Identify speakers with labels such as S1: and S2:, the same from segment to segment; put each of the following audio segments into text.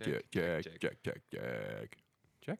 S1: check, check, check, check, check. Check.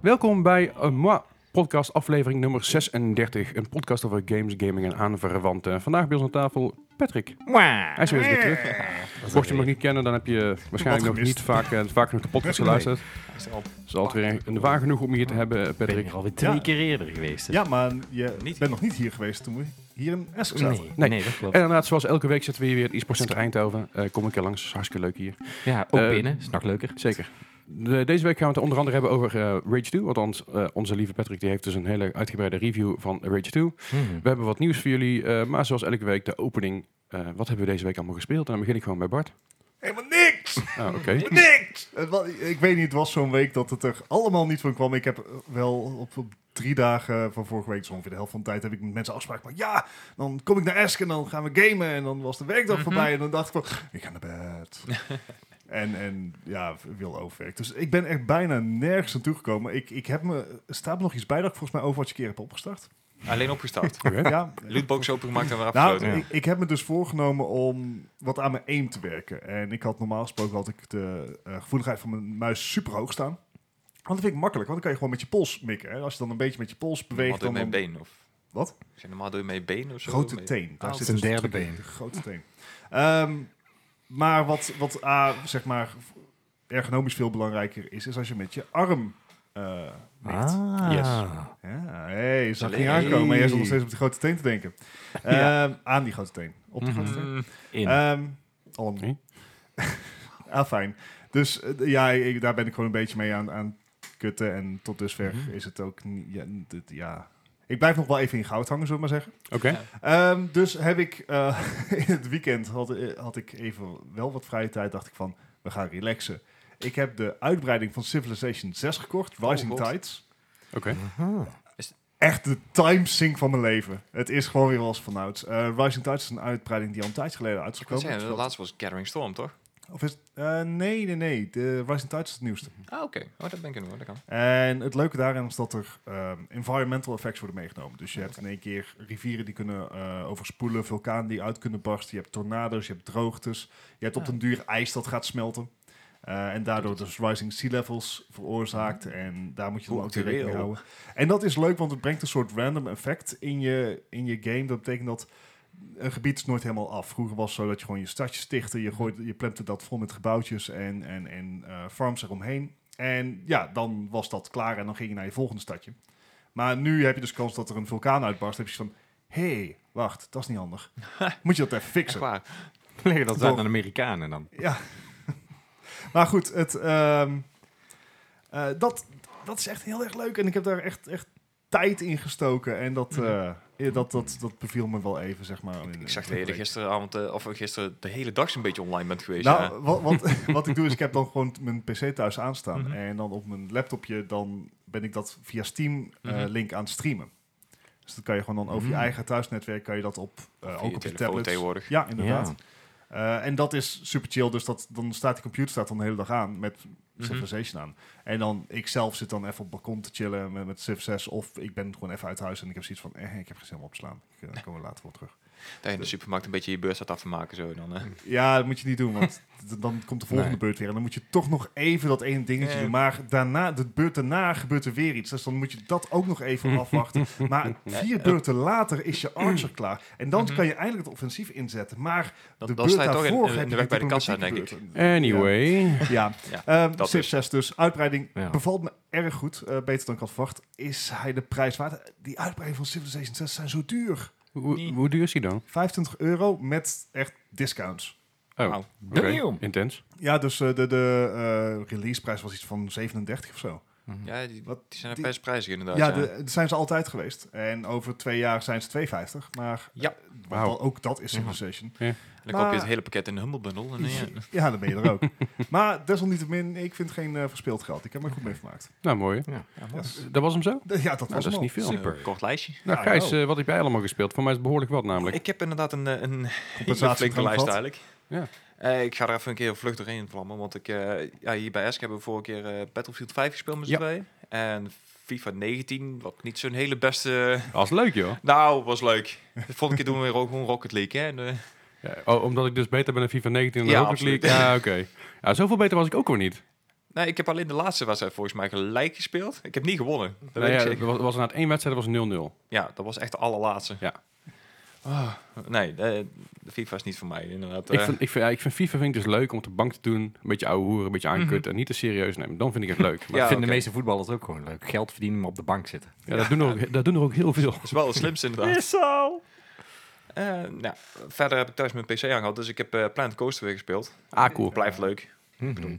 S1: Welkom bij een Moi podcast aflevering nummer 36. Een podcast over games, gaming en aanverwanten. Vandaag bij ons aan tafel Patrick. Hij is weer eens weer terug. Mocht je hem nog niet kennen, dan heb je waarschijnlijk nog niet vaak, eh, vaak genoeg de podcast geluisterd. Het is altijd weer een waar genoeg om je hier te hebben, eh,
S2: ben
S1: Patrick.
S2: hier alweer twee
S3: Ja.
S2: keer eerder geweest. dus-
S3: Ja, maar je
S4: Niet
S3: bent nog niet hier geweest toen we hier in Essen zaten.
S1: Nee.
S2: nee,
S1: Eh,
S2: nee. dat klopt.
S1: En inderdaad, zoals elke week zitten we hier weer in het e-sport Center Eindhoven. Eh, kom een keer langs, is hartstikke leuk hier.
S2: ja, ook
S1: eh,
S2: binnen, is nog leuker.
S1: Zeker. De- deze week gaan we het onder andere hebben over eh, Rage 2. Want ons- eh, onze lieve Patrick die heeft dus een hele uitgebreide review van Rage 2.
S2: Mhm.
S1: We hebben wat nieuws voor jullie, eh, maar zoals elke week de opening. eh, wat hebben we deze week allemaal gespeeld? En dan begin ik gewoon bij Bart.
S3: Helemaal niks!
S1: Oh, oké.
S3: niks! Het wa- Ik weet niet, het was zo'n week dat het er allemaal niet van kwam. Ik heb eh, wel op, op drie dagen van vorige week, dus ongeveer de helft van de tijd, heb ik met mensen afspraak gemaakt. Ja, dan kom ik naar Essen en dan gaan we gamen. En dan was de werkdag voorbij en dan dacht ik van, ik ga naar bed. en, en ja, wil overwerk. Dus ik ben echt bijna nergens aan toegekomen. Ik, ik heb me, er staat me nog iets bij dat ik volgens mij over wat je keer heb opgestart.
S4: Alleen opgestart.
S1: Oké.
S3: Ja,
S4: Lootbox opengemaakt en weer
S3: Nou,
S4: afgesloten.
S3: ik, ik heb me dus voorgenomen om wat aan mijn aim te werken. En ik had normaal gesproken had ik de eh, gevoeligheid van mijn muis super hoog staan. Want dat vind ik makkelijk, want dan kan je gewoon met je pols mikken. Hè? Als je dan een beetje met je pols
S4: normaal
S3: beweegt,
S4: doe je
S3: dan...
S4: met
S3: dan-
S4: been of...
S3: Wat?
S4: Ik zei, normaal doe je met je been of zo.
S3: grote
S4: Met-
S3: teen. Daar
S4: Ah,
S3: zit
S4: het
S3: dus
S4: is
S3: het
S4: een
S3: trucje. Grote teen. Ehm, maar wat, wat A, zeg maar, ergonomisch veel belangrijker is, is als je met je arm... eh, mikt.
S2: Ah.
S1: Yes.
S3: Ja, hey, zag ik niet
S4: Allee.
S3: aankomen. Maar jij zat nog steeds op die grote teen te denken. Ehm, Aan die grote teen. Op die
S2: Mhm.
S3: grote teen.
S4: Mm,
S2: Hmm. In.
S3: Ehm allemaal.
S1: Oké.
S3: ah, fijn. Dus eh, ja, ik, daar ben ik gewoon een beetje mee aan, aan het kutten. En tot dusver
S4: Mhm.
S3: is het ook niet... Ja, dit- ja. Ik blijf nog wel even in goud hangen, zullen we maar zeggen.
S1: Oké.
S3: Ehm, dus heb ik eh, in het weekend had, eh, had ik even wel wat vrije tijd. Dacht ik van, we gaan relaxen. Ik heb de uitbreiding van Civilization 6 gekocht, Rising
S4: Oh, God.
S3: Tides.
S1: Oké.
S3: Echt de timesink van mijn leven. Het is gewoon weer als vanouds. Eh, Rising Tides is een uitbreiding die al een tijdje geleden uit is
S4: Ik wil zeggen,
S3: gekomen. Dus
S4: de
S3: dat-
S4: laatste was Gathering Storm, toch?
S3: Of is het- eh, nee, nee, nee. De Rising Tide is het nieuwste.
S4: Ah, oké. Oh, dat ben ik in hoor. Dat kan.
S3: En het leuke daarin is dat er ehm, environmental effects worden meegenomen. Dus je hebt in één keer rivieren die kunnen eh, overspoelen, vulkanen die uit kunnen barsten. Je hebt tornado's, je hebt droogtes. Je hebt op
S4: Ah.
S3: den duur ijs dat gaat smelten. Eh, en daardoor dus rising sea levels veroorzaakt. En daar moet je dan
S4: Ah. Oeh,
S3: ook weer rekening mee
S4: actueel.
S3: houden. En dat is leuk, want het brengt een soort random effect in je, in je game. Dat betekent dat een gebied is nooit helemaal af. Vroeger was het zo dat je gewoon je stadje stichtte. Je, gooide, je plemte dat vol met gebouwtjes en, en, en eh, farms eromheen. En ja, dan was dat klaar en dan ging je naar je volgende stadje. Maar nu heb je dus kans dat er een vulkaan uitbarst. Dan heb je zoiets van, hé, hey, wacht, dat is niet handig. Moet je dat even
S4: Echt
S3: fixen.
S4: waar.
S2: Leg dat
S3: Toch.
S2: uit naar de Amerikanen dan.
S3: Ja. maar goed, het, ehm, eh, dat, dat is echt heel erg leuk. En ik heb daar echt, echt tijd in gestoken. En dat, eh, eh, dat, dat, dat beviel me wel even, zeg maar.
S4: Mhm. Ik zag dat je er gisteravond, eh, of gisteren de hele dag een beetje online bent geweest. Dus ja.
S3: Nou, wat, wat, wat ik doe is, ik heb dan gewoon mijn pc thuis aanstaan.
S4: Mhm.
S3: En dan op mijn laptopje, dan ben ik dat via Steam eh,
S4: Mhm.
S3: link aan het streamen. Dus dat kan je gewoon dan over je
S2: Mm.
S3: eigen thuisnetwerk, kan je dat op, eh,
S4: Via
S3: ook op je
S4: telefoon
S3: tablet.
S4: tegenwoordig.
S3: Ja, inderdaad. Eh, en dat is super chill. Dus dat, dan staat die computer staat dan de hele dag aan met
S4: Mhm.
S3: Civilization aan. En dan, ik zelf zit dan even op het balkon te chillen met, met Civ 6. Of ik ben gewoon even uit huis en ik heb zoiets van, eh, ik heb geen zin om op te slaan. Ik eh, kom er later wel terug.
S4: Dat je in de supermarkt een beetje je beurs had af te maken. Zo, dan, eh.
S3: Ja, dat moet je niet doen, want d- dan komt de volgende
S2: Nee.
S3: beurt weer. En dan moet je toch nog even dat ene dingetje
S4: Ja.
S3: doen. Maar daarna, de beurt daarna gebeurt er weer iets. Dus dan moet je dat ook nog even afwachten. Maar vier beurten later is je Archer klaar. En dan
S4: Mhm.
S3: kan je eindelijk het offensief inzetten. Maar
S4: Dan-
S3: de
S4: dan
S3: beurt
S4: sta je toch in-
S3: daarvoor
S4: in-
S3: heb
S4: in
S3: je
S4: de weg bij de
S3: diplomatieke
S4: kassa, denk ik.
S3: beurt.
S1: Anyway.
S3: Ja,
S4: Ja,
S3: Ehm
S4: dat
S3: Civ
S4: is.
S3: 6 dus. Uitbreiding
S2: Ja.
S3: bevalt me erg goed. eh, beter dan ik had verwacht. Is hij de prijs waard? Die uitbreiding van Civilization 6 zijn zo duur.
S1: Hoe,
S4: Nee.
S1: hoe duur is die dan?
S3: 25 euro met echt discounts.
S1: Oh,
S4: Nou,
S1: oké.
S2: damn.
S1: Intens.
S3: Ja, dus eh, de, de eh, releaseprijs was iets van 37 of zo.
S2: Hmm.
S4: ja die,
S3: Hm. Wat-
S4: die zijn
S3: die-
S4: best prijzig inderdaad.
S3: ja, de- dat zijn ze altijd geweest. En over twee jaar zijn ze 2,50. Maar
S4: Ja.
S3: eh, want
S1: Wauw.
S3: wel- ook dat is Civilization.
S4: En dan koop je
S3: maar-
S4: het hele pakket in de Humble
S1: Oh,
S4: Bundle. En, eh, dan, ja.
S3: Ja, dan ben je er ook. maar desalniettemin, ik vind geen eh, verspeeld geld. Ik heb me goed mee vermaakt. dus-
S1: Nou, mooi. Eh, Dat was hem zo?
S3: Ja, dat was
S1: Nou, dat
S3: hem
S1: is
S3: al.
S1: niet veel.
S2: Super.
S4: Kort lijstje.
S1: Nou,
S3: Ja,
S1: Gijs,
S3: nou.
S1: eh, wat heb jij allemaal gespeeld? Voor mij is het behoorlijk wat namelijk.
S4: Ik heb inderdaad een, eh, een hele
S3: Compensatie
S4: flinke
S3: van
S4: lijst
S3: gehad.
S4: eigenlijk.
S1: Ja.
S4: Eh, ik ga er even een keer vlug doorheen vlammen, want ik, eh, ja, hier bij Esk hebben we vorige keer eh, Battlefield 5 gespeeld met z'n
S1: Ja.
S4: tweeën. En FIFA 19, wat niet zo'n hele beste...
S1: Dat was leuk, joh.
S4: Nou, was leuk. De volgende keer doen we weer ook gewoon Rocket League, hè. En, eh,
S1: Ja, oh, omdat ik dus beter ben in FIFA 19 dan de
S4: Ja,
S1: Rocket
S4: absoluut.
S1: League. Ja, oké. Ja, zoveel beter was ik ook weer niet.
S4: nee, ik heb alleen de laatste wedstrijd volgens mij gelijk gespeeld. Ik heb niet gewonnen. Dat
S1: Nou
S4: weet ik
S1: ja,
S4: zeker.
S1: er was, er was inderdaad één wedstrijd, dat was 0-0.
S4: Ja, dat was echt de allerlaatste.
S1: Ja.
S4: Ah, nee, de, de FIFA is niet voor mij, inderdaad.
S1: Ik
S4: Eh,
S1: vind, ik, vind, ja, ik vind FIFA vind ik dus leuk om op de bank te doen. Een beetje ouwe hoeren, een beetje aankutten en niet te serieus nemen. Dan vind ik het leuk. Maar
S4: Ja,
S2: ik vind
S4: oké.
S2: de meeste voetballers ook gewoon leuk. Geld verdienen, maar op de bank zitten.
S1: ja, dat, doen er ook, dat doen er ook heel veel.
S4: Dat is wel het slimste, inderdaad.
S2: Is zo.
S4: Eh, nou, verder heb ik thuis mijn PC aangehad, dus ik heb eh Planet Coaster weer gespeeld.
S1: Ah, cool.
S4: Blijft leuk.
S2: Hmm.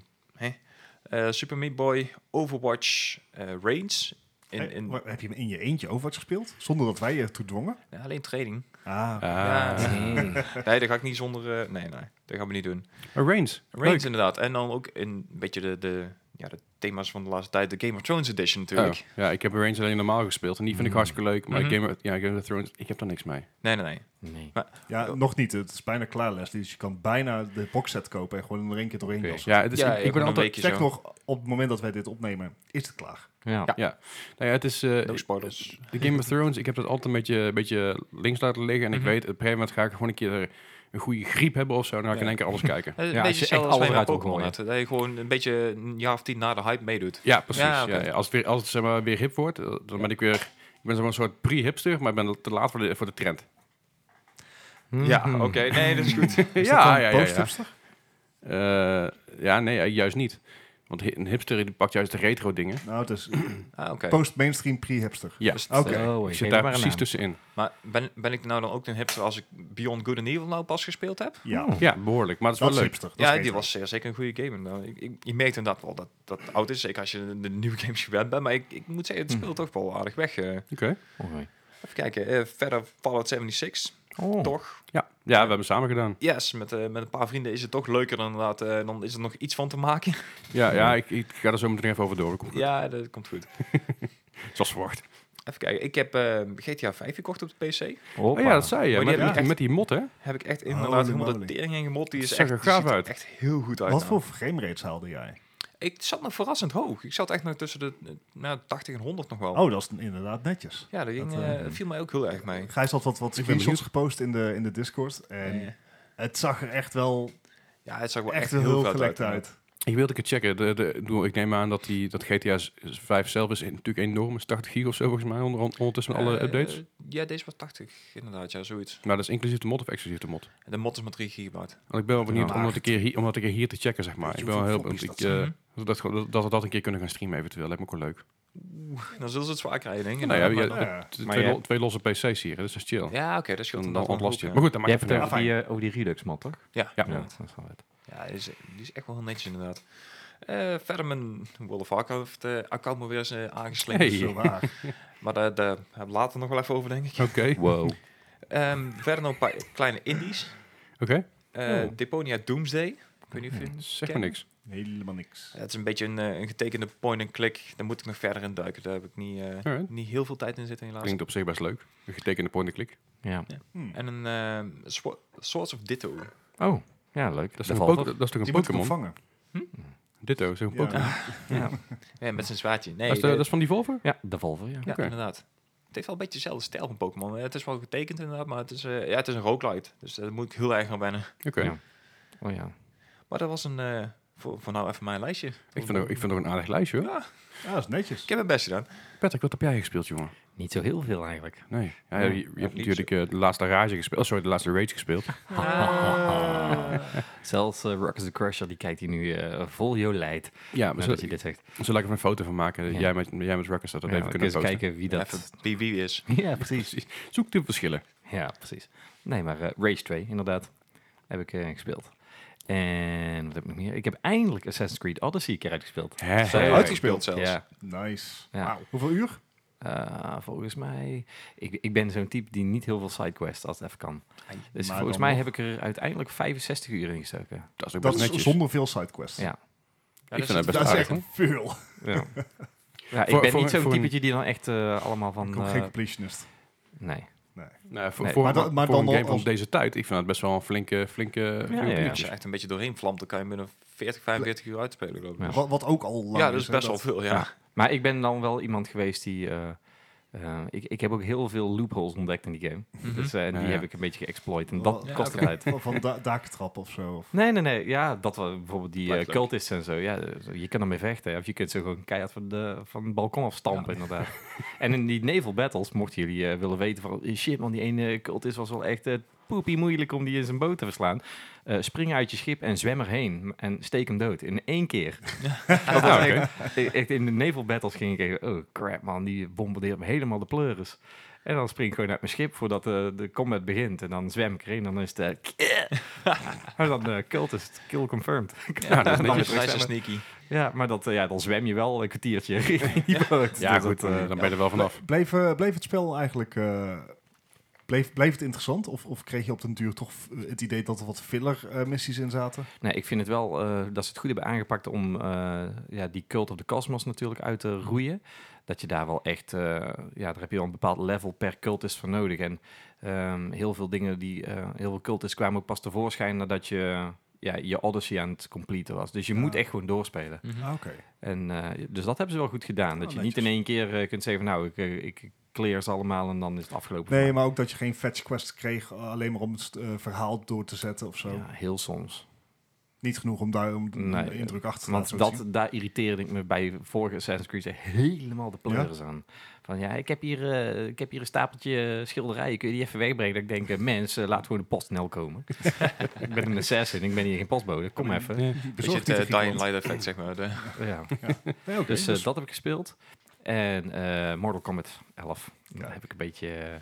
S4: Eh, Super Meat Boy, Overwatch, eh Reigns. In, in,
S3: Hey, Heb je hem in je eentje Overwatch gespeeld? Zonder dat wij je toe dwongen?
S4: Ja, alleen training.
S3: Ah,
S1: Ah.
S4: Ja.
S2: Eh.
S4: Nee, dat ga ik niet zonder... eh, nee, nee, dat gaan we niet doen.
S1: Maar Reigns.
S4: Reigns
S1: Leuk.
S4: inderdaad. En dan ook in een beetje de, de, ja, de thema's van de laatste tijd. De Game of Thrones edition natuurlijk.
S1: Oh, ja, ik heb Reigns alleen normaal gespeeld. En die vind ik
S2: Mm.
S1: hartstikke leuk. Maar
S4: Mhm.
S1: Game, of, ja, Game of Thrones, ik heb daar niks mee.
S4: Nee, nee, nee.
S2: Nee.
S3: ja, nog niet. Het is bijna klaar, Leslie. Dus je kan bijna de boxset kopen en gewoon in één keer doorheen.
S2: Oké.
S3: jassen.
S1: Ja, het is,
S4: Ja,
S1: ik,
S4: ja,
S1: ik ben
S4: een
S1: altijd...
S4: weekje
S3: Check
S4: zo.
S3: nog op het moment dat wij dit opnemen, is het klaar.
S2: Ja.
S4: Ja.
S1: Nou ja, het is... eh,
S4: No spoilers.
S1: De Game of Thrones, ik heb dat altijd een beetje, een beetje links laten liggen. En ik
S4: Mhm.
S1: weet, op een gegeven moment ga ik gewoon een keer een goede griep hebben of zo. En dan ga ik in één keer alles kijken.
S4: een
S2: Ja, als je
S4: beetje
S2: echt
S4: hetzelfde als
S2: alles
S4: bij mijn
S2: eruit wil
S4: Pokémon.
S2: gooien.
S4: net. Dat je gewoon een beetje een jaar of tien na de hype meedoet.
S1: Ja, precies.
S4: Ja,
S1: Ja,
S4: oké.
S1: ja. Als het weer, als het, zeg maar, weer hip wordt, eh, dan ben ik weer... Ik ben zo'n soort pre-hipster, maar ik ben te laat voor de, voor de trend.
S4: Ja,
S2: Hmm.
S4: oké. Nee, dat is goed.
S3: Is dat
S1: Ah, ja,
S3: dan boodschapster?
S1: Eh, ja, nee, eh, juist niet. Want hi- een hipster die pakt juist de retro dingen.
S3: Nou, het is
S4: Ah, oké.
S3: post-mainstream pre-hipster.
S1: Ja,
S4: Dus-
S3: Oké.
S2: Zo,
S1: ik
S2: ik
S1: zit
S2: geef
S1: daar
S2: maar een
S1: precies
S2: naam.
S1: tussenin.
S4: Maar ben, ben ik nou dan ook een hipster als ik Beyond Good and Evil nou pas gespeeld heb?
S2: Oh,
S3: Ja,
S1: Ja, behoorlijk. Maar het is
S3: dat is
S1: wel leuk.
S3: hipster. Dat is
S4: ja, die
S3: retro.
S4: was zeer zeker een goede game. Nou, ik, ik, je merkt inderdaad wel dat dat het oud is, zeker als je de, de nieuwe games gewend bent. Maar ik, ik moet zeggen,
S3: Hmm.
S4: het speelt toch wel aardig weg. eh.
S1: Oké.
S2: Oké.
S4: even kijken, eh, verder Fallout 76,
S2: Oh.
S4: toch?
S1: Ja. ja, we hebben het samen gedaan.
S4: Yes, met, eh, met een paar vrienden is het toch leuker dan inderdaad. eh, dan is er nog iets van te maken.
S1: Ja, ja ik, ik ga er zo meteen even over door. Dat komt goed.
S4: ja, dat komt goed.
S1: Zoals verwacht.
S4: Even kijken, ik heb eh, GTA 5 gekocht op de PC.
S1: Oh,
S2: Hoppa.
S1: ja, dat zei je.
S4: Maar die
S1: Met,
S4: hebben
S1: met,
S4: echt-
S1: met die mot, hè?
S4: Heb ik echt
S3: Holy
S4: inderdaad helemaal de
S3: moly.
S4: tering in gemot. Die is
S1: Zag er
S4: echt, die
S1: gaaf
S4: ziet er
S1: uit.
S4: echt heel goed uit.
S3: Wat
S4: nou.
S3: voor framerates haalde jij?
S4: Ik zat nog verrassend hoog. Ik zat echt nog tussen de eh, nou, 80 en 100 nog wel.
S3: Oh, dat is inderdaad netjes.
S4: Ja, dat, ging,
S3: Dat,
S4: eh,
S3: eh,
S4: dat viel mij ook heel erg mee.
S3: Gijs had wat, wat
S1: Ik ben
S3: screenshots gepost in de, in de Discord. En
S4: Eh,
S3: het zag er echt wel
S4: ja, het zag wel echt,
S3: echt
S4: heel
S3: heel
S4: vet
S3: gelekt
S4: uit.
S3: uit.
S1: Ik wilde een keer checken. De, de, ik bedoel, ik neem aan dat, die, dat GTA 5 zelf is in- natuurlijk enorm. Is 80 gig of zo volgens mij onder, ondertussen met alle
S4: Eh,
S1: updates.
S4: Ja, deze was 80 inderdaad, ja, zoiets.
S1: Maar dat is inclusief de mod of exclusief de mod?
S4: En De mod is maar 3 gigabyte.
S1: Want ik ben wel benieuwd
S2: Ja.
S1: om dat een keer hier, om dat een keer hier te checken, zeg maar.
S3: Weet je
S1: Ik ben wel heel
S3: hoeveel
S1: benieuwd. Ik,
S3: floppies dat
S4: zijn?
S1: eh, dat, dat, dat we dat een keer kunnen gaan streamen eventueel. Lijkt me ook wel leuk.
S4: Dan zullen ze het zwaar krijgen, denk ik.
S1: Nou ja,
S4: Maar-
S1: je-
S4: maar-
S3: Nou ja.
S1: T-
S2: Maar
S1: twee,
S2: jij-
S1: lo- twee losse PC's hier, hè, dus dat is chill.
S4: ja, oké, dat scheelt
S1: dan dan
S4: inderdaad wel
S1: ontlast je.
S4: een
S1: Maar
S4: hoop,
S1: goed, dan
S2: Jij
S1: maakt het
S2: hebt
S1: niet uit.
S2: het over die, eh, over die Redux-mod, toch?
S4: eh, Ja,
S1: Ja.
S4: ja.
S2: Ja,
S4: ja.
S2: dat is wel vet.
S4: die, is, die is echt wel netjes inderdaad. Eh, verder mijn World of Warcraft eh, account me weer eens eh, aangeslingerd.
S1: Hey.
S3: Zo waar.
S4: Maar daar daar hebben we later nog wel even over, denk ik.
S1: Oké, oké.
S2: Wow.
S4: Ehm, verder nog een paar kleine indies. Eh,
S2: Oh.
S4: Deponia Doomsday. Ik weet niet of je het
S1: Hmm, Zeg maar
S4: kent.
S1: niks.
S3: Helemaal niks.
S4: Ja, het is een beetje een, eh, een getekende point-and-click. Daar moet ik nog verder in duiken. Daar heb ik niet, eh,
S1: Alright.
S4: niet heel veel tijd in zitten helaas.
S1: Klinkt op zich best leuk. Een getekende point-and-click.
S2: Ja.
S3: Hm.
S4: En een ehm, Swa- Swords of Ditto.
S2: Oh, ja, leuk.
S1: Dat is,
S2: Dat
S1: toch een
S2: valt
S1: Poké- dat is toch een
S3: Die moet ik nog
S1: Pokémon?
S3: vangen.
S1: Ditto, is een
S3: Ja.
S1: Pokémon.
S2: Ja,
S4: Ja, met zijn zwaardje. Nee,
S1: dat, is de-
S4: de-
S1: dat is van die Volver?
S2: ja de Volvo, ja.
S4: ja,
S1: oké.
S4: inderdaad. Het heeft wel een beetje dezelfde stijl van Pokémon. Eh, Het is wel getekend inderdaad, maar het is, eh, ja, het is een roguelite. Dus daar moet ik heel erg aan wennen.
S1: Oké.
S2: Ja. Oh ja.
S4: Maar dat was een, eh, voor, voor nou even mijn lijstje.
S1: Ik vind het ik vind het ook een aardig lijstje, hoor.
S3: Ja, dat is netjes.
S4: Ik heb mijn best gedaan.
S1: Patrick, wat heb jij gespeeld, jongen?
S2: Niet zo heel veel eigenlijk.
S1: Nee. Ja,
S2: Ja,
S1: je, je hebt
S4: niet
S1: natuurlijk eh, de laatste rage gespeeld. Oh, sorry, de laatste rage gespeeld. Ah.
S2: Zelfs eh Rock is the Crusher, die kijkt hier nu eh, vol jolijt.
S1: Ja, maar
S2: Nou,
S1: zullen
S2: dat hij dit zegt.
S1: zullen we even een foto van maken?
S2: Ja.
S1: Jij met, jij met Ruckus dat we
S2: Ja,
S1: dat
S2: we
S1: even kunnen
S2: kunnen eens
S1: posten.
S2: kijken wie dat...
S4: Even wie wie is.
S2: Ja, precies.
S1: Precies. Zoek de verschillen.
S2: Ja, precies. Nee, maar eh, Rage 2, inderdaad. Heb ik eh, gespeeld. En wat heb ik nog meer? Ik heb eindelijk Assassin's Creed Odyssey een keer uitgespeeld.
S1: Hè,
S2: Zo. Oh,
S1: hè.
S4: Uitgespeeld zelfs.
S2: Ja.
S3: Nice.
S2: Ja.
S3: Wauw. Hoeveel uur?
S2: Eh, volgens mij... Ik, ik ben zo'n type die niet heel veel sidequests als het even kan.
S4: Ai,
S2: Dus
S3: maar
S2: volgens
S3: dan
S2: mij
S3: nog.
S2: heb ik er uiteindelijk 65 uur in gestoken.
S1: Dat is ook
S3: Dat
S1: best
S3: is
S1: netjes.
S3: zonder veel sidequests.
S2: Ja.
S4: Ja,
S1: Ik
S4: dat
S1: vind het
S4: is-
S1: best
S3: Dat is
S1: aardig,
S3: echt
S1: hoor.
S3: veel.
S2: Ja. ja, ik
S1: Voor-
S2: ben
S1: voor-
S2: niet zo'n
S1: voor een-
S2: typetje die dan echt eh, allemaal van...
S3: Ik ben ook
S2: eh,
S3: geen completionist.
S2: nee.
S1: Nou, voor,
S2: Nee.
S1: voor,
S3: Maar
S1: maar,
S3: dan- maar
S1: voor
S3: dan
S1: een
S3: al
S1: game van
S3: als-
S1: deze tijd, ik vind dat best wel een flinke, flinke, flinke
S2: ja, ja.
S4: Als je
S1: uurtjes.
S4: echt een beetje doorheen vlamt, dan kan je binnen 40, 45 uur uitspelen, geloof ik.
S2: Ja.
S4: Dus-
S3: Wat, wat ook al lang
S4: Ja, dat is
S3: hè,
S4: best wel veel, ja.
S2: Maar ik ben dan wel iemand geweest die... eh, eh, ik, ik heb ook heel veel loopholes ontdekt in die game. Dus, eh, en
S1: Mhm. Ja,
S2: die
S1: ja.
S2: heb ik een beetje geëxploit. En dat
S3: Ja,
S2: kost
S4: oké.
S2: het uit.
S3: Van, van da daaktrap of zo. Of,
S2: Nee, nee, nee. Ja, dat wel, bijvoorbeeld die
S4: Lijkt
S2: eh,
S4: leuk.
S2: cultisten en zo. Ja, eh, je kan ermee vechten. Of je kunt ze gewoon keihard van, de, van het balkon afstampen, inderdaad. en in die naval battles, mochten jullie eh, willen weten van... eh, Shit man, die ene cultist was wel echt eh poepie moeilijk om die in zijn boot te verslaan. Eh, spring uit je schip en zwem erheen. En steek hem dood. In één keer. dat was
S1: oké.
S2: echt- e- echt in de naval battles ging ik echt... Oh crap man, die bombardeert me helemaal de pleuris. En dan spring ik gewoon uit mijn schip voordat eh, de combat begint. En dan zwem ik erin. Dan is het... eh, maar dan eh cultist, kill confirmed.
S1: Ja, dat is
S4: Dan nou, is
S1: netjes.
S4: hij zo sneaky.
S2: ja, maar dat, eh, ja, dan zwem je wel een kwartiertje in die boot.
S1: Ja,
S2: Dus
S1: goed,
S2: dat,
S1: eh,
S2: eh,
S1: dan ben je er wel vanaf.
S3: bleef, eh, bleef het spel eigenlijk... eh, bleef, bleef het interessant? Of, of kreeg je op den duur toch eh, het idee dat er wat filler eh, missies in zaten?
S2: nee, ik vind het wel eh, dat ze het goed hebben aangepakt om eh, ja, die cult of the cosmos natuurlijk uit te roeien. Dat je daar wel echt, eh, ja, daar heb je wel een bepaald level per cultist voor nodig. En ehm, heel veel dingen die, eh, heel veel cultists kwamen ook pas tevoorschijn nadat je ja, je Odyssey aan het completen was. Dus je
S3: Ja.
S2: moet echt gewoon doorspelen.
S1: Mhm.
S3: Ah, Oké.
S2: En, eh, dus dat hebben ze wel goed gedaan. dat je niet
S3: Oh, netjes.
S2: in één keer eh, kunt zeggen van nou, ik, eh, ik clear ze allemaal en dan is het afgelopen.
S3: Nee, maar ook dat je geen fetch quest kreeg eh, alleen maar om het st- eh, verhaal door te zetten of zo.
S2: Ja, heel soms.
S3: Niet genoeg om daar om de
S2: Nee,
S3: indruk achter te laten
S2: Want
S3: zo
S2: dat,
S3: zien.
S2: daar irriteerde ik me bij vorige Assassin's Creed echt helemaal de pleuris aan. Van ja, ik heb, hier, eh, ik heb hier een stapeltje schilderijen, kun je die even wegbrengen? Dat ik denk, eh, mens, eh, laat gewoon de postnel komen. ik ben een assassin, ik ben hier geen postbode, kom even.
S1: Ja.
S4: Beetje
S3: Bezorgd
S4: het
S3: niet in
S4: eh, Dying
S3: Griekenland.
S4: Light effect, zeg maar. De,
S2: Ja.
S3: Nee, oké,
S2: Dus eh,
S3: dus-
S2: dat heb ik gespeeld. En eh, Mortal Kombat 11,
S3: Ja.
S2: daar heb ik een beetje, eh, een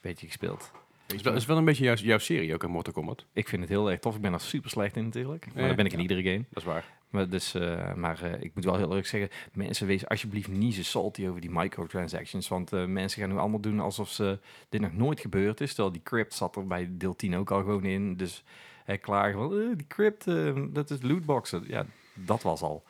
S2: beetje gespeeld.
S1: Dat is wel- is wel een beetje jouw, jouw serie ook in Mortal Kombat.
S2: Ik vind het heel erg tof. Ik ben er super slecht in natuurlijk. Maar
S1: Ja.
S2: dat ben ik in
S1: Ja.
S2: iedere game.
S1: Dat is waar.
S2: Maar, dus, eh, maar eh, ik moet wel heel eerlijk zeggen, mensen wees alsjeblieft niet zo salty over die microtransactions. Want eh, mensen gaan nu allemaal doen alsof ze, dit nog nooit gebeurd is. Terwijl die crypt zat er bij deel 10 ook al gewoon in. Dus eh, klagen van, eh, die crypt, eh, dat is lootboxen. Ja, dat was al.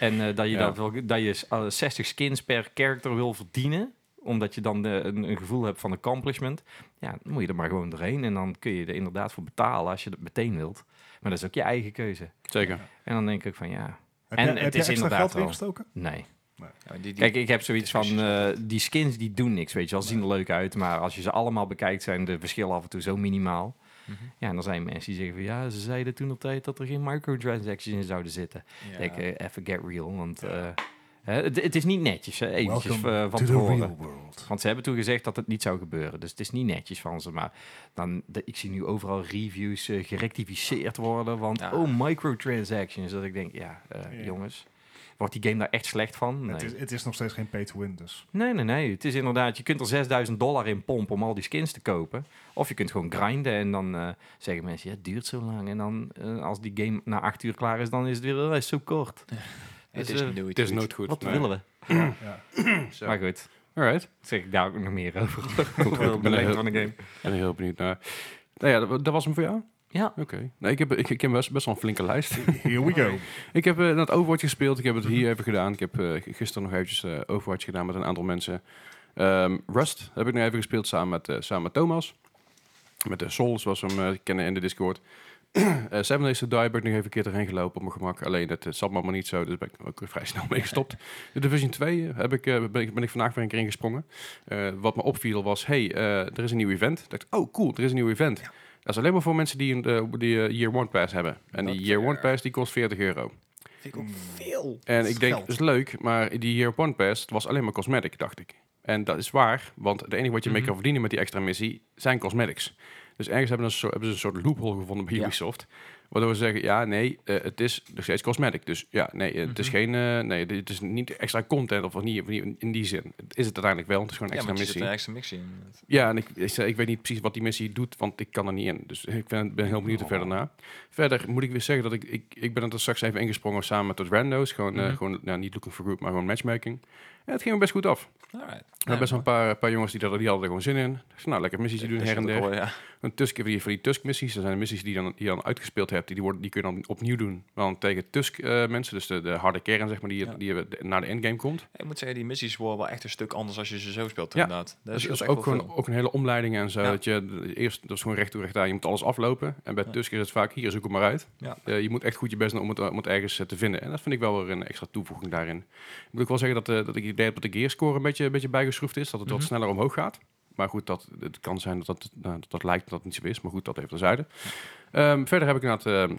S2: En eh, dat je,
S1: Ja.
S2: dat, wil- dat je eh, 60 skins per character wil verdienen omdat je dan eh, een, een gevoel hebt van accomplishment. Ja, dan moet je er maar gewoon doorheen. En dan kun je er inderdaad voor betalen als je dat meteen wilt. Maar dat is ook je eigen keuze.
S1: Zeker.
S2: En dan denk ik van ja,
S3: heb
S2: en
S3: je,
S2: het
S3: heb je
S2: is
S3: extra
S2: inderdaad
S3: geld
S2: wel-
S3: erin gestoken?
S2: nee.
S4: ja, die, die,
S2: Kijk, ik heb zoiets van,
S4: discussies.
S2: eh, die skins die doen niks, weet je wel. Ze zien er leuk uit, maar als je ze allemaal bekijkt, zijn de verschillen af en toe zo minimaal.
S4: Mhm.
S2: Ja, en dan zijn mensen die zeggen van, ja, ze zeiden toen op tijd dat er geen microtransactions in zouden zitten.
S4: ja.
S2: Denk, eh, even get real, want eh, hè, het het is niet netjes, hè, eventjes
S3: Welcome
S2: eh, van
S3: to the
S2: tevoren.
S3: real world.
S2: Want ze hebben toen gezegd dat het niet zou gebeuren. Dus het is niet netjes van ze. Maar dan, de- ik zie nu overal reviews eh, gerectificeerd worden. Want
S4: Ja.
S2: oh, microtransactions. Dat ik denk, ja, eh,
S3: Ja.
S2: jongens. Wordt die game daar echt slecht van? Nee.
S3: Het, is, het is nog steeds geen pay to win, dus.
S2: nee, nee, nee. Het is inderdaad, je kunt er 6000 dollar in pompen om al die skins te kopen. Of je kunt gewoon grinden en dan eh, zeggen mensen, ja, het duurt zo lang. En dan, eh, als die game na acht uur klaar is, dan is het weer oh, hij is zo kort.
S4: Het
S2: dus,
S4: is
S2: eh,
S4: nooit
S1: Het is
S4: goed.
S1: nooit goed.
S2: Wat
S1: nee.
S2: willen we?
S3: Ja.
S1: Zo.
S2: Maar goed,
S1: Alright.
S2: dat zeg ik daar ook nog meer over.
S1: ben
S2: Over de lengte van de game.
S1: En heel benieuwd naar. Nou ja, dat, dat was hem voor jou?
S2: Ja,
S1: Oké. Nou, ik heb, ik, ik heb best, best wel een flinke lijst.
S3: Here we go.
S1: ik heb eh, dat Overwatch gespeeld. Ik heb het
S4: Mhm.
S1: hier even gedaan. Ik heb eh, gisteren nog eventjes eh, Overwatch gedaan met een aantal mensen. Ehm, Rust heb ik nu even gespeeld samen met, eh, samen met Thomas. Met de Soul, zoals we hem eh, kennen in de Discord. Eh Seven Days to Die ben ik nog even een keer erheen gelopen op mijn gemak. Alleen dat eh, zat me maar niet zo, dus ben ik er ook weer vrij snel mee gestopt. De Division 2 heb ik, eh, ben, ik, ben ik vandaag weer een keer ingesprongen. Eh, wat me opviel was, hey, eh, er is een nieuw event. Ik dacht, oh cool, er is een nieuw event. Dat is alleen maar voor mensen die een eh, die, eh, Year One Pass hebben. En die
S4: Dat,
S1: Year One
S4: eh,
S1: Pass die kost 40 euro.
S4: Vind ik ook veel.
S1: En
S3: is
S1: ik denk,
S3: geld.
S1: dat is leuk, maar die Year One Pass het was alleen maar cosmetic, dacht ik. En dat is waar, want het enige wat je mee
S4: Mhm.
S1: kan verdienen met die extra missie zijn cosmetics. Dus ergens hebben, ze een soort- hebben ze een soort loophole gevonden bij
S4: Ja.
S1: Ubisoft. Waardoor ze zeggen, ja, nee, eh, het is nog steeds cosmetic. Dus ja, nee, eh, het is
S4: Mhm.
S1: geen, eh, nee, dit- het is niet extra content of niet, of niet in die zin. Het is het uiteindelijk wel, het is gewoon een
S4: Ja,
S1: extra
S4: maar er zit
S1: missie.
S4: een extra missie in.
S1: Ja, en ik, ik, zei, ik weet niet precies wat die missie doet, want ik kan er niet in. Dus ik ben, ben heel benieuwd er
S4: Oh.
S1: verder naar. Verder moet ik weer zeggen dat ik, ik, ik ben er straks even ingesprongen samen met de rando's. Gewoon, eh,
S4: Mhm.
S1: gewoon nou, niet looking for group, maar gewoon matchmaking. En het ging me best goed af.
S4: Alright.
S1: Er waren best wel een paar, een paar jongens die, dat, die hadden er gewoon zin in. Ik dacht, nou, lekker missies die doen her en der.
S4: Ja.
S1: Een Tusk voor die, voor die Tusk-missies. Dat zijn de missies die je dan, die je dan uitgespeeld hebt. Die, die, worden, die kun je dan opnieuw doen. Dan tegen Tusk-mensen. dus de, de harde kern, zeg maar, die,
S4: Ja.
S1: die eh, de- naar de endgame komt.
S4: Ik moet zeggen, die missies worden wel echt een stuk anders als je ze zo speelt
S1: Ja.
S4: inderdaad.
S1: Dat
S4: scheelt
S1: is, Dus dat is
S4: echt
S1: ook,
S4: wel
S1: gewoon, ook een hele omleiding en zo.
S4: Ja.
S1: Dat je de- eerst, dat is gewoon recht toe recht aan. Je moet alles aflopen. En bij
S4: Ja.
S1: Tusk is het vaak, hier zoek het maar uit.
S4: Ja.
S1: Eh, je moet echt goed je best doen om het, om het ergens eh, te vinden. En dat vind ik wel weer een extra toevoeging daarin. Ik moet ook wel zeggen dat, eh, dat ik het idee heb dat de gearscore een beetje, een beetje bijgeschroefd is. Dat het wat
S4: Mhm.
S1: sneller omhoog gaat. Maar goed, dat, het kan zijn dat dat, nou, dat dat lijkt dat dat niet zo is. Maar goed, dat even terzijde. Ehm verder heb ik inderdaad ehm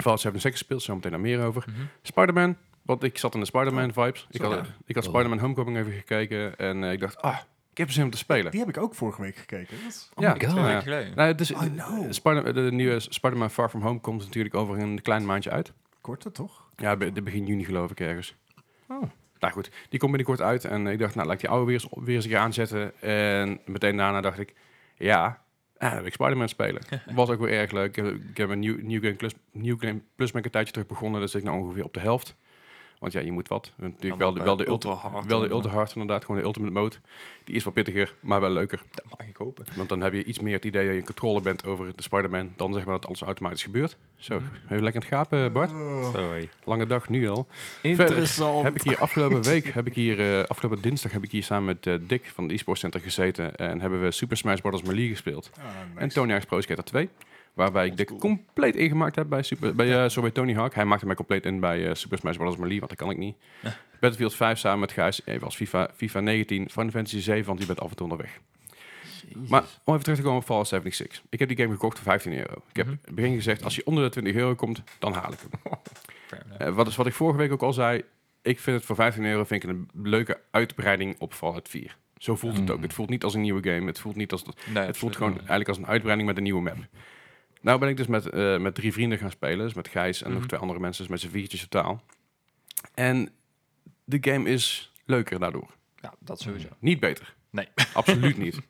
S1: Fallout 76 gespeeld. Zo meteen daar meer over.
S4: veel. Mhm. Oh,
S1: Spider-Man. Want ik zat in de Spider-Man vibes. Ik
S4: Zo,
S1: had,
S4: ja.
S1: ik had Spider-Man Homecoming even gekeken. En eh, ik dacht, ah, ik heb zin om te spelen.
S3: Die heb ik ook vorige week gekeken. Dat is-
S4: Oh
S1: Ja.
S4: my god, twee
S1: Ja.
S4: weken geleden.
S1: Nou, het is,
S3: I know.
S1: Spider- de nieuwe Spider-Man Far From Home komt natuurlijk over een klein maandje uit.
S3: Korter, toch?
S1: Ja, be- de begin juni geloof ik ergens. Nou goed, die komt binnenkort uit. En ik dacht, nou, laat ik die oude weer eens, weer eens een keer aanzetten. En meteen daarna dacht ik, ja, ah, dan wil ik Spider-Man spelen. Was ook weer erg leuk. Ik heb, ik heb een New, New Game Plus, New Game Plus ben ik een tijdje terug begonnen. Dus zit ik nou ongeveer op de helft. Want ja, je moet wat. Natuurlijk wel de, wel de ultra...
S4: hard.
S1: Wel de Ultra Hard inderdaad, gewoon de Ultimate Mode. Die is wat pittiger, maar wel leuker.
S4: Dat mag ik hopen.
S1: Want dan heb je iets meer het idee dat je in controle bent over de Spider-Man... dan zeg maar dat alles automatisch gebeurt. Zo, even lekker aan het gapen, Eh, Bart.
S3: Oh.
S2: Sorry.
S1: Lange dag nu al.
S2: Interessant.
S1: Heb ik hier afgelopen week, heb ik hier, eh, afgelopen dinsdag heb ik hier samen met eh, Dick van het e-sport center gezeten en hebben we Super Smash Bros. Melee gespeeld.
S3: Ah, nice.
S1: En Tony Hawk's Pro Skater 2. Waarbij ik
S4: Old
S1: Dick
S4: school.
S1: compleet ingemaakt heb bij, Super, bij, eh, sorry, bij Tony Hawk. Hij maakte mij compleet in bij eh, Super Smash Bros. Melee, want dat kan ik niet. Battlefield 5 samen met Gijs, even als FIFA, FIFA 19, Final Fantasy 7, want die bent af en toe onderweg. Maar om even terug te komen op Fallout 76. Ik heb die game gekocht voor 15 euro. Ik heb in het begin gezegd, als je onder de 20 euro komt, dan haal ik hem.
S4: Fair enough.
S1: Eh, wat is wat ik vorige week ook al zei. Ik vind het voor 15 euro vind ik een leuke uitbreiding op Fallout 4. Zo voelt het
S2: Mm.
S1: ook. Het voelt niet als een nieuwe game. Het voelt niet als
S4: Nee,
S1: het voelt
S4: absoluut.
S1: gewoon eigenlijk als een uitbreiding met een nieuwe map. Nou ben ik dus met, eh, met drie vrienden gaan spelen. Dus met Gijs en nog
S4: Mhm.
S1: twee andere mensen. Dus met z'n viertjes totaal. En de game is leuker daardoor.
S4: Ja, dat sowieso.
S1: Niet beter.
S4: Nee.
S1: Absoluut niet.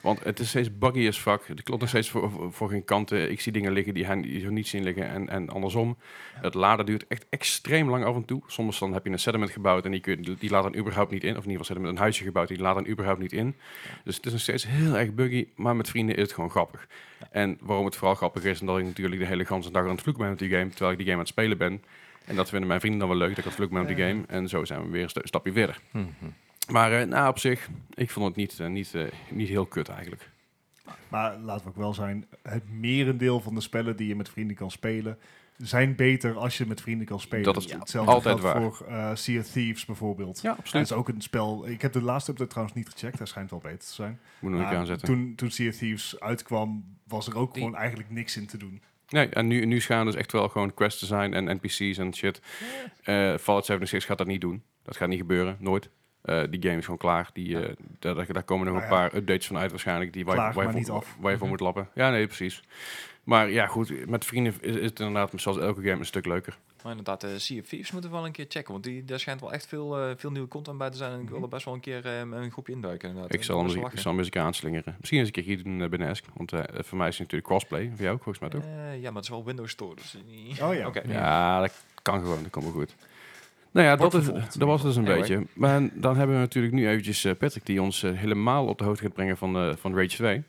S1: Want het is steeds buggy as fuck. Het klopt nog steeds voor, voor, voor geen kanten. Ik zie dingen liggen die hij die zo niet zien liggen en, en andersom. Het laden duurt echt extreem lang af en toe. Soms dan heb je een sediment gebouwd en die, kun je, die laat dan überhaupt niet in. Of in ieder geval sediment, een huisje gebouwd, die laat dan überhaupt niet in. Dus het is nog steeds heel erg buggy, maar met vrienden is het gewoon grappig. En waarom het vooral grappig is, omdat ik natuurlijk de hele ganse dag aan het vloeken ben met die game, terwijl ik die game aan het spelen ben. En dat vinden mijn vrienden dan wel leuk, dat ik aan het vloeken ben met die game. En zo zijn we weer een sta- stapje verder.
S2: Mhm.
S1: Maar eh, nou, op zich, ik vond het niet, eh, niet, eh, niet heel kut eigenlijk.
S3: Maar laten we ook wel zijn, het merendeel van de spellen die je met vrienden kan spelen, zijn beter als je met vrienden kan spelen.
S1: Dat is
S3: Hetzelfde
S1: altijd
S3: geldt
S1: waar.
S3: voor eh, Sea of Thieves bijvoorbeeld.
S1: Ja,
S3: Dat is ook een spel. Ik heb de laatste update trouwens niet gecheckt. Hij schijnt wel beter te zijn.
S1: Moet nog een keer
S3: Maar
S1: aanzetten.
S3: toen, toen Sea of Thieves uitkwam, was er ook
S4: Die-
S3: gewoon eigenlijk niks in te doen.
S1: Nee, en nu, nu gaan dus echt wel gewoon quests te zijn en NPC's en shit. Eh Fallout 76 gaat dat niet doen. Dat gaat niet gebeuren, nooit. Eh, die game is gewoon klaar. Die, eh, daar, daar- daar komen nog
S3: Nou
S1: een
S3: ja.
S1: paar updates van uit waarschijnlijk. Die waar, je-
S3: Klaar,
S1: waar je
S3: maar
S1: voor,
S3: niet af. Mhm.
S1: waar je voor moet lappen. Ja, nee, precies. Maar ja, goed, met vrienden is, is het inderdaad zoals elke game een stuk leuker.
S4: Maar inderdaad, de Sea of Thieves moeten we wel een keer checken. Want die, daar schijnt wel echt veel, eh, veel nieuwe content bij te zijn. En ik wil er best wel een keer eh, een groepje induiken. Inderdaad.
S1: Mhm. Ik zal hem
S4: Best
S1: eens-
S4: wel
S1: ik zal hem eens een keer aanslingeren. Misschien eens een keer hier doen eh, binnen Esk. Want eh, voor mij is het natuurlijk crossplay. Voor jou ook volgens mij
S4: lachen.
S1: toch?
S4: Eh, ja, maar het is wel Windows Store. Dus niet...
S3: Oh ja.
S4: Oké.
S1: Ja, dat kan gewoon. Dat komt wel goed. Nou ja, dat,
S4: Wordt
S1: is,
S4: vervolgd.
S1: dat was het dus een
S4: Anyway.
S1: beetje. Maar dan hebben we natuurlijk nu eventjes eh, Patrick die ons eh, helemaal op de hoogte gaat brengen van, eh, van Rage 2.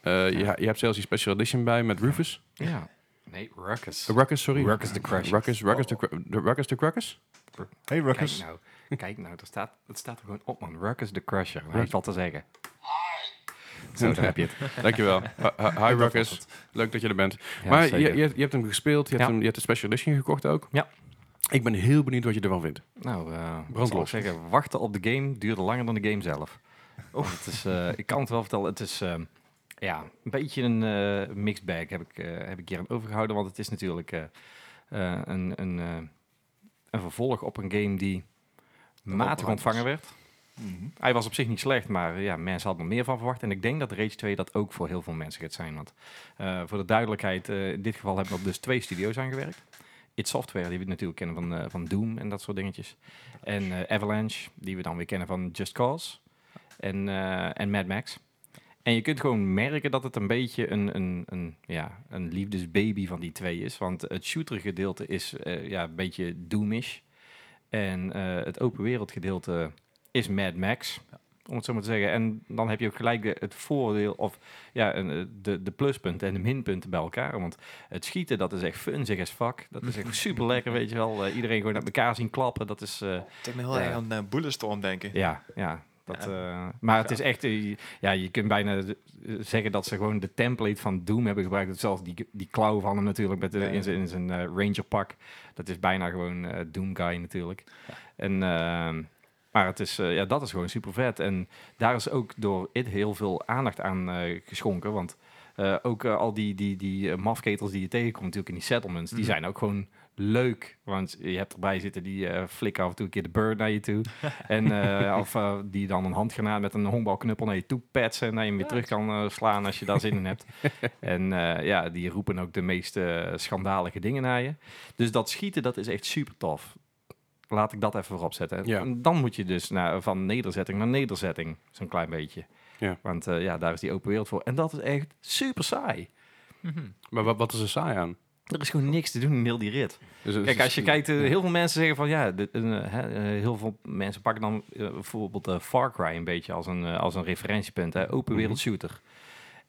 S1: Eh, je, je hebt zelfs die special edition bij met Rufus.
S2: Ja. Nee, Ruckus.
S1: Eh, Ruckus, sorry.
S2: Ruckus the Crusher.
S1: Ruckus, Ruckus, the Cru- de Ruckus the Cruckus?
S3: Hey
S2: Kijk
S3: Ruckus.
S2: nou. Kijk nou, dat staat, dat staat er gewoon op, man. Ruckus the Crusher. Hij heeft al te zeggen. Zo, daar heb je het.
S1: Dankjewel. Ha- ha- hi Ruckus. Leuk dat je er bent.
S2: Ja,
S1: maar je,
S2: zeker.
S1: je, je hebt hem gespeeld. Je hebt,
S2: Ja.
S1: hem, je hebt de special edition gekocht ook.
S2: Ja.
S1: Ik ben heel benieuwd wat je ervan vindt.
S2: Nou, eh wat zal ik
S1: Brandlos.
S2: zeggen, wachten op de game duurde langer dan de game zelf. Want Het is, eh, ik kan het wel vertellen, het is ehm, ja, een beetje een eh, mixed bag heb ik, eh, heb ik hier aan overgehouden. Want het is natuurlijk eh, eh, een, een, eh, een vervolg op een game die matig
S4: opgeruimd
S2: ontvangen
S4: is.
S2: werd.
S4: nou.
S3: Mhm.
S2: Hij was op zich niet slecht, maar eh, ja, mensen hadden er meer van verwacht. En ik denk dat Rage 2 dat ook voor heel veel mensen gaat zijn. Want eh, voor de duidelijkheid, eh, in dit geval hebben we op dus twee studio's aangewerkt. It Software, die we natuurlijk kennen van, eh, van Doom en dat soort dingetjes. En eh, Avalanche, die we dan weer kennen van Just Cause. En, eh, en Mad Max. En je kunt gewoon merken dat het een beetje een, een, een, ja, een liefdesbaby van die twee is. Want het shooter gedeelte is eh, ja, een beetje Doomish. En eh, het open wereld gedeelte is Mad Max. Om het zo maar te zeggen. En dan heb je ook gelijk de- het voordeel, of ja, een, eh, de, de pluspunten en de minpunten bij elkaar. Want het schieten, dat is echt funzig as fuck. Dat is echt super lekker, weet je wel. Eh, iedereen gewoon uit elkaar zien klappen. Dat is, eh,
S4: Het me heel
S2: Ja.
S4: erg aan eh, Bulletstorm denken.
S2: ja, ja. Dat, eh, maar
S4: Ja.
S2: het is echt, eh, ja, je kunt bijna eh, zeggen dat ze gewoon de template van Doom hebben gebruikt. Dat Zelfs die, die klauw van hem natuurlijk met de,
S4: Ja.
S2: in zijn, in zijn eh, rangerpak. Dat is bijna gewoon eh, Doom Guy natuurlijk. En, ehm, maar het is, eh, ja, dat is gewoon super vet. En daar is ook door IT heel veel aandacht aan eh, geschonken. Want eh, ook eh, al die, die, die eh, mafketels die je tegenkomt natuurlijk in die settlements, die
S4: Mhm.
S2: zijn ook gewoon leuk. Want je hebt erbij zitten die eh flikken af en toe een keer de bird naar je toe. en, eh, of eh, die dan een handgranaat met een honkbalknuppel naar je toe petsen. En dat je hem weer terug kan eh, slaan als je daar zin in hebt. En eh, ja, die roepen ook de meest eh, schandalige dingen naar je. Dus dat schieten, dat is echt super tof. Laat ik dat even voorop zetten.
S1: Ja.
S2: En Dan moet je dus naar, van nederzetting naar nederzetting, zo'n klein beetje.
S1: Ja.
S2: Want eh, ja, daar is die open wereld voor. En dat is echt super saai.
S4: Mhm.
S1: Maar wat, wat is er saai aan?
S2: Er is gewoon niks te doen in heel die rit.
S1: Dus het
S2: Kijk,
S1: is-
S2: als je kijkt, eh, heel veel mensen zeggen van ja, dit, eh, hè, eh, heel veel mensen pakken dan eh, bijvoorbeeld eh, Far Cry een beetje als een, eh, als een referentiepunt, hè, open
S1: Mhm.
S2: wereld shooter.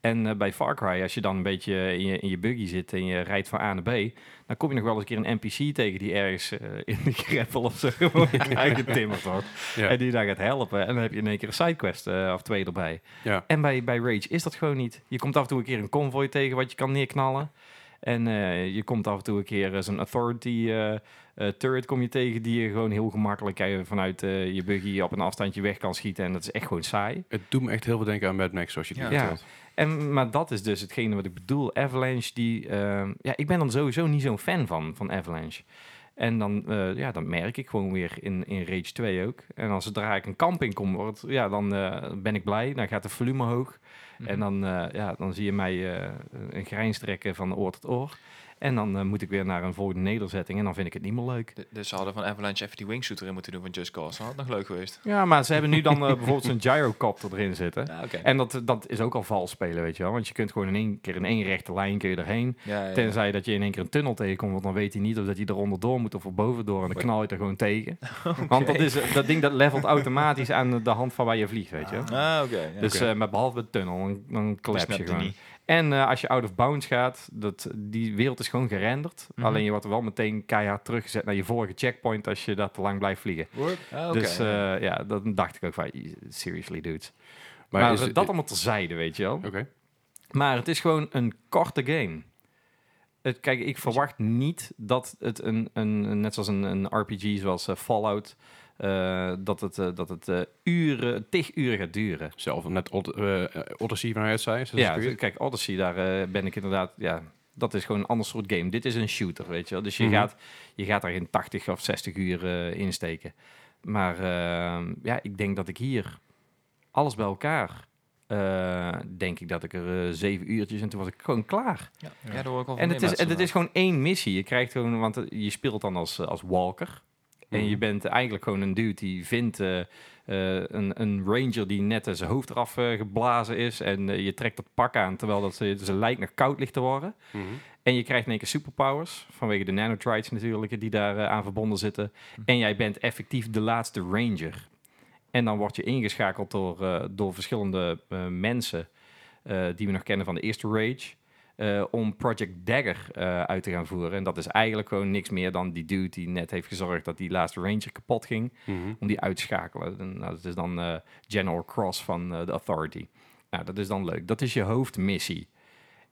S2: En eh, bij Far Cry, als je dan een beetje in je, in je buggy zit en je rijdt van A naar B, dan kom je nog wel eens een keer een NPC tegen die ergens eh, in de greppel of zo gewoon aangetimmerd wordt.
S1: Ja.
S2: En die daar gaat helpen. En dan heb je in één keer een sidequest eh, of twee erbij.
S1: Ja.
S2: En bij, bij Rage is dat gewoon niet. Je komt af en toe een keer een convoy tegen wat je kan neerknallen. En eh, je komt af en toe een keer eh, zo'n authority eh, eh, turret kom je tegen... die je gewoon heel gemakkelijk eh, vanuit eh, je buggy op een afstandje weg kan schieten. En dat is echt gewoon saai.
S1: Het doet me echt heel veel denken aan Mad Max, zoals je het
S4: Ja.
S1: nu
S2: Ja.
S1: vertelt.
S2: En, maar dat is dus hetgene wat ik bedoel. Avalanche, die... eh, ja, ik ben dan sowieso niet zo'n fan van, van Avalanche. En dan, eh, ja, dat merk ik gewoon weer in, in Rage 2 ook. En als zodra ik een camping kom, wordt, ja, dan eh, ben ik blij. Dan gaat de volume hoog. En dan, eh, ja, dan zie je mij eh, een grijns trekken van oor tot oor. En dan eh, moet ik weer naar een volgende nederzetting. En dan vind ik het niet meer leuk.
S4: D- Dus ze hadden van Avalanche even die wingsuit erin moeten doen van Just Cause. Dat had nog leuk geweest.
S2: Ja, maar ze hebben nu dan eh, bijvoorbeeld zo'n gyrocopter erin zitten.
S4: Ja, oké.
S2: En dat, dat is ook al vals spelen, weet je wel. Want je kunt gewoon in één keer in één rechte lijn kun je erheen.
S4: Ja, ja, ja.
S2: Tenzij dat je in één keer een tunnel tegenkomt, want dan weet hij niet of dat hij er onderdoor moet of er bovendoor. En dan knal je het er gewoon tegen. Want dat, is, eh, dat ding dat levelt automatisch aan de hand van waar je vliegt, weet je.
S4: Ah, oké. ja.
S2: Dus
S4: Oké.
S2: eh, maar behalve de tunnel, dan, dan
S4: Die
S2: klap je
S4: snapte
S2: gewoon.
S4: niet.
S2: En eh, als je out of bounds gaat, dat, die wereld is gewoon gerenderd.
S4: Mhm.
S2: Alleen je wordt wel meteen keihard teruggezet naar je vorige checkpoint als je daar te lang blijft vliegen.
S4: Ah, oké.
S2: Dus eh, ja, dan dacht ik ook van, seriously dude.
S1: Maar,
S2: Maar,
S1: is
S2: Nou, dat
S1: het-
S2: allemaal terzijde, weet je wel.
S1: Oké.
S2: Maar het is gewoon een korte game. Het, kijk, ik verwacht niet dat het een, een een- net zoals een, een RPG zoals eh, Fallout, eh, dat het, eh, dat het eh, uren, tig uren gaat duren.
S1: Zelf net Od eh, eh, Odyssey vanuit zij.
S2: ja, kijk, Odyssey, daar eh, ben ik inderdaad, ja, dat is gewoon een ander soort game. Dit is een shooter, weet je wel. Dus je,
S1: Mhm.
S2: gaat, je gaat daar geen 80 of 60 uur eh, in steken. Maar eh, ja, ik denk dat ik hier alles bij elkaar, eh, denk ik dat ik er eh, zeven uurtjes en toen was ik gewoon klaar.
S4: Ja, ja, daar hoor ik wel van
S2: En
S4: meer
S2: het, is,
S4: mensen
S2: en het
S4: van.
S2: is gewoon één missie. Je krijgt gewoon, want eh, je speelt dan als, eh, als walker. En
S1: Mhm.
S2: je bent eigenlijk gewoon een dude die vindt eh, eh, een, een ranger die net eh, zijn hoofd eraf eh, geblazen is. En eh, je trekt dat pak aan terwijl dat ze- zijn lijk nog koud ligt te worden. En je krijgt in één keer superpowers, vanwege de nanotrites natuurlijk, die daar eh, aan verbonden zitten. En jij bent effectief de laatste ranger. En dan word je ingeschakeld door, eh, door verschillende eh, mensen eh, die we nog kennen van de eerste Rage. eh, om Project Dagger eh, uit te gaan voeren. En dat is eigenlijk gewoon niks meer dan die dude die net heeft gezorgd dat die laatste Ranger kapot ging. Om die uit te schakelen. En, nou, dat is dan eh, General Cross van eh, de Authority. Nou, dat is dan leuk. Dat is je hoofdmissie.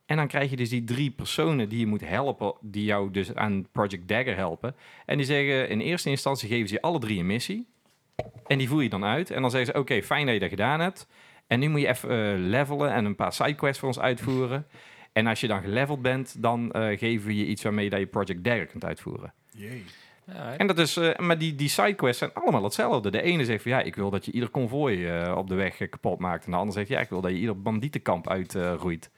S2: En dan krijg je dus die drie personen die je moet helpen, die jou dus aan Project Dagger helpen. En die zeggen in eerste instantie geven ze je alle drie een missie. En die voer je dan uit. En dan zeggen ze: Oké, fijn dat je dat gedaan hebt. En nu moet je even eh, levelen en een paar sidequests voor ons uitvoeren. En als je dan geleveld bent, dan eh, geven we je iets waarmee dat je Project Dagger kunt uitvoeren.
S3: Jee.
S4: Ja, hè.
S2: En dat is, eh, maar die, die sidequests zijn allemaal hetzelfde. De ene zegt van ja, ik wil dat je ieder konvooi eh, op de weg eh, kapot maakt. En de ander zegt ja, ik wil dat je ieder bandietenkamp uitroeit.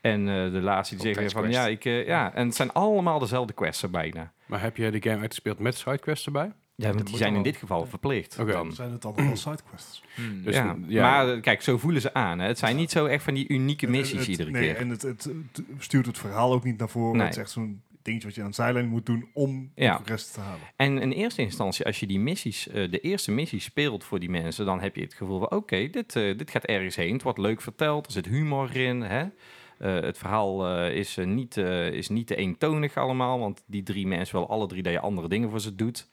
S2: en eh, de laatste die
S4: Ook
S2: zegt weer van ja,
S4: quest.
S2: ik, eh, ja, en het zijn allemaal dezelfde quests er bijna.
S1: Maar heb jij de game uitgespeeld met sidequests erbij?
S2: Ja, want
S4: moet
S2: die zijn in
S4: allemaal.
S2: dit geval verplicht.
S1: Oké.
S2: dan.
S3: Zijn het dan wel sidequests?
S4: Hmm.
S1: Dus-
S2: ja.
S1: ja.
S2: Maar eh, kijk, zo voelen ze aan. Hè. Het zijn niet zo echt van die unieke
S3: Het-
S2: missies
S3: het-
S2: iedere
S3: nee,
S2: keer.
S3: En het, het, het stuurt het verhaal ook niet naar voren.
S2: Nee.
S3: Het is echt zo'n dingetje wat je aan de zijlijn moet doen om
S2: Ja.
S3: de rest te halen.
S2: En in eerste instantie, als je die missies, eh, de eerste missie speelt voor die mensen, dan heb je het gevoel van oké, dit, eh, dit gaat ergens heen. Het wordt leuk verteld, er zit humor in. Hè? Eh, het verhaal eh, is, eh, niet, eh, is niet te eentonig allemaal, want die drie mensen willen alle drie dat je andere dingen voor ze doet.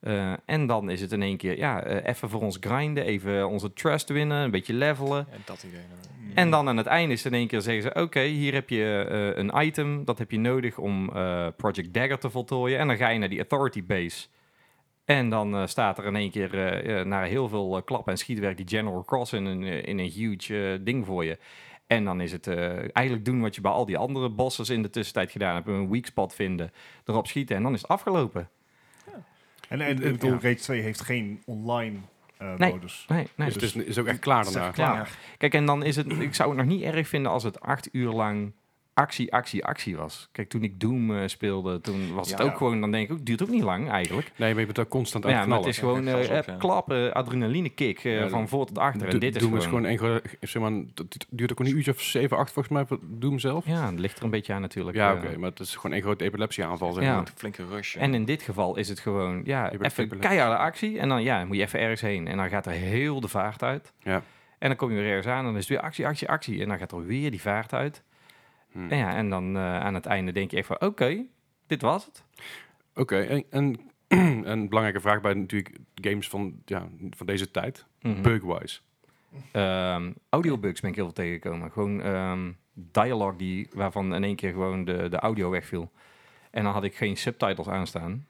S2: Eh, en dan is het in één keer, ja, eh, even voor ons grinden, even onze trust winnen, een beetje levelen.
S4: Ja, dat idee. nou.
S2: En dan aan het einde is in één keer zeggen ze: Oké, hier heb je eh, een item. Dat heb je nodig om eh, Project Dagger te voltooien. En dan ga je naar die Authority Base. En dan eh, staat er in één keer, eh, eh, na heel veel klap klappen en schietwerk, die General Cross in een, eh, in een huge eh, ding voor je. En dan is het eh, eigenlijk doen wat je bij al die andere bosses in de tussentijd gedaan hebt. Een weak spot vinden, erop schieten en dan is het afgelopen.
S3: En, en ik
S1: Ja.
S3: bedoel, Rage 2 heeft geen online eh,
S2: Nee.
S3: modus.
S2: Nee, nee.
S1: Dus het is, is ook echt klaar
S3: Het is
S1: daarna.
S3: echt
S2: Ja.
S3: klaar.
S2: Kijk, en dan is het. Ik zou het nog niet erg vinden als het acht uur lang actie, actie, actie was. Kijk, toen ik Doom eh, speelde, toen was het
S4: Ja.
S2: ook gewoon. Dan denk ik, ook duurt ook niet lang eigenlijk.
S1: Nee, maar je bent ook constant aan
S2: Maar
S1: het
S2: ja, maar het
S1: knallen.
S2: is gewoon
S4: Ja,
S2: eh,
S4: gas op, ja.
S2: klappen, adrenaline kick eh,
S1: Ja,
S2: van voor tot achter. En
S1: Do-
S2: dit is
S1: Doom
S2: gewoon.
S1: is gewoon één gro- zeg maar, het het duurt ook een uurtje of 7, 8 volgens mij voor Doom zelf. Ja,
S2: Ja, het ligt er een beetje aan natuurlijk. eh.
S1: oké, maar het is gewoon één grote epilepsieaanval. Zeg
S2: Ja.
S1: maar.
S4: Een flinke rush. ja.
S2: En in dit geval is het gewoon, ja,
S1: Je bent
S2: even
S1: epileptisch.
S2: keiharde actie. En dan, ja, dan moet je even ergens heen. En dan gaat er heel de vaart uit.
S1: Ja.
S2: En dan kom je weer ergens aan en dan is het weer actie, actie, actie. En dan gaat er weer die vaart uit.
S1: Hmm.
S2: En, ja, en dan eh, aan het einde denk je echt van, oké, dit was het.
S1: Oké, en, en een belangrijke vraag bij natuurlijk games van, ja, van deze tijd.
S2: Mhm.
S1: Bugwise.
S2: Ehm, audiobugs ben ik heel veel tegengekomen. Gewoon ehm dialogue die, waarvan in één keer gewoon de, de audio wegviel. En dan had ik geen subtitles aanstaan.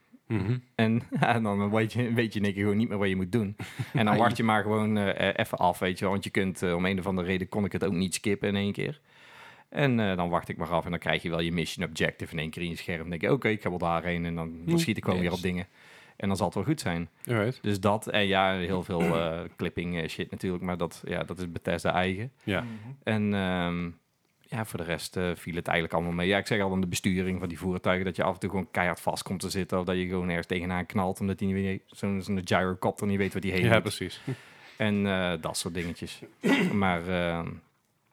S2: En, en dan weet je, weet je in één keer gewoon niet meer wat je moet doen. En dan wacht je maar gewoon eh, eh, even af, weet je wel. Want je kunt, eh, om een of andere reden kon ik het ook niet skippen in één keer. En eh, dan wacht ik maar af en dan krijg je wel je mission objective in één keer in je scherm. Dan denk je, oké, ik ga wel daarheen en dan, dan schiet ik gewoon weer op dingen. En dan zal het wel goed zijn.
S1: Alright.
S2: Dus dat en ja, heel veel eh, clipping eh, shit natuurlijk, maar dat, ja, dat is Bethesda eigen.
S1: Ja.
S3: Mhm.
S2: En ehm, ja, voor de rest eh, viel het eigenlijk allemaal mee. Ja, ik zeg al aan de besturing van die voertuigen dat je af en toe gewoon keihard vast komt te zitten of dat je gewoon ergens tegenaan knalt omdat die niet weet- zo'n zo'n gyrocopter niet weet wat die heen
S1: Ja,
S2: moet.
S1: precies.
S2: En eh, dat soort dingetjes. maar ehm,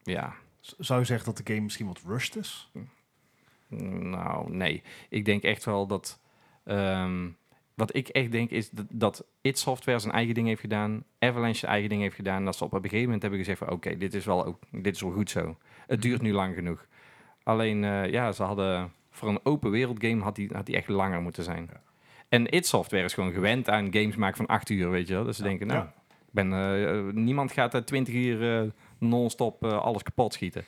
S2: ja,
S3: Z- Zou je zeggen dat de game misschien wat rushed is?
S2: Nou, nee. Ik denk echt wel dat. ehm, wat ik echt denk is dat, dat It Software zijn eigen ding heeft gedaan. Avalanche zijn eigen ding heeft gedaan. en Dat ze op een gegeven moment hebben gezegd: van oké, dit is wel ook, dit is wel goed zo.
S3: Mhm.
S2: Het duurt nu lang genoeg. Alleen, eh, ja, ze hadden. Voor een open wereld game had die, had die echt langer moeten zijn.
S3: Ja.
S2: En It Software is gewoon gewend aan games maken van acht uur, weet je wel. Dus ze denken, nou,
S3: Ja.
S2: ik ben, eh, eh, niemand gaat eh, 20 uur eh, non-stop eh, alles kapot schieten.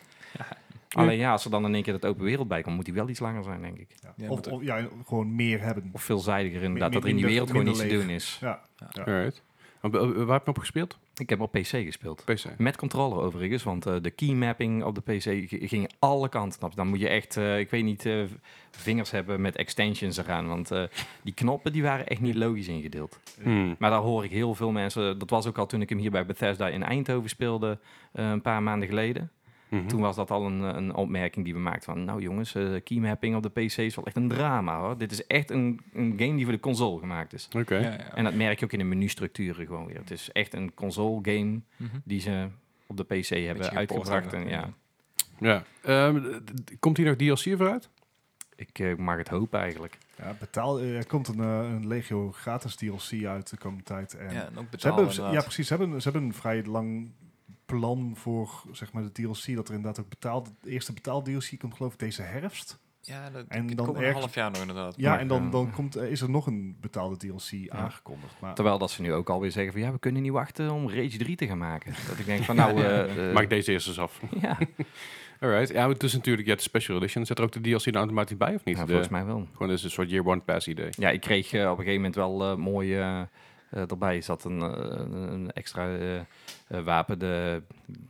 S2: Alleen ja, als er dan in één keer dat open wereld bij komt, moet die wel iets langer zijn, denk ik.
S3: Ja.
S4: Ja,
S3: of
S4: maar-
S3: of ja, gewoon meer hebben.
S2: Of veelzijdiger inderdaad,
S3: Min-
S2: dat er in die
S3: minder-
S2: wereld gewoon iets
S3: minder
S2: te
S3: leeg.
S2: doen is.
S3: Ja.
S1: Alright. En b- Waar heb je hem op gespeeld?
S2: Ik heb op PC gespeeld.
S1: PC.
S2: Met controller overigens, want eh, de keymapping op de PC g- ging alle kanten op. Dan moet je echt, eh, ik weet niet, eh, vingers hebben met extensions eraan. Want eh, die knoppen die waren echt niet logisch ingedeeld.
S1: Hmm.
S2: Maar daar hoor ik heel veel mensen. Dat was ook al toen ik hem hier bij Bethesda in Eindhoven speelde, eh, een paar maanden geleden.
S1: Mhm.
S2: Toen was dat al een, een opmerking die we maakten van... nou jongens, eh keymapping op de PC is wel echt een drama hoor. Dit is echt een, een game die voor de console gemaakt is.
S1: Oké.
S4: Ja, ja.
S2: En dat merk je ook in de menustructuren gewoon weer. Het is echt een console game
S4: Mhm.
S2: die ze op de PC hebben
S4: geport
S2: uitgebracht.
S4: hebben,
S2: En ja,
S4: ja.
S1: Ja. Ehm, d- d- komt hier nog DLC voor uit?
S2: ik eh, mag het hopen eigenlijk.
S3: Ja, betaal, eh, er komt een, eh, een Legio gratis DLC uit de komende tijd. En
S4: Ja, en ook
S3: ze
S4: betalen
S3: hebben, ze-
S4: inderdaad.
S3: ja, precies. Ze hebben, ze hebben een vrij lang plan voor zeg maar, de DLC. Dat er inderdaad ook betaald. De eerste betaald DLC komt geloof ik deze herfst.
S4: Ja, dat,
S3: En
S4: en
S3: dan
S4: dan een
S3: ergens-
S4: half jaar nog inderdaad.
S3: Ja,
S2: Ja,
S3: en dan,
S2: ja.
S3: dan komt, eh, is er nog een betaalde DLC aangekondigd. Maar
S2: Terwijl dat ze nu ook alweer zeggen van... ja, we kunnen niet wachten om Rage 3 te gaan maken. Dat ik denk van nou... eh, eh,
S1: Maak deze eerst eens af.
S2: ja.
S1: Alright. Ja, maar het is natuurlijk ja, de Special Edition. Zit er ook de DLC dan nou automatisch bij of niet?
S2: Ja,
S1: De-
S2: volgens mij wel.
S1: Gewoon dus een soort Year One Pass idee.
S2: Ja, ik kreeg eh, op een gegeven moment wel eh, mooi eh, eh, erbij. Zat een, eh, een extra eh, eh, wapen, de,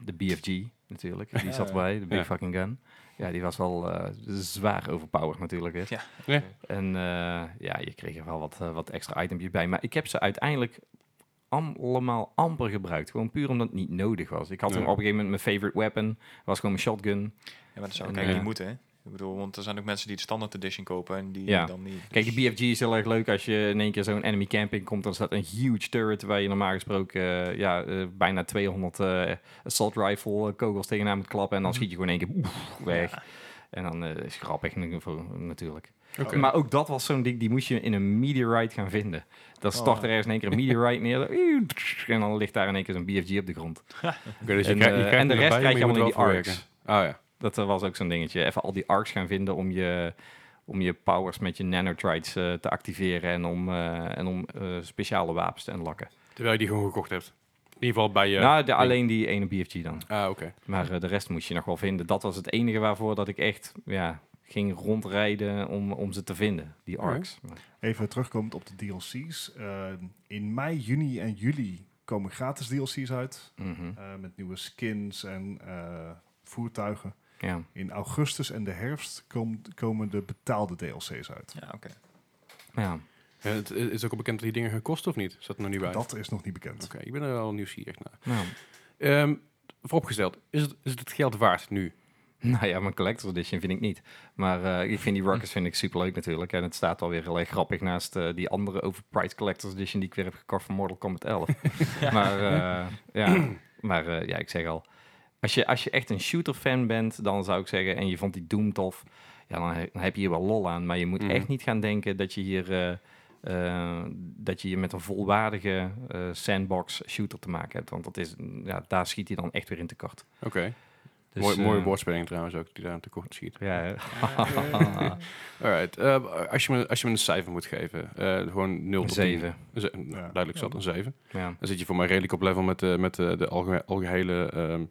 S2: de BFG natuurlijk. Die
S4: Ja,
S2: zat
S4: ja.
S2: erbij, de Big
S1: Ja.
S2: Fucking Gun. Ja, die was wel eh, zwaar overpowered natuurlijk. Hè.
S4: Ja.
S1: Ja.
S2: En eh, ja, je kreeg er wel wat, eh, wat extra itempjes bij. Maar ik heb ze uiteindelijk allemaal amper gebruikt. Gewoon puur omdat het niet nodig was. Ik had
S1: Ja.
S2: hem op een gegeven moment mijn favorite weapon. was gewoon mijn shotgun.
S4: Ja, maar dat zou
S2: En,
S4: ik eigenlijk
S2: eh,
S4: niet moeten, hè? Ik bedoel, want er zijn ook mensen die de standaard edition kopen en die
S2: Ja.
S4: dan niet.
S2: Kijk, die BFG is heel erg leuk als je in één keer zo'n enemy camping komt. Dan staat een huge turret waar je normaal gesproken eh, ja, eh, bijna 200 eh, assault rifle eh, kogels tegenaan moet klappen. En dan schiet je gewoon in één keer oef, weg. En dan eh, is het grappig nu voor- natuurlijk.
S1: Oké.
S2: Maar ook dat was zo'n ding, die moest je in een meteorite gaan vinden. Dan stort
S3: Oh.
S2: er ergens in één keer een meteorite neer. En dan ligt daar in één keer zo'n BFG op de grond.
S1: Oké, dus je
S2: En,
S1: krijgt- je
S2: eh,
S1: krijgt
S2: en de
S1: hem
S2: rest
S1: erbij,
S2: krijg je
S1: maar moet er
S2: allemaal in
S1: wel
S2: die
S1: voor
S2: arcs.
S1: werken. Ah ja.
S2: Dat eh, was ook zo'n dingetje. Even al die arcs gaan vinden om je, om je powers met je nanotrites eh, te activeren. En om, eh, en om eh, speciale wapens te unlocken.
S1: Terwijl je die gewoon gekocht hebt. In ieder geval bij je...
S2: nou, de, alleen die ene BFG dan.
S1: Ah, oké.
S2: Maar eh, de rest moest je nog wel vinden. Dat was het enige waarvoor dat ik echt ja, ging rondrijden om, om ze te vinden, die arcs.
S3: Even terugkomend op de DLC's. Eh, in mei, juni en juli komen gratis DLC's uit.
S2: Mhm.
S3: eh, met nieuwe skins en eh, voertuigen.
S2: Ja.
S3: In augustus en de herfst kom- komen de betaalde DLC's uit.
S4: Ja, oké.
S2: ja.
S1: Eh, Het het is ook al bekend dat die dingen gaan kosten of niet? Is dat er nog niet bij? Oké,
S3: Dat is nog niet bekend.
S1: ik ben er wel nieuwsgierig naar.
S2: Nou,
S1: Ehm, vooropgesteld, is het, is het het geld waard nu?
S2: nou ja, mijn collector's edition vind ik niet. Maar eh, ik vind die rockets vind ik superleuk natuurlijk. En het staat alweer heel erg grappig naast eh, die andere overpriced collector's edition die ik weer heb gekocht van Mortal Kombat 11. Maar, eh, ja. maar eh, ja, ik zeg al. Als je, als je echt een shooter fan bent, dan zou ik zeggen, en je vond die Doom tof, ja, dan, he- dan heb je hier wel lol aan. Maar je moet
S1: Mhm.
S2: echt niet gaan denken dat je hier, eh, eh, dat je hier met een volwaardige eh, sandbox shooter te maken hebt. Want dat is, ja, daar schiet hij dan echt weer in tekort.
S1: Oké.
S2: Dus,
S1: Mooi, mooie
S2: eh,
S1: woordspeling trouwens ook, die daar een tekort schiet.
S2: Ja, hè.
S1: Alright, eh, als, je me, als je me een cijfer moet geven, eh, gewoon 0
S2: een
S1: tot 10.
S2: zeven.
S1: Een ze- nou,
S3: Ja.
S1: Duidelijk zat, een 7.
S2: Ja.
S1: Dan zit je voor mij redelijk op level met, eh, met eh, de alge- algehele ehm,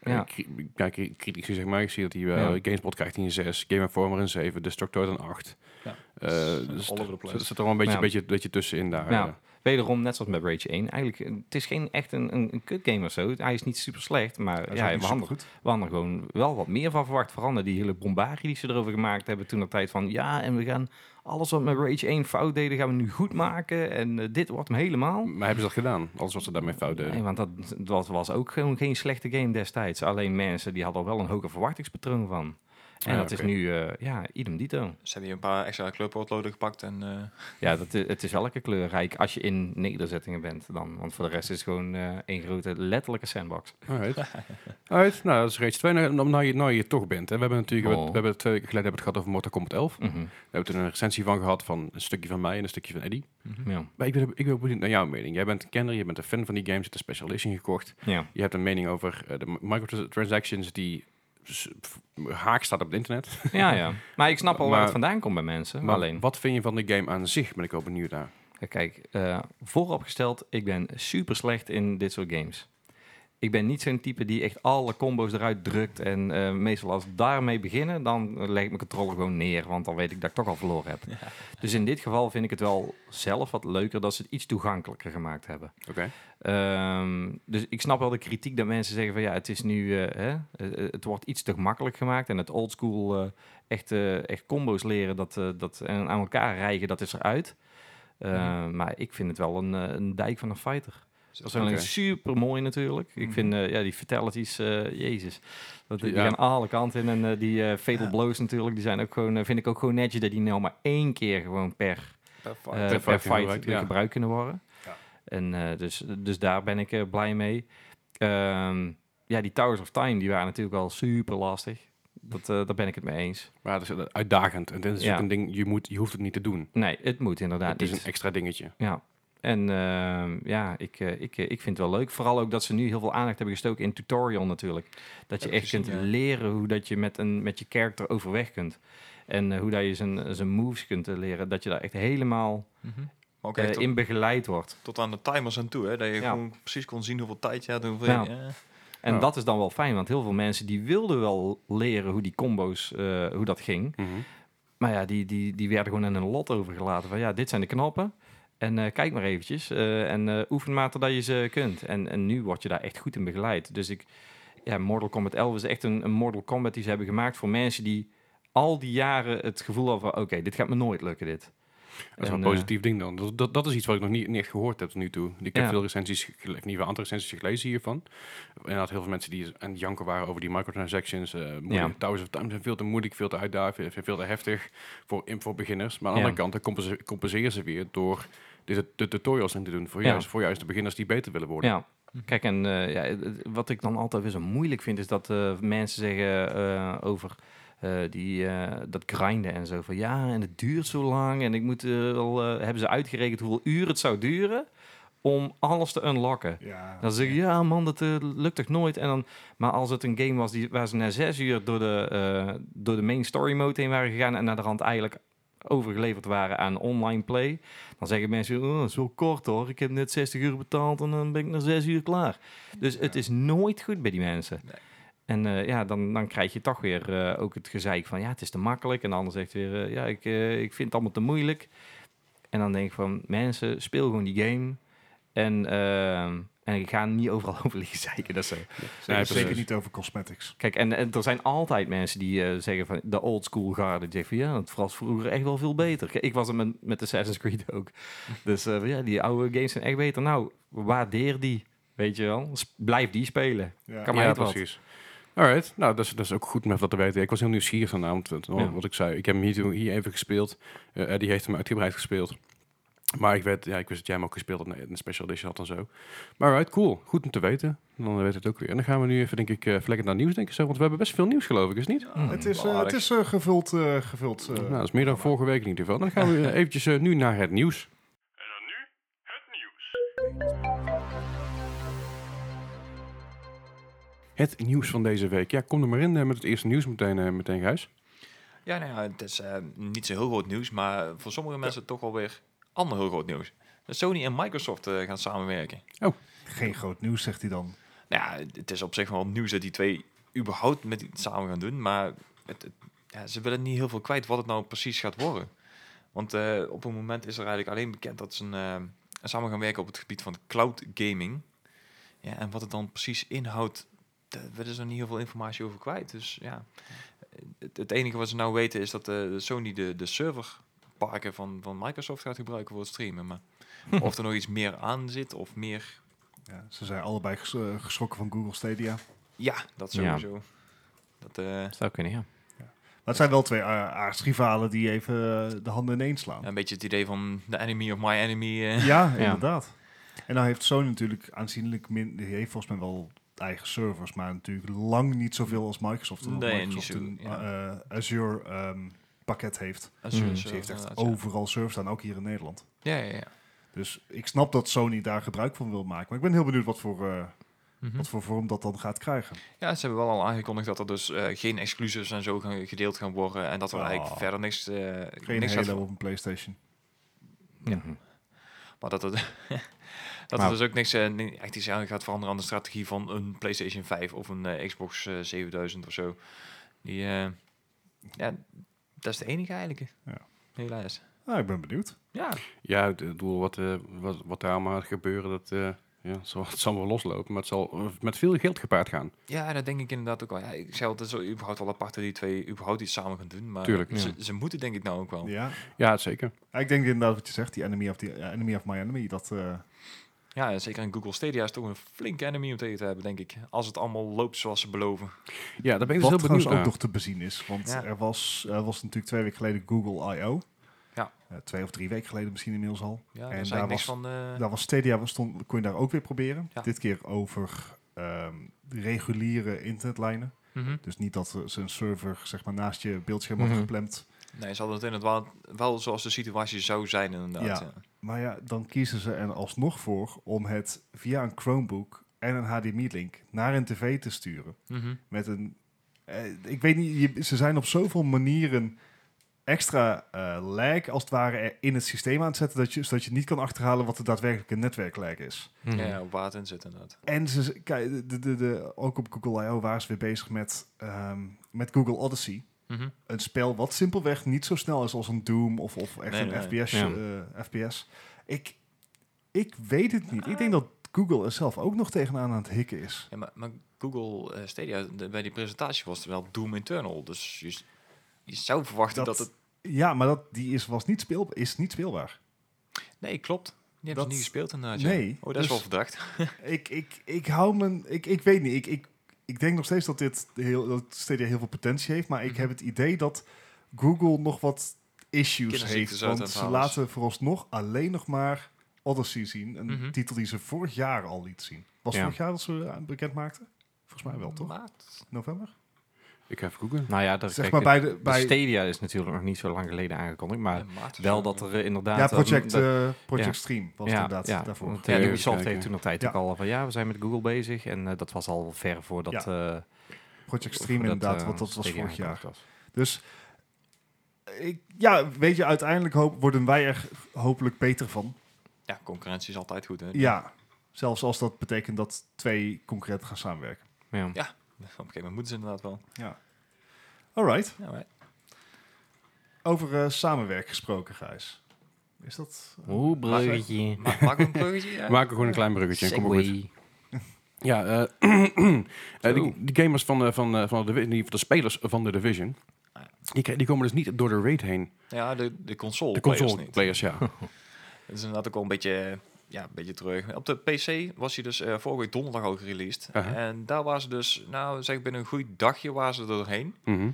S1: eh,
S2: Ja.
S1: cri- ja, cri- critici, zeg maar. Ik zie dat die eh,
S2: Ja.
S1: Gamespot krijgt een 6, Game Informer een 7, Destructoid een 8.
S4: Ja.
S1: Eh,
S4: Dus,
S1: dus
S4: all over the
S1: dat-
S4: place.
S1: dat zit er wel een beetje,
S2: Ja.
S1: beetje, beetje tussenin daar.
S2: Ja.
S1: eh.
S2: Wederom, net zoals met Rage 1, eigenlijk, eh, het is geen echt een, een, een kutgame of zo. Hij is niet super slecht, maar
S3: Dat is
S2: ja,
S3: ook
S2: we,
S3: niet
S2: hadden,
S3: supergoed.
S2: we hadden gewoon wel wat meer van verwacht. Vooral na die hele bombarie die ze erover gemaakt hebben toen de tijd van... ja, en we gaan alles wat met Rage 1 fout deden, gaan we nu goed maken. En eh, dit wordt hem helemaal.
S1: Maar hebben ze dat gedaan? Alles wat ze daarmee
S3: Oh,
S1: fout deden.
S2: Nee, want dat, dat was ook gewoon geen slechte game destijds. Alleen mensen die hadden er wel een hoger verwachtingspatroon van. En
S3: Ah,
S1: Ja,
S2: dat
S1: oké.
S2: is nu, eh, ja, idem dito.
S4: Ze hebben hier een paar extra kleurpootloden gepakt en... eh,
S2: Ja, dat is, het is elke kleurrijk als je in nederzettingen bent dan. Want voor de rest is het gewoon eh, één grote letterlijke sandbox.
S1: Alright. Alright, nou dat is reeds twee. Nou, nou, je, nou je hier toch bent. Hè. We hebben natuurlijk we,
S2: Oh.
S1: hebben- we hebben twee weken geleden hebben we het gehad over Mortal Kombat 11.
S2: Mhm,
S1: We hebben toen een recensie van gehad van een stukje van mij en een stukje van Eddie.
S2: Ja.
S1: Maar ik ben, ik ben benieuwd naar jouw mening. Jij bent een kenner, je bent een fan van die games, je hebt een special edition gekocht.
S2: ja.
S1: Je hebt een mening over eh, de microtransactions die s- f- haak staat op het internet.
S2: ja, ja. Maar ik snap al
S1: Maar-
S2: waar het vandaan komt bij mensen.
S1: Maar
S2: alleen,
S1: wat vind je van de game aan zich? Ben ik ook benieuwd naar.
S2: kijk, eh, vooropgesteld, ik ben super slecht in dit soort games. Ik ben niet zo'n type die echt alle combo's eruit drukt. En eh, meestal als daarmee beginnen, dan eh, leg ik mijn controller gewoon neer. Want dan weet ik dat ik toch al verloren heb. Dus in dit geval vind ik het wel zelf wat leuker dat ze het iets toegankelijker gemaakt hebben.
S1: Oké.
S2: Ehm, dus ik snap wel de kritiek dat mensen zeggen van ja, het is nu, eh, hè, eh, eh, het wordt iets te makkelijk gemaakt en het oldschool eh echt, eh, echt combo's leren dat, eh, dat, en aan elkaar rijgen, dat is eruit. Eh, Maar ik vind het wel een, eh, een dijk van een fighter. Dat is
S1: Oké.
S2: alleen super mooi natuurlijk. Ik
S4: Mhm.
S2: vind eh, ja, die fatalities, eh, jezus, dat, die
S1: Ja.
S2: gaan alle kanten in. En eh, die eh, fatal blows natuurlijk, die zijn ook gewoon, eh, vind ik ook gewoon netjes dat die nou maar één keer gewoon per
S4: per fight.
S2: eh,
S1: Per
S2: per,
S1: fight
S2: fight
S1: gebruikt, ja.
S2: gebruikt kunnen worden.
S3: Ja.
S2: En eh, dus, dus daar ben ik eh, blij mee. Ehm, ja, die Towers of Time, die waren natuurlijk al super lastig. Dat, eh, daar ben ik het mee eens.
S1: Maar het is uitdagend. En dit is
S2: Ja.
S1: ook een ding, je, moet, je hoeft het niet te doen.
S2: Nee, het moet inderdaad
S1: het is
S2: niet.
S1: een extra dingetje.
S2: Ja. En ehm, ja, ik, eh, ik, eh, ik vind het wel leuk. Vooral ook dat ze nu heel veel aandacht hebben gestoken in tutorial natuurlijk. Dat
S4: Heb
S2: je
S4: ik
S2: echt
S4: gezien,
S2: kunt
S4: ja.
S2: leren hoe dat je met, een, met je character overweg kunt. En eh, hoe dat je zijn, zijn moves kunt eh, leren. Dat je daar echt helemaal
S4: Mhm. Maar ook
S2: eh,
S4: echt tot,
S2: in begeleid wordt.
S4: tot aan de timers aan toe, hè. Dat je
S2: Ja.
S4: gewoon precies kon zien hoeveel tijd je had en hoeveel...
S2: Ja.
S4: ja.
S2: En
S1: Ja.
S2: dat is dan wel fijn, want heel veel mensen die wilden wel leren hoe die combo's, eh, hoe dat ging.
S1: Mhm.
S2: Maar ja, die, die, die werden gewoon in een lot overgelaten. Van ja, dit zijn de knoppen. En eh, kijk maar eventjes. eh, en eh, oefen maar totdat je ze kunt. En, en nu word je daar echt goed in begeleid. Dus ik, ja, Mortal Kombat 11 is echt een, een Mortal Kombat die ze hebben gemaakt voor mensen die al die jaren het gevoel hadden van... Oké, dit gaat me nooit lukken, dit.
S1: Dat is
S2: En,
S1: wel een
S2: eh,
S1: positief ding dan. Dat, dat, dat is iets wat ik nog niet, niet echt gehoord heb tot nu toe. Ik heb
S2: Ja.
S1: veel recensies, gele- in ieder geval andere recensies gelezen hiervan. En had heel veel mensen die aan het janken waren over die microtransactions. eh moeilijke
S2: Ja.
S1: Towers of Time zijn veel te moeilijk, veel te uitdagend, veel- veel te heftig voor, in- voor beginners. Maar aan de
S2: Ja.
S1: andere kant, dan compense- compenseren ze weer door de, de tutorials in te doen voor,
S2: Ja.
S1: juist, voor juist de beginners die beter willen worden.
S2: Ja. Kijk, en eh, ja, het- het- wat ik dan altijd weer zo moeilijk vind, is dat eh, mensen zeggen eh, over eh, die, eh, dat grinden en zo. Van ja, en het duurt zo lang. En ik moet eh, wel, eh, hebben ze uitgerekend hoeveel uur het zou duren om alles te unlocken.
S3: Ja.
S2: Dan zeg je, ja man, dat eh, lukt toch nooit. En dan, maar als het een game was die, waar ze na zes uur door de, eh, door de main story mode heen waren gegaan... en naar de rand eigenlijk overgeleverd waren aan online play... dan zeggen mensen, oh, zo kort hoor, ik heb net 60 uur betaald... en dan ben ik na zes uur klaar. Dus het is nooit goed bij die mensen.
S4: Nee.
S2: En eh, ja, dan, dan krijg je toch weer eh, ook het gezeik van... ja, het is te makkelijk. En de ander zegt weer, eh, ja, ik, eh, ik vind het allemaal te moeilijk. En dan denk ik van, mensen, speel gewoon die game... En, ehm, en ik ga niet overal over liggen zeiken. Dat is zo.
S1: Nee,
S3: Zeker
S1: precies.
S3: niet over cosmetics.
S2: Kijk, en, en er zijn altijd mensen die eh, zeggen van de old school garde. Die zeggen van ja, het was vroeger echt wel veel beter. Kijk, ik was er met, met Assassin's Creed ook. Dus eh, van, ja, die oude games zijn echt beter. Nou, waardeer die. Weet je wel? S- blijf die spelen.
S3: Ja.
S2: Kan maar
S1: ja,
S2: niet wat.
S1: precies. Alright, nou dat is, dat is ook goed met wat te weten. Ik was heel nieuwsgierig vanavond, want, oh,
S2: Ja.
S1: wat ik zei. Ik heb hem hier, toen- hier even gespeeld. Eh Eddie heeft hem uitgebreid gespeeld. Maar ik, weet, ja, ik wist dat jij hem ook gespeeld had, een special edition had en zo. Maar alright, cool. Goed om te weten. Dan weet het ook weer. En dan gaan we nu even, denk ik, eh even lekker naar nieuws denken. Zo, want we hebben best veel nieuws, geloof ik, is het niet?
S2: Mm.
S3: Het is, eh,
S4: wel
S3: het
S4: aardig.
S3: is eh, gevuld. eh, gevuld eh,
S1: nou, dat is meer dan vorige week in ieder geval. Dan gaan we eh, eventjes eh, nu naar het nieuws. En dan nu het nieuws. Het nieuws van deze week. Ja, kom er maar in eh, met het eerste nieuws meteen, eh, meteen Gijs.
S4: Ja, nou ja, het is eh, niet zo heel groot nieuws, maar voor sommige mensen toch wel weer ander heel groot nieuws. Dat Sony en Microsoft eh, gaan samenwerken.
S3: Geen groot nieuws, zegt hij dan.
S4: Nou ja, het is op zich wel nieuws dat die twee überhaupt met iets samen gaan doen, maar het, het- ja, ze willen niet heel veel kwijt wat het nou precies gaat worden. Want eh, op het moment is er eigenlijk alleen bekend dat ze een, eh, samen gaan werken op het gebied van cloud gaming. Ja, en wat het dan precies inhoudt, daar willen ze nog niet heel veel informatie over kwijt. Dus ja, het, het enige wat ze nou weten is dat eh, Sony de, de serverparken van, van Microsoft gaat gebruiken voor het streamen. Maar of er nog iets meer aan zit of meer...
S3: Ja, ze zijn allebei ges- eh, geschrokken van Google Stadia.
S4: Ja, dat
S2: Ja.
S4: sowieso. Dat, eh,
S2: Zou kunnen, ja.
S3: Maar het zijn wel twee eh, aardsrivalen die even eh, de handen ineens slaan.
S4: Ja, Een beetje het idee van de enemy of my enemy. eh.
S3: Ja, inderdaad. En nou heeft Sony natuurlijk aanzienlijk min... Die heeft volgens mij wel eigen servers, maar natuurlijk lang niet zoveel als Microsoft. omdat
S4: Nee,
S3: Microsoft
S4: niet zo-
S3: een
S4: ja.
S3: eh, Azure ehm, pakket heeft.
S4: Als je
S2: Mm.
S4: zo-
S3: Ze heeft echt
S4: inderdaad, ja.
S3: overal servers staan, ook hier in Nederland.
S4: Ja, ja, ja.
S3: Dus ik snap dat Sony daar gebruik van wil maken. Maar ik ben heel benieuwd wat voor, eh,
S4: Mhm.
S3: wat voor vorm dat dan gaat krijgen.
S4: ja, ze hebben wel al aangekondigd dat er dus eh, geen exclusives en zo gaan, gedeeld gaan worden. En dat er
S3: Ah.
S4: eigenlijk verder niks, eh,
S3: Geen
S4: niks gaat
S3: Halo op een Playstation.
S2: Mhm.
S4: Maar dat, het, dat er
S2: Nou.
S4: dus ook niks eh, ni- echt iets aan gaat veranderen aan de strategie van een PlayStation 5 of een eh, Xbox eh, 7000 of zo. Die, eh, ja, dat is de enige eigenlijk.
S3: Ja.
S4: Helaas.
S3: Nou, ik ben benieuwd.
S4: Ja,
S1: Ja, het het doel wat, eh, wat, wat daar allemaal gaat gebeuren, dat, eh, ja, het zal, het zal wel loslopen. Maar het zal eh, met veel geld gepaard gaan.
S4: Ja, dat denk ik inderdaad ook wel. Ja, ik zei al, het is wel überhaupt wel apart dat die twee überhaupt iets samen gaan doen. Maar
S1: Tuurlijk,
S4: ze,
S2: ja.
S4: ze moeten denk ik nou ook wel. Ja,
S3: Ja.
S1: Ja, zeker.
S3: Ja, Ik denk inderdaad wat je zegt, die Enemy of, die, ja, enemy, of My Enemy, dat...
S1: dus
S3: eh,
S4: en zeker in Google Stadia is toch een flinke enemy om tegen te hebben, denk ik. Als het allemaal loopt zoals ze beloven.
S1: Ja, daar ben ik dus heel
S3: Wat
S1: benieuwd
S3: trouwens
S1: naar.
S3: ook nog te bezien is. Want
S4: Ja.
S3: er was, er was natuurlijk twee weken geleden Google I.O.
S4: Ja.
S3: Eh, twee of drie weken geleden misschien inmiddels al.
S4: Ja,
S3: En
S4: daar zei
S3: daar
S4: ik niks
S3: was-
S4: van... eh,
S3: Daar was Stadia, was, stond, kon je daar ook weer proberen.
S4: Ja.
S3: Dit keer over ehm, de reguliere internetlijnen.
S4: mhm.
S3: Dus niet dat ze een server zeg maar, naast je beeldscherm
S2: Mhm.
S3: had gepland.
S4: Nee, ze hadden het inderdaad wel, wel zoals de situatie zou zijn inderdaad.
S3: Ja. Maar ja, dan kiezen ze er alsnog voor om het via een Chromebook en een HDMI-link naar een tv te sturen.
S4: Mhm.
S3: met een. eh, ik weet niet, je- ze zijn op zoveel manieren extra eh lag als het ware er in het systeem aan het zetten, dat je, zodat je niet kan achterhalen wat de daadwerkelijke netwerklag is.
S2: Mhm.
S4: Ja, ja, op waar het in zit inderdaad.
S3: En ze, kijk, de, de, de, ook op Google I.O. waren ze weer bezig met, ehm, met Google Odyssey.
S4: Mhm.
S3: Een spel wat simpelweg niet zo snel is als een Doom of, of echt
S4: Nee,
S3: een
S4: nee.
S3: FPS.
S2: Ja.
S3: eh, FPS. Ik, ik weet het niet. Ik denk dat Google er zelf ook nog tegenaan aan het hikken is.
S4: Ja, maar, maar Google eh, Stadia, de- bij die presentatie was het wel Doom Internal. Dus je, s- je zou verwachten dat,
S3: Dat-
S4: het...
S3: Ja, maar dat, die is, was niet speel, is niet speelbaar.
S4: Nee, klopt. Die hebben
S3: Dat-
S4: ze niet gespeeld inderdaad. ja.
S3: Nee,
S4: Oh, dat
S3: dus-
S4: is wel verdacht.
S3: ik, ik, ik hou mijn... Ik, ik weet niet. Ik, ik, ik denk nog steeds dat dit heel, dat Stadia heel veel potentie heeft. Maar
S4: Mhm.
S3: ik heb het idee dat Google nog wat issues
S4: Kinderziektes
S3: heeft.
S4: uit aan
S3: Want
S4: het
S3: ze
S4: halen is.
S3: laten vooralsnog alleen nog maar Odyssey zien. Een
S4: Mhm.
S3: titel die ze vorig jaar al liet zien. Was
S2: Ja.
S3: vorig jaar dat ze eh, bekend maakten? Volgens mij wel, toch?
S4: Maart.
S3: November?
S1: Ik ga even googlen.
S2: Nou ja, dat
S3: Zeg maar bij de... Bij,
S2: Stadia is natuurlijk nog niet zo lang geleden aangekondigd, maar
S4: Ja, maart of
S2: wel
S4: zo.
S2: dat er eh, inderdaad...
S3: ja,
S2: eh,
S3: Project,
S2: dat-
S3: eh, project
S2: ja.
S3: Stream was
S2: ja,
S3: het inderdaad
S2: ja,
S3: daarvoor.
S2: want,
S4: Ja,
S2: eh,
S4: even
S2: Ubisoft
S1: kijken.
S2: heeft toen altijd
S3: Ja.
S2: ook al van ja, we zijn met Google bezig en eh, dat was al ver voordat...
S3: Ja.
S2: eh, voordat,
S3: Project Stream
S2: eh,
S3: inderdaad, want dat was
S2: Stadia
S3: vorig jaar.
S2: aangekondigd was.
S3: Dus eh, ik, ja, weet je, uiteindelijk hoop, worden wij er hopelijk beter van.
S4: Ja, concurrentie is altijd goed. Hè?
S3: Ja, zelfs als dat betekent dat twee concurrenten gaan samenwerken.
S4: Op
S2: Ja.
S4: een gegeven moment moeten ze inderdaad wel.
S3: Alright,
S4: Ja, maar-
S3: over eh, samenwerk gesproken, Gijs. Is dat...
S2: Oeh, bruggetje.
S4: Ma- Maak ook een bruggetje. Ja.
S1: Maak er gewoon een klein bruggetje. en Kom maar goed.
S2: Segway.
S1: Ja, eh, eh, die, die gamers van, eh, van, eh, van de, Divi- die- de spelers van de Division, die, kri- die komen dus niet door de raid heen.
S4: Ja, de, de console.
S1: De
S4: players
S1: console
S4: niet.
S1: players, ja.
S4: Dat is inderdaad ook wel een beetje, ja, een beetje terug. Op de PC was hij dus eh, vorige week donderdag al gereleased.
S1: Aha.
S4: En daar waren ze dus, nou zeg binnen een goed dagje waren ze er doorheen.
S1: Mhm.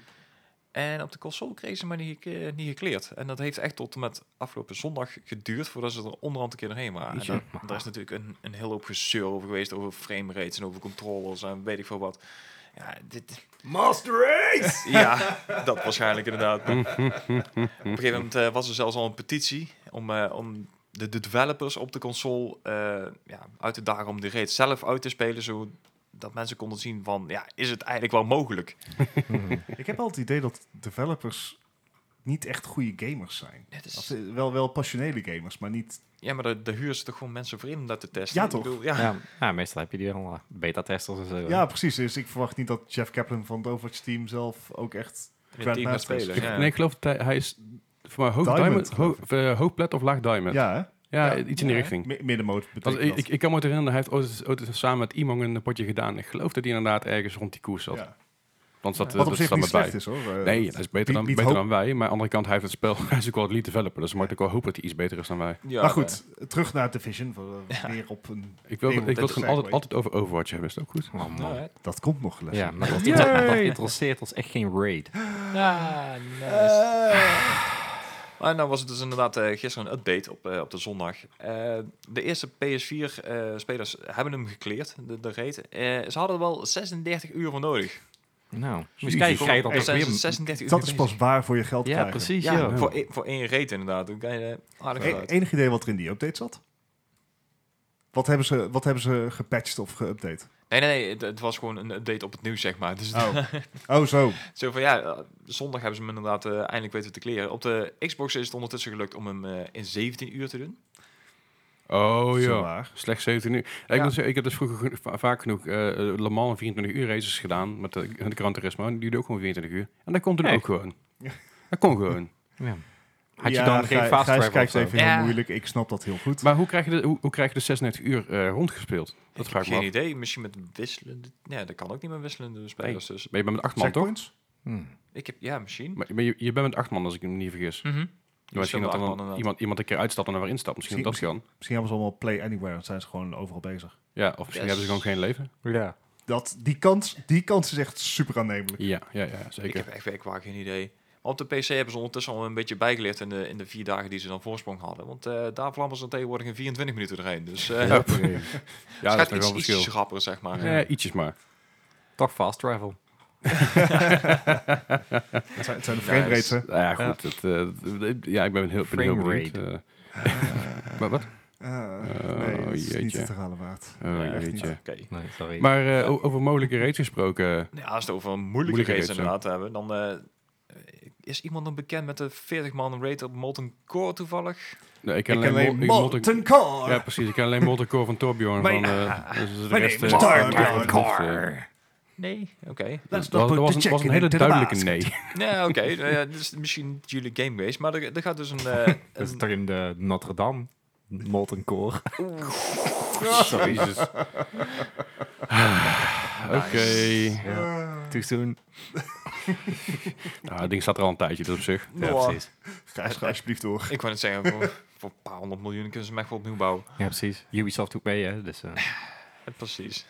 S4: En op de console kregen ze maar niet, geke- niet gekleerd. En dat heeft echt tot en met afgelopen zondag geduurd voordat ze er onderhand een keer doorheen waren. En
S1: Jeetje.
S4: daar- daar is natuurlijk een, een hele hoop gezeur over geweest, over frame rates en over controllers en weet ik veel wat. Ja, dit,
S3: Master Race!
S4: ja, dat waarschijnlijk inderdaad. Op een gegeven moment eh, was er zelfs al een petitie om, eh, om de, de developers op de console eh, ja, uit te dagen om de raid zelf uit te spelen, zodat mensen konden zien van, ja, is het eigenlijk wel mogelijk?
S3: Ik heb altijd het idee dat developers niet echt goede gamers zijn.
S4: Dit
S3: Of,
S4: is,
S3: eh, Wel, wel passionele gamers, maar niet...
S4: ja, maar daar daar huren ze toch gewoon mensen voor in om dat te testen?
S3: Ja,
S4: Ik
S3: toch?
S4: bedoel, ja.
S2: Ja, ja, meestal heb je die al, eh, beta-testers en zo. hè.
S3: Ja, precies. Dus ik verwacht niet dat Jeff Kaplan van het Overwatch team zelf ook echt...
S4: Met team gaat
S3: Grandmasters.
S4: spelen,
S1: Ik-
S4: ja.
S1: Nee, ik geloof dat hij, hij is voor mij hoog diamond,
S3: Diamond,
S1: ho- eh, hoog plat of laag diamond. Ja,
S3: Ja, hè? ja.
S1: iets in die
S4: Ja,
S1: richting.
S3: Mi- Middenmoot
S1: Want
S3: betekent
S1: ik,
S3: dat.
S1: ik, ik kan me het herinneren, hij heeft ooit, ooit eens samen met iemand een potje gedaan. Ik geloof dat hij inderdaad ergens rond die koers zat.
S3: Ja.
S1: Want dat, eh,
S3: Wat op
S1: dat
S3: zich
S1: staat
S3: niet
S1: me bij.
S3: slecht is, hoor. Eh,
S1: Nee, dat is beter, dan,
S3: biedt
S1: beter
S3: hoop.
S1: dan wij. Maar aan de andere kant, hij heeft het spel. Hij is ook wel het lead developer. Dus dan mag ik ook wel hopen dat hij iets beter is dan wij.
S4: Ja, eh,
S3: maar goed, terug naar Division. voor, eh, Weer op een...
S1: Ik wil,
S3: Nee,
S1: ik wil het
S3: dat is
S1: gewoon altijd,
S3: eigenlijk-
S1: altijd over Overwatch hebben. Is dat ook goed?
S2: Oh,
S4: eh,
S2: man.
S4: alright.
S3: Dat komt nog les.
S2: Ja, maar dat,
S1: Yay!
S2: dat, dat interesseert ons echt geen raid.
S4: Maar nou was het dus inderdaad eh, gisteren een update op, eh, op de zondag. Eh, de eerste PS4-spelers eh, hebben hem gekleerd, de, de raid. Eh, ze hadden er wel 36 uur voor nodig.
S2: Nou,
S1: Jezus,
S2: misschien krijg je
S4: Voor-
S2: dat
S4: dan
S2: toch
S4: zijn ze
S2: weer...
S4: 36 uur
S3: dat is pas
S4: bezig.
S3: waar voor je geld
S2: Ja,
S3: krijgen.
S2: precies.
S4: Ja,
S2: Ja,
S1: ja.
S4: Voor, één- voor één raid inderdaad. Dan kan je eh, aardig
S3: E-
S4: uit.
S3: enig idee wat er in die update zat? Wat hebben ze, wat hebben ze gepatcht of geüpdate?
S4: Nee, nee, nee. Het, het was gewoon een update op het nieuws, zeg maar. Dus
S3: Oh. oh, zo.
S4: zo van, ja, eh, zondag hebben ze hem inderdaad eh, eindelijk weten te kleren. Op de Xbox is het ondertussen gelukt om hem eh, in 17 uur te doen.
S1: Oh
S3: Zo
S1: ja.
S3: waar.
S1: Slechts 17 uur. Ik,
S4: Ja.
S1: moet zeggen, ik heb dus vroeger geno- va- vaak genoeg eh Le Mans 24 uur races gedaan met de, de Gran Turismo. En die duurde ook gewoon 24 uur. En dat komt er
S2: Echt?
S1: ook gewoon.
S3: Ja.
S1: Dat kon gewoon.
S2: Had je
S3: Ja,
S2: dan geen
S3: Gij-
S2: fast
S3: Gijs
S2: travel
S3: kijkt
S2: of zo?
S3: even
S4: Ja.
S3: heel moeilijk. Ik snap dat heel goed.
S1: Maar hoe krijg je de, hoe, hoe krijg je de 36 uur eh, rondgespeeld? Dat
S4: Ik heb
S1: vraag ik me af.
S4: Geen idee. Misschien met wisselende... Nee, dat kan ook niet met wisselende spelers. Dus
S1: Maar je bent met acht man, toch?
S3: Checkpoints?
S2: Hmm.
S4: ik heb... Ja, misschien.
S1: Maar, maar je, je bent met acht man, als ik me niet vergis.
S4: Je
S1: misschien dat
S4: speelt
S1: er
S4: met acht
S1: dan
S4: man inderdaad.
S1: iemand, iemand een keer uitstapt en er weer instapt. Misschien dat dat kan.
S3: Misschien hebben ze allemaal play anywhere. Dan zijn ze gewoon overal bezig.
S1: Ja, of misschien
S4: Yes.
S1: hebben ze gewoon geen leven.
S2: Ja.
S3: Dat, die, kans, die kans is echt super aannemelijk.
S1: Ja, ja, ja
S4: Ik
S1: zeker.
S4: heb echt werkwaar geen idee. Maar op de PC hebben ze ondertussen al een beetje bijgeleerd in de, in de vier dagen die ze dan voorsprong hadden. Want eh, daar vlammen ze dan tegenwoordig in 24 minuten doorheen. Dus eh
S1: Ja,
S4: het
S1: ja, dat
S4: gaat iets,
S1: is nog wel een
S4: iets
S1: verschil.
S4: schrapper, zeg maar.
S1: Ah, Ja, ietsjes maar.
S2: Toch fast travel.
S3: Het zijn, het zijn de frame
S4: Nice.
S3: rates, hè?
S1: Nou ja, goed. Het, eh, d- d- ja, ik ben heel, ben heel
S2: Frame
S1: benieuwd.
S4: Ah.
S1: eh. maar wat?
S3: Eh, nee,
S1: Oh,
S3: dat is niet
S1: jeetje.
S3: te halen waard.
S1: Oh,
S4: Nee, echt
S1: jeetje.
S4: niet. Oké.
S2: Nee, sorry.
S1: Maar eh, o- over mogelijke raids gesproken.
S4: Nou, als we het over een moeilijke,
S1: Moeilijke
S4: race
S1: race,
S4: inderdaad hebben, dan eh, is iemand dan bekend met de 40-man raid op Molten Core toevallig.
S1: Nee, nou, ik
S3: Ik
S1: ken alleen, Mol- ik- Molten-
S3: Molten Core.
S1: Ja, precies. Ik ken alleen Molten Core van Torbjorn.
S3: Mijn-
S1: Van, eh, dus de
S3: mijn
S1: rest,
S3: name is
S1: eh,
S3: Torbjorn
S1: dat was-
S4: Nee, oké.
S1: Dat eh. was, dat was een, was een hele duidelijke nee.
S4: Ja, oké. Nou ja, dit is misschien jullie game geweest, maar er, er gaat dus een... eh,
S2: Dat is
S4: een-
S2: toch in de Notre Dame? Molten Core.
S1: Oh, Jezus. Oké.
S2: Too soon.
S1: Nou, dat ding staat er al een tijdje, dus op zich.
S2: Ja,
S4: Noah.
S2: precies.
S3: Gijs, ga alsjeblieft door.
S4: Ik wou net zeggen, voor, voor een paar honderd miljoen kunnen ze hem echt wel opnieuw bouwen.
S2: Ja, precies. Ubisoft doet mee, hè. Dus, eh,
S4: Ja, Precies.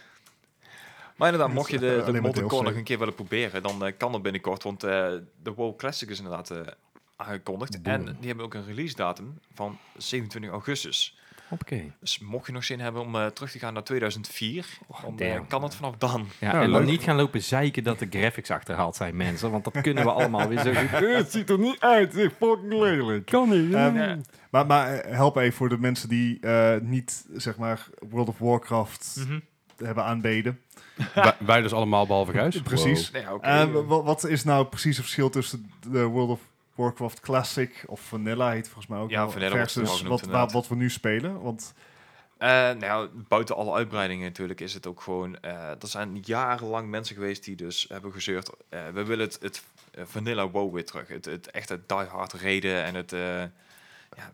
S4: Maar inderdaad, mocht je
S3: eh,
S4: de,
S3: alleen
S4: de
S3: maar
S4: Molten
S3: DLC.
S4: Core nog een keer willen proberen, dan eh, kan dat binnenkort. Want eh, de WoW Classic is inderdaad eh, aangekondigd. En die hebben ook een release datum van 27 augustus.
S2: Hoppakee.
S4: Dus mocht je nog zin hebben om eh, terug te gaan naar 2004,
S3: Oh,
S4: dan eh,
S2: damn.
S4: kan het vanaf dan.
S2: Ja,
S1: Ja,
S2: en dan
S1: leuk.
S2: niet gaan lopen zeiken dat de graphics achterhaald zijn, mensen. Want dat kunnen we allemaal weer zo goed. Eh, Het ziet er niet uit, het is fucking lelijk.
S1: Kan niet.
S3: Ehm, Maar, maar eh, help even voor de mensen die eh, niet, zeg maar, World of Warcraft
S1: Mhm.
S3: hebben aanbeden.
S1: wij, wij dus allemaal behalve Gijs.
S3: Precies.
S4: Nee, ja, oké.
S3: Eh, wa- wa- wat is nou precies het verschil tussen de World of Warcraft Classic of Vanilla heet volgens mij ook
S4: Ja,
S3: wel,
S4: Vanilla wordt het wel
S3: versus
S4: genoemd,
S3: wat,
S4: inderdaad.
S3: wa- wat we nu spelen. Want
S4: Eh, nou ja, buiten alle uitbreidingen natuurlijk is het ook gewoon... eh, er zijn jarenlang mensen geweest die dus hebben gezeurd... eh, we willen het, het eh, vanilla WoW weer terug. Het, het echte diehard reden en het... eh,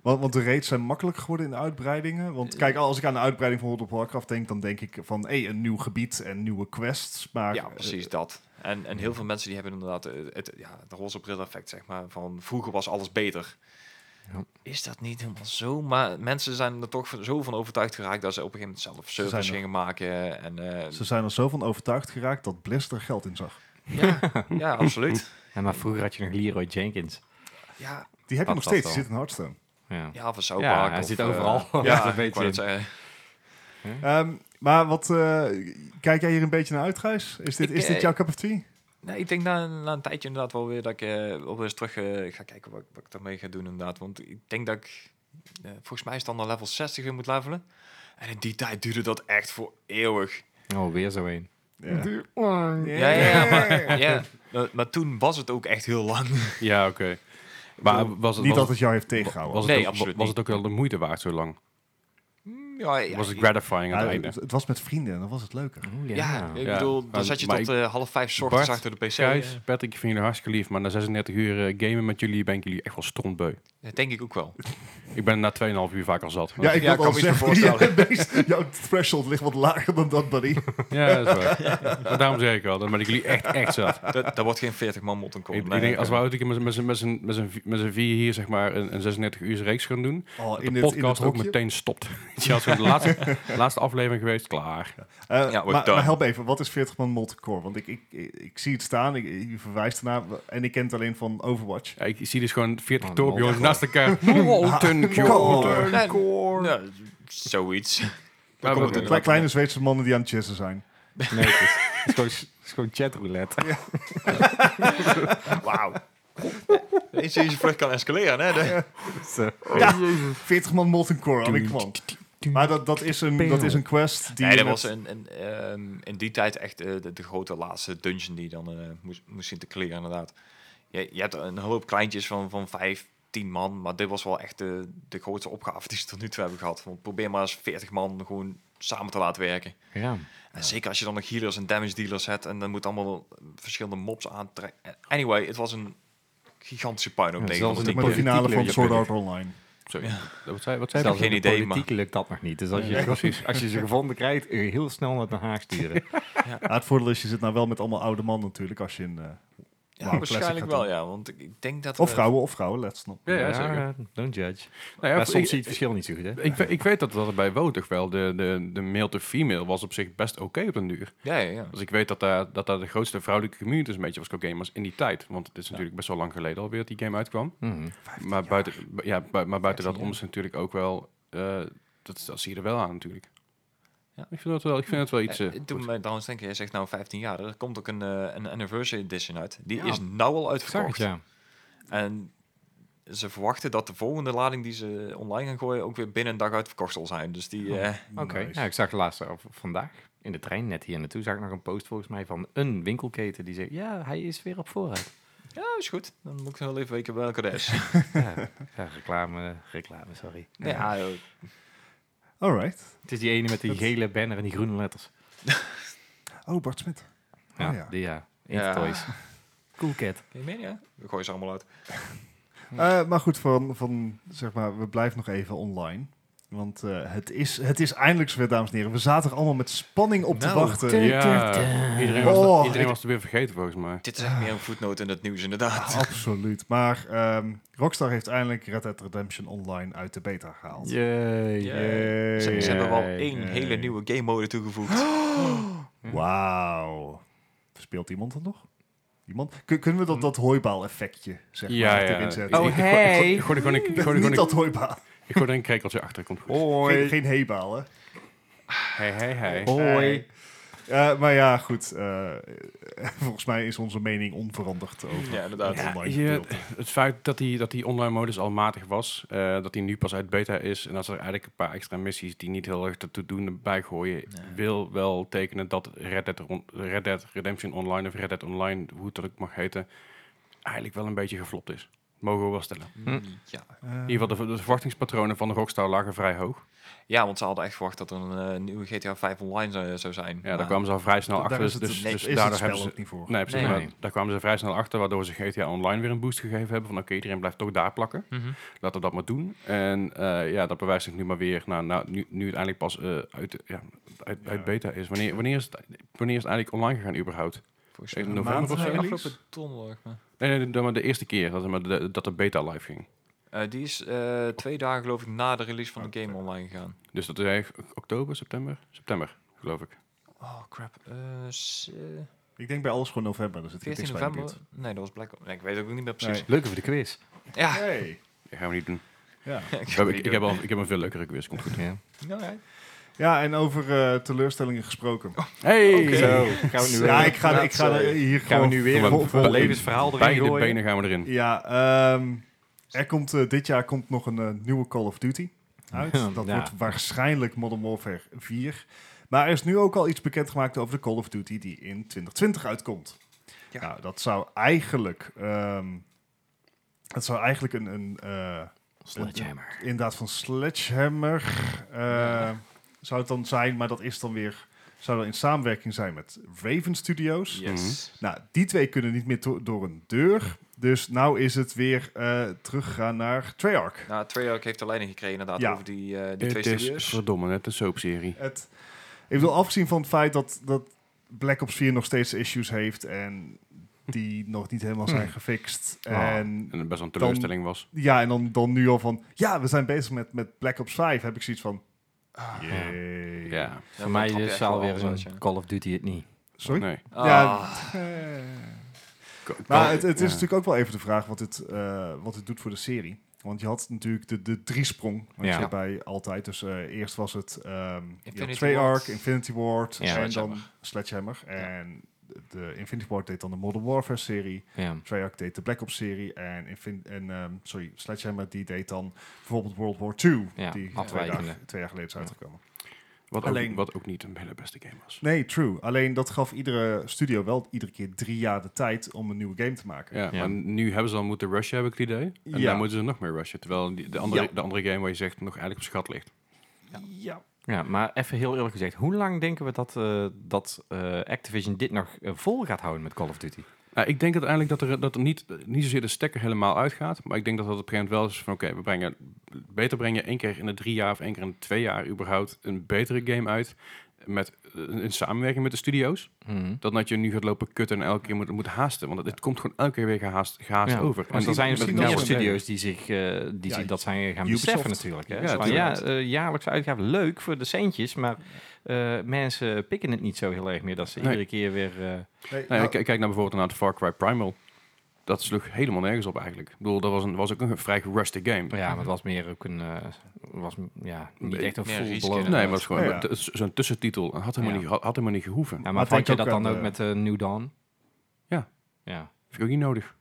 S3: Want, want de raids zijn makkelijk geworden in de uitbreidingen.
S4: Eh.
S3: Want kijk, als ik aan de uitbreiding van World of Warcraft denk, dan denk ik van hé, een nieuw gebied en nieuwe quests. Maar eh,
S4: ja, precies dat. En, en heel veel mensen die hebben inderdaad eh, het, ja, het roze bril effect, zeg maar. Van vroeger was alles beter.
S2: Ja.
S4: Is dat niet helemaal zo? Maar mensen zijn er toch van- zo van overtuigd geraakt dat ze op een gegeven moment zelf
S3: zijn
S4: servers
S3: er-
S4: gingen maken. En, eh,
S3: eh, ze zijn er zo van overtuigd geraakt dat Blizzard er geld in zag.
S4: ja, ja, absoluut.
S2: Ja, maar vroeger had je nog Leroy Jenkins.
S4: Ja,
S3: Die heb
S2: Dat
S3: je nog
S2: was
S3: steeds,
S2: al.
S3: die zit in Hearthstone.
S2: Ja.
S4: ja van South
S2: Ja,
S4: Park
S2: hij
S4: of,
S2: zit
S4: eh,
S2: overal.
S4: ja,
S2: Dat weet
S4: ik wou
S2: je.
S4: net zeggen.
S3: Ehm, maar wat, eh, kijk jij hier een beetje naar uit, Gijs? Is dit,
S4: Ik,
S3: is dit
S4: eh,
S3: jouw cup of tea?
S4: Nee, ik denk na, na een tijdje inderdaad wel weer dat ik eh, wel weer eens terug eh, ga kijken wat, wat ik daarmee ga doen inderdaad. Want ik denk dat ik, eh, volgens mij is het dan naar level 60 in moet levelen. En in die tijd duurde dat echt voor eeuwig.
S2: Oh, weer zo een. Oh,
S3: Ja.
S4: Ja, ja, ja, maar, ja. Maar, maar toen was het ook echt heel lang.
S1: Ja, oké. Maar was het,
S3: Niet
S1: was,
S3: dat het jou heeft
S1: was,
S3: tegengehouden.
S1: het
S4: Nee,
S1: ook-
S4: absoluut
S1: was het ook wel de moeite waard zo lang?
S4: Mm, Ja, ja,
S1: was het gratifying aan
S3: Ja,
S1: het einde?
S3: het, het was met vrienden en dan was het leuker.
S2: Oh,
S4: ja, ik
S1: Ja.
S4: bedoel,
S1: Maar-
S4: dan zat je
S1: maar
S4: tot
S1: ik-
S4: eh, half vijf 's ochtends
S1: Bart,
S4: achter de pc.
S1: Gijs, Patrick, ik vind jullie hartstikke lief, maar na 36 uur eh, gamen met jullie ben ik jullie echt wel strontbeu.
S4: Dat denk ik ook wel.
S1: Ik ben na 2,5 uur vaak al zat.
S3: Ja, ik
S4: Ja,
S3: wil
S4: kan
S3: al
S4: me iets
S3: zeggen,
S4: voorstellen.
S3: ja, deze- jouw threshold ligt wat lager dan dat, buddy.
S1: Ja, dat is waar. Maar daarom zeg ik al, dan ben ik jullie echt, echt zat.
S4: Dat, daar wordt geen 40 man mot en kom.
S1: Ik, ik
S4: Nee,
S1: denk, als we
S4: oké.
S1: ooit een keer met z'n- met z'n- met z'n- met z'n vi- met z'n vier hier zeg maar een, een 36 uur reeks gaan doen,
S3: Oh,
S1: de podcast ook meteen stopt. Je had zo'n laatste, laatste aflevering geweest, klaar.
S3: Eh,
S4: Ja, we're
S3: maar,
S4: done.
S3: maar help even, wat is 40 man multicore? Want ik, ik, ik, ik zie het staan, ik, je verwijst ernaar en ik ken het alleen van Overwatch.
S1: Ja, ik zie dus gewoon 40
S2: Oh,
S1: torpio's
S2: lol.
S1: naast elkaar. Molten Core.
S4: Nee, nee, zoiets.
S1: Maar
S4: komen
S1: we-
S4: we-
S3: Kle- kleine Zweedse mannen die aan het chessen zijn.
S2: Nee, het is, het is gewoon, het is gewoon chatroulette.
S4: Wauw. Eens deze vlucht kan escaleren, hè? De-
S3: Ja, 40 man multicore, aan ik kwam. Maar dat, dat, is een, dat is een quest die...
S4: nee, dat
S3: met-
S4: was een, een, ehm, in die tijd echt eh, de, de grote laatste dungeon die dan eh, moest, moest zien te clearen, inderdaad. Je, je hebt een hoop kleintjes van, van vijf, tien man, maar dit was wel echt de, de grootste opgave die ze tot nu toe hebben gehad. Want probeer maar eens veertig man gewoon samen te laten werken.
S2: Ja.
S4: En zeker als je dan nog healers en damage dealers hebt en dan moet allemaal verschillende mobs aantrekken. Anyway, het was een gigantische puinhoop
S2: Ja,
S4: tegen.
S2: zelfs
S4: want
S2: in
S4: ik-
S3: met de
S2: politiek
S3: finale van
S2: leerjaar
S3: Sword
S2: ben
S3: Art Online.
S1: Sorry. Wat zei, wat zei
S2: Zelfs
S1: ik?
S4: geen
S2: geen idee,
S4: idee, maar-
S2: politiek lukt dat nog niet. Dus als je,
S1: Nee, precies.
S2: als je ze gevonden krijgt, eh, heel snel naar Den Haag sturen.
S3: Ja, het voordeel is, je zit nou wel met allemaal oude mannen natuurlijk, als je in... eh,
S4: Ja,
S3: Wauw, classic
S4: waarschijnlijk
S3: gaat
S4: wel,
S3: dan.
S4: ja. Want ik, ik denk dat...
S3: of
S4: we-
S3: vrouwen, of vrouwen, let's not.
S1: Ja, ja, zeker.
S2: eh, don't judge.
S1: Nou ja,
S2: maar soms
S1: ik-
S2: zie je het verschil niet zo goed, hè?
S1: Ik, we- ik weet dat dat er bij Wotig wel de, de, de male to female was op zich best oké op den duur.
S4: Ja, ja, ja.
S1: Dus ik weet dat daar, dat daar de grootste vrouwelijke community is een beetje was qua gamers in die tijd. Want het is natuurlijk best wel lang geleden alweer dat die game uitkwam.
S2: Mhm.
S1: Maar buiten, bu- ja, bu- maar buiten dat
S4: 15
S1: om is natuurlijk ook wel, eh, dat, dat zie je er wel aan natuurlijk.
S4: Ja.
S1: Ik vind dat wel, ik vind dat wel iets... eh,
S4: Eh,
S1: goed.
S4: Toen mij trouwens denken, je zegt nou 15 jaar, er komt ook een, eh, een anniversary edition uit. Die is nou al
S2: Ik zag het,
S4: uitverkocht.
S2: ja.
S4: En ze verwachten dat de volgende lading die ze online gaan gooien ook weer binnen een dag uitverkocht zal zijn. Dus die, eh,
S2: Oké, ja, ik zag laatst eh, v- vandaag in de trein net hier naartoe zag ik nog een post volgens mij van een winkelketen die zegt ja hij is weer op vooruit.
S4: ja, nou, is goed. Dan moet ik wel even weten welke dat is.
S2: ja, ja, reclame, reclame, sorry.
S4: Nee, ja, eh,
S3: Alright.
S2: Het is die ene met die gele banner en die groene letters.
S3: Oh, Bart Smit.
S2: Ja,
S3: Oh, ja.
S2: die ja.
S4: Ja.
S2: Intertoys. Cool cat.
S4: kan je meen, ja? We gooien ze allemaal uit.
S3: Eh, maar goed, van, van, zeg maar, we blijven nog even online. Want eh, het, is, het is eindelijk zover, dames en heren. We zaten er allemaal met spanning op te
S4: Nou,
S3: wachten.
S1: Ja, iedereen was,
S3: eh, Oh.
S1: iedereen was er weer vergeten volgens mij.
S4: Dit is echt meer een voetnoot in het nieuws,
S3: Ah.
S4: inderdaad.
S3: Absoluut. Maar ehm, Rockstar heeft eindelijk Red Dead Redemption Online uit de beta gehaald.
S2: Yay.
S4: Ze, ze
S2: Yay.
S4: hebben wel één hele
S3: Yay.
S4: nieuwe game mode toegevoegd.
S2: Hm.
S3: Wauw. Speelt iemand dat nog? Iemand? Kun- kunnen we dat, dat hooibaal effectje zeg maar,
S1: Ja, ja.
S3: erin zetten?
S1: Ik-
S2: Hm.
S1: ik- ik-
S2: Oh,
S1: ik-
S2: hey.
S1: ik gooi- ik gooi- ik gooi- ik gooi-
S3: Niet dat hooibaal.
S1: Ik gooi er een krekeltje achter. Komt goed.
S3: Geen, geen hebaal, hè?
S1: Hey, hey, hey.
S2: Hoi.
S3: Eh, maar ja, goed. eh, volgens mij is onze mening onveranderd over
S4: Ja, inderdaad.
S3: het online
S1: je-
S3: gedeelte.
S1: Het feit dat die, dat die online modus al matig was, eh, dat die nu pas uit beta is en dat ze er eigenlijk een paar extra missies die niet heel erg te doen bij gooien,
S4: Nee.
S1: wil wel tekenen dat Red Dead, Ron- Red Dead Redemption Online of Red Dead Online, hoe het dat ook mag heten, eigenlijk wel een beetje geflopt is. Mogen we wel stellen.
S2: Hm.
S4: Ja.
S3: Eh,
S1: In ieder geval, de, de verwachtingspatronen van de Rockstar lagen vrij hoog.
S4: ja, want ze hadden echt verwacht dat er een eh, nieuwe GTA 5 online zou, zou zijn.
S1: Ja, daar
S4: Maar-
S1: kwamen ze al vrij
S2: nou,
S1: snel achter.
S3: daar
S1: Dus,
S3: is het,
S1: dus,
S4: nee,
S1: dus
S3: is het
S1: daardoor
S3: spel
S1: hebben ze...
S3: ook niet voor.
S1: Nee, precies.
S2: Nee,
S1: maar
S2: nee.
S1: Daar kwamen ze vrij snel achter, waardoor ze GTA Online weer een boost gegeven hebben. Van oké, iedereen blijft toch daar plakken.
S4: Mhm.
S1: laten we dat maar doen. En eh, ja, dat bewijst zich nu maar weer. Nou, nou, nu, nu het eigenlijk pas eh, uit, ja, uit,
S3: Ja.
S1: uit beta is. Wanneer, wanneer, is het, wanneer is het eigenlijk online gegaan überhaupt?
S4: Volgens
S1: In
S4: mij
S1: november
S4: maand
S1: of zo?
S4: na de Afgelopen donderdag. maar-
S1: Nee, nee, de, maar de eerste keer dat, de- de, dat de beta live ging.
S4: Eh, die is eh, twee dagen geloof ik na de release van de
S3: Oh,
S4: game
S3: oké.
S4: online gegaan.
S1: Dus dat is eigenlijk oktober, september? September, geloof ik.
S4: Oh crap. Eh, s- eh,
S3: Ik denk bij alles gewoon november. Dus het
S4: 14 november? Nee, dat was Black Ops. Nee, ik weet ook niet meer precies.
S2: Leuk over de quiz.
S4: Ja.
S3: Hey.
S1: Dat gaan we niet doen.
S3: Ja.
S1: Ik heb, ik, ik heb, al, ik heb een veel leukere quiz. Komt goed.
S2: Ja.
S4: Alright.
S3: ja, en over eh, teleurstellingen gesproken.
S1: Hey!
S4: Oké.
S1: Zo.
S2: Gaan we nu
S3: ja,
S2: weer-
S3: ik ga, ik ga
S4: Laatste.
S3: hier
S2: Gaan we
S3: gewoon...
S2: nu weer
S1: Van
S2: een
S1: mijn-
S2: vol levensverhaal erin
S1: Beide
S2: gooien?
S1: benen gaan we erin.
S3: Ja, ehm, er komt, eh, dit jaar komt nog een eh, nieuwe Call of Duty uit.
S2: Ja.
S3: Dat
S2: Ja.
S3: wordt waarschijnlijk Modern Warfare 4. Maar er is nu ook al iets bekendgemaakt over de Call of Duty die in 2020 uitkomt.
S4: Ja.
S3: Nou, dat zou eigenlijk... ehm, dat zou eigenlijk een... een eh,
S2: Sledgehammer.
S3: inderdaad van Sledgehammer eh, zou het dan zijn, maar dat is dan weer zou dan in samenwerking zijn met Raven Studios.
S4: Yes.
S3: Nou, die twee kunnen niet meer to- door een deur, dus nou is het weer eh teruggegaan naar Treyarch.
S4: Nou, Treyarch heeft de leiding gekregen inderdaad
S3: Ja.
S4: over die, eh, die twee
S1: Het is
S4: studios.
S1: verdomme net een soapserie.
S3: Het, ik bedoel, afgezien van het feit dat, dat Black Ops 4 nog steeds issues heeft en die nog niet helemaal zijn gefixt.
S1: Hm. Ah,
S3: En
S1: En het best wel een teleurstelling was.
S3: ja, en dan, dan nu al van, ja, we zijn bezig met, met Black Ops 5, heb ik zoiets van, ah, jee.
S1: Ja.
S4: Ja,
S2: Voor
S4: dan
S2: mij
S4: trap je
S2: is
S4: echt
S2: het
S4: wel
S2: alweer
S4: alles uit, ja.
S2: een Call of Duty het niet.
S3: Sorry?
S1: Nee.
S3: Ja.
S4: Ah,
S3: Eh. Maar het, het
S2: ja.
S3: is natuurlijk ook wel even de vraag wat het, eh, wat het doet voor de serie. Want je had natuurlijk de, de driesprong wat
S2: Ja.
S3: je bij altijd. Dus eh, eerst was het ehm
S4: Infinity
S3: Infinity Treyarch,
S4: Ward.
S3: Infinity Ward
S2: Ja.
S3: en dan
S4: Sledgehammer.
S3: Sledgehammer.
S4: Ja.
S3: En de Infinity Ward deed dan de Modern Warfare serie.
S2: Ja.
S3: Treyarch deed de Black Ops serie. En, Infin- en ehm, sorry, Sledgehammer die deed dan bijvoorbeeld World War II.
S2: Ja,
S3: die twee
S2: afwijkende.
S3: jaar, twee jaar geleden is
S2: Ja.
S3: uitgekomen.
S1: Wat,
S3: Alleen-
S1: ook, wat ook niet een hele beste game was.
S3: Nee, true. Alleen dat gaf iedere studio wel iedere keer drie jaar de tijd om een nieuwe game te maken.
S1: Ja,
S2: Ja.
S1: maar nu hebben ze al moeten rushen, heb ik het idee. En
S3: Ja.
S1: daar moeten ze nog meer rushen. Terwijl die- de, andere,
S3: Ja.
S1: de andere game waar je zegt nog eigenlijk op schat ligt.
S3: ja.
S2: Ja, maar even heel eerlijk gezegd, hoe lang denken we dat, eh, dat eh, Activision dit nog eh, vol gaat houden met Call of Duty?
S1: Nou, ik denk uiteindelijk dat er, dat er niet, niet zozeer de stekker helemaal uitgaat. Maar ik denk dat dat op een gegeven moment wel is van... Oké, we brengen, beter breng je één keer in de drie jaar of één keer in de twee jaar überhaupt een betere game uit. Met, eh, in samenwerking met de studio's. Dan dat je nu gaat lopen kutten en elke keer moet, moet haasten. Want het, het komt gewoon elke keer weer gehaast, gehaast
S2: Ja.
S1: over.
S2: En
S1: dat-
S2: dan zijn er
S1: met
S3: misschien
S2: natuurlijk
S1: nauwe-
S2: nieuwe
S3: wel een-
S2: studio's die, zich, eh, die
S3: Ja,
S2: zich dat zijn gaan
S3: Ubisoft.
S2: beseffen natuurlijk. Hè?
S1: Ja,
S2: Ja,
S1: tuurlijk.
S2: ja eh, jaarlijkse uitgave, leuk voor de centjes, maar eh, mensen pikken het niet zo heel erg meer dat ze
S1: Nee.
S2: iedere keer weer... eh,
S3: Nee,
S1: Nou,
S3: nou,
S1: ja, k- kijk nou bijvoorbeeld naar het Far Cry Primal. Dat sloeg helemaal nergens op eigenlijk. Ik bedoel, dat was, een, was ook een vrij rustig game.
S2: ja, maar het was meer ook een... eh, was, ja, niet echt een
S4: Meer
S2: full
S4: risico.
S2: blown.
S1: Nee, maar het is gewoon
S3: Oh Ja, ja.
S1: het is zo'n tussentitel. Het Had helemaal,
S2: Ja.
S1: niet, had, had helemaal niet gehoeven.
S2: Ja,
S3: Maar
S2: maar
S3: denk
S2: vond je
S3: ook
S2: dat
S3: aan
S2: dan
S3: de-
S2: ook met eh, New Dawn?
S1: Ja.
S2: Ja.
S1: Vind ik ook niet nodig.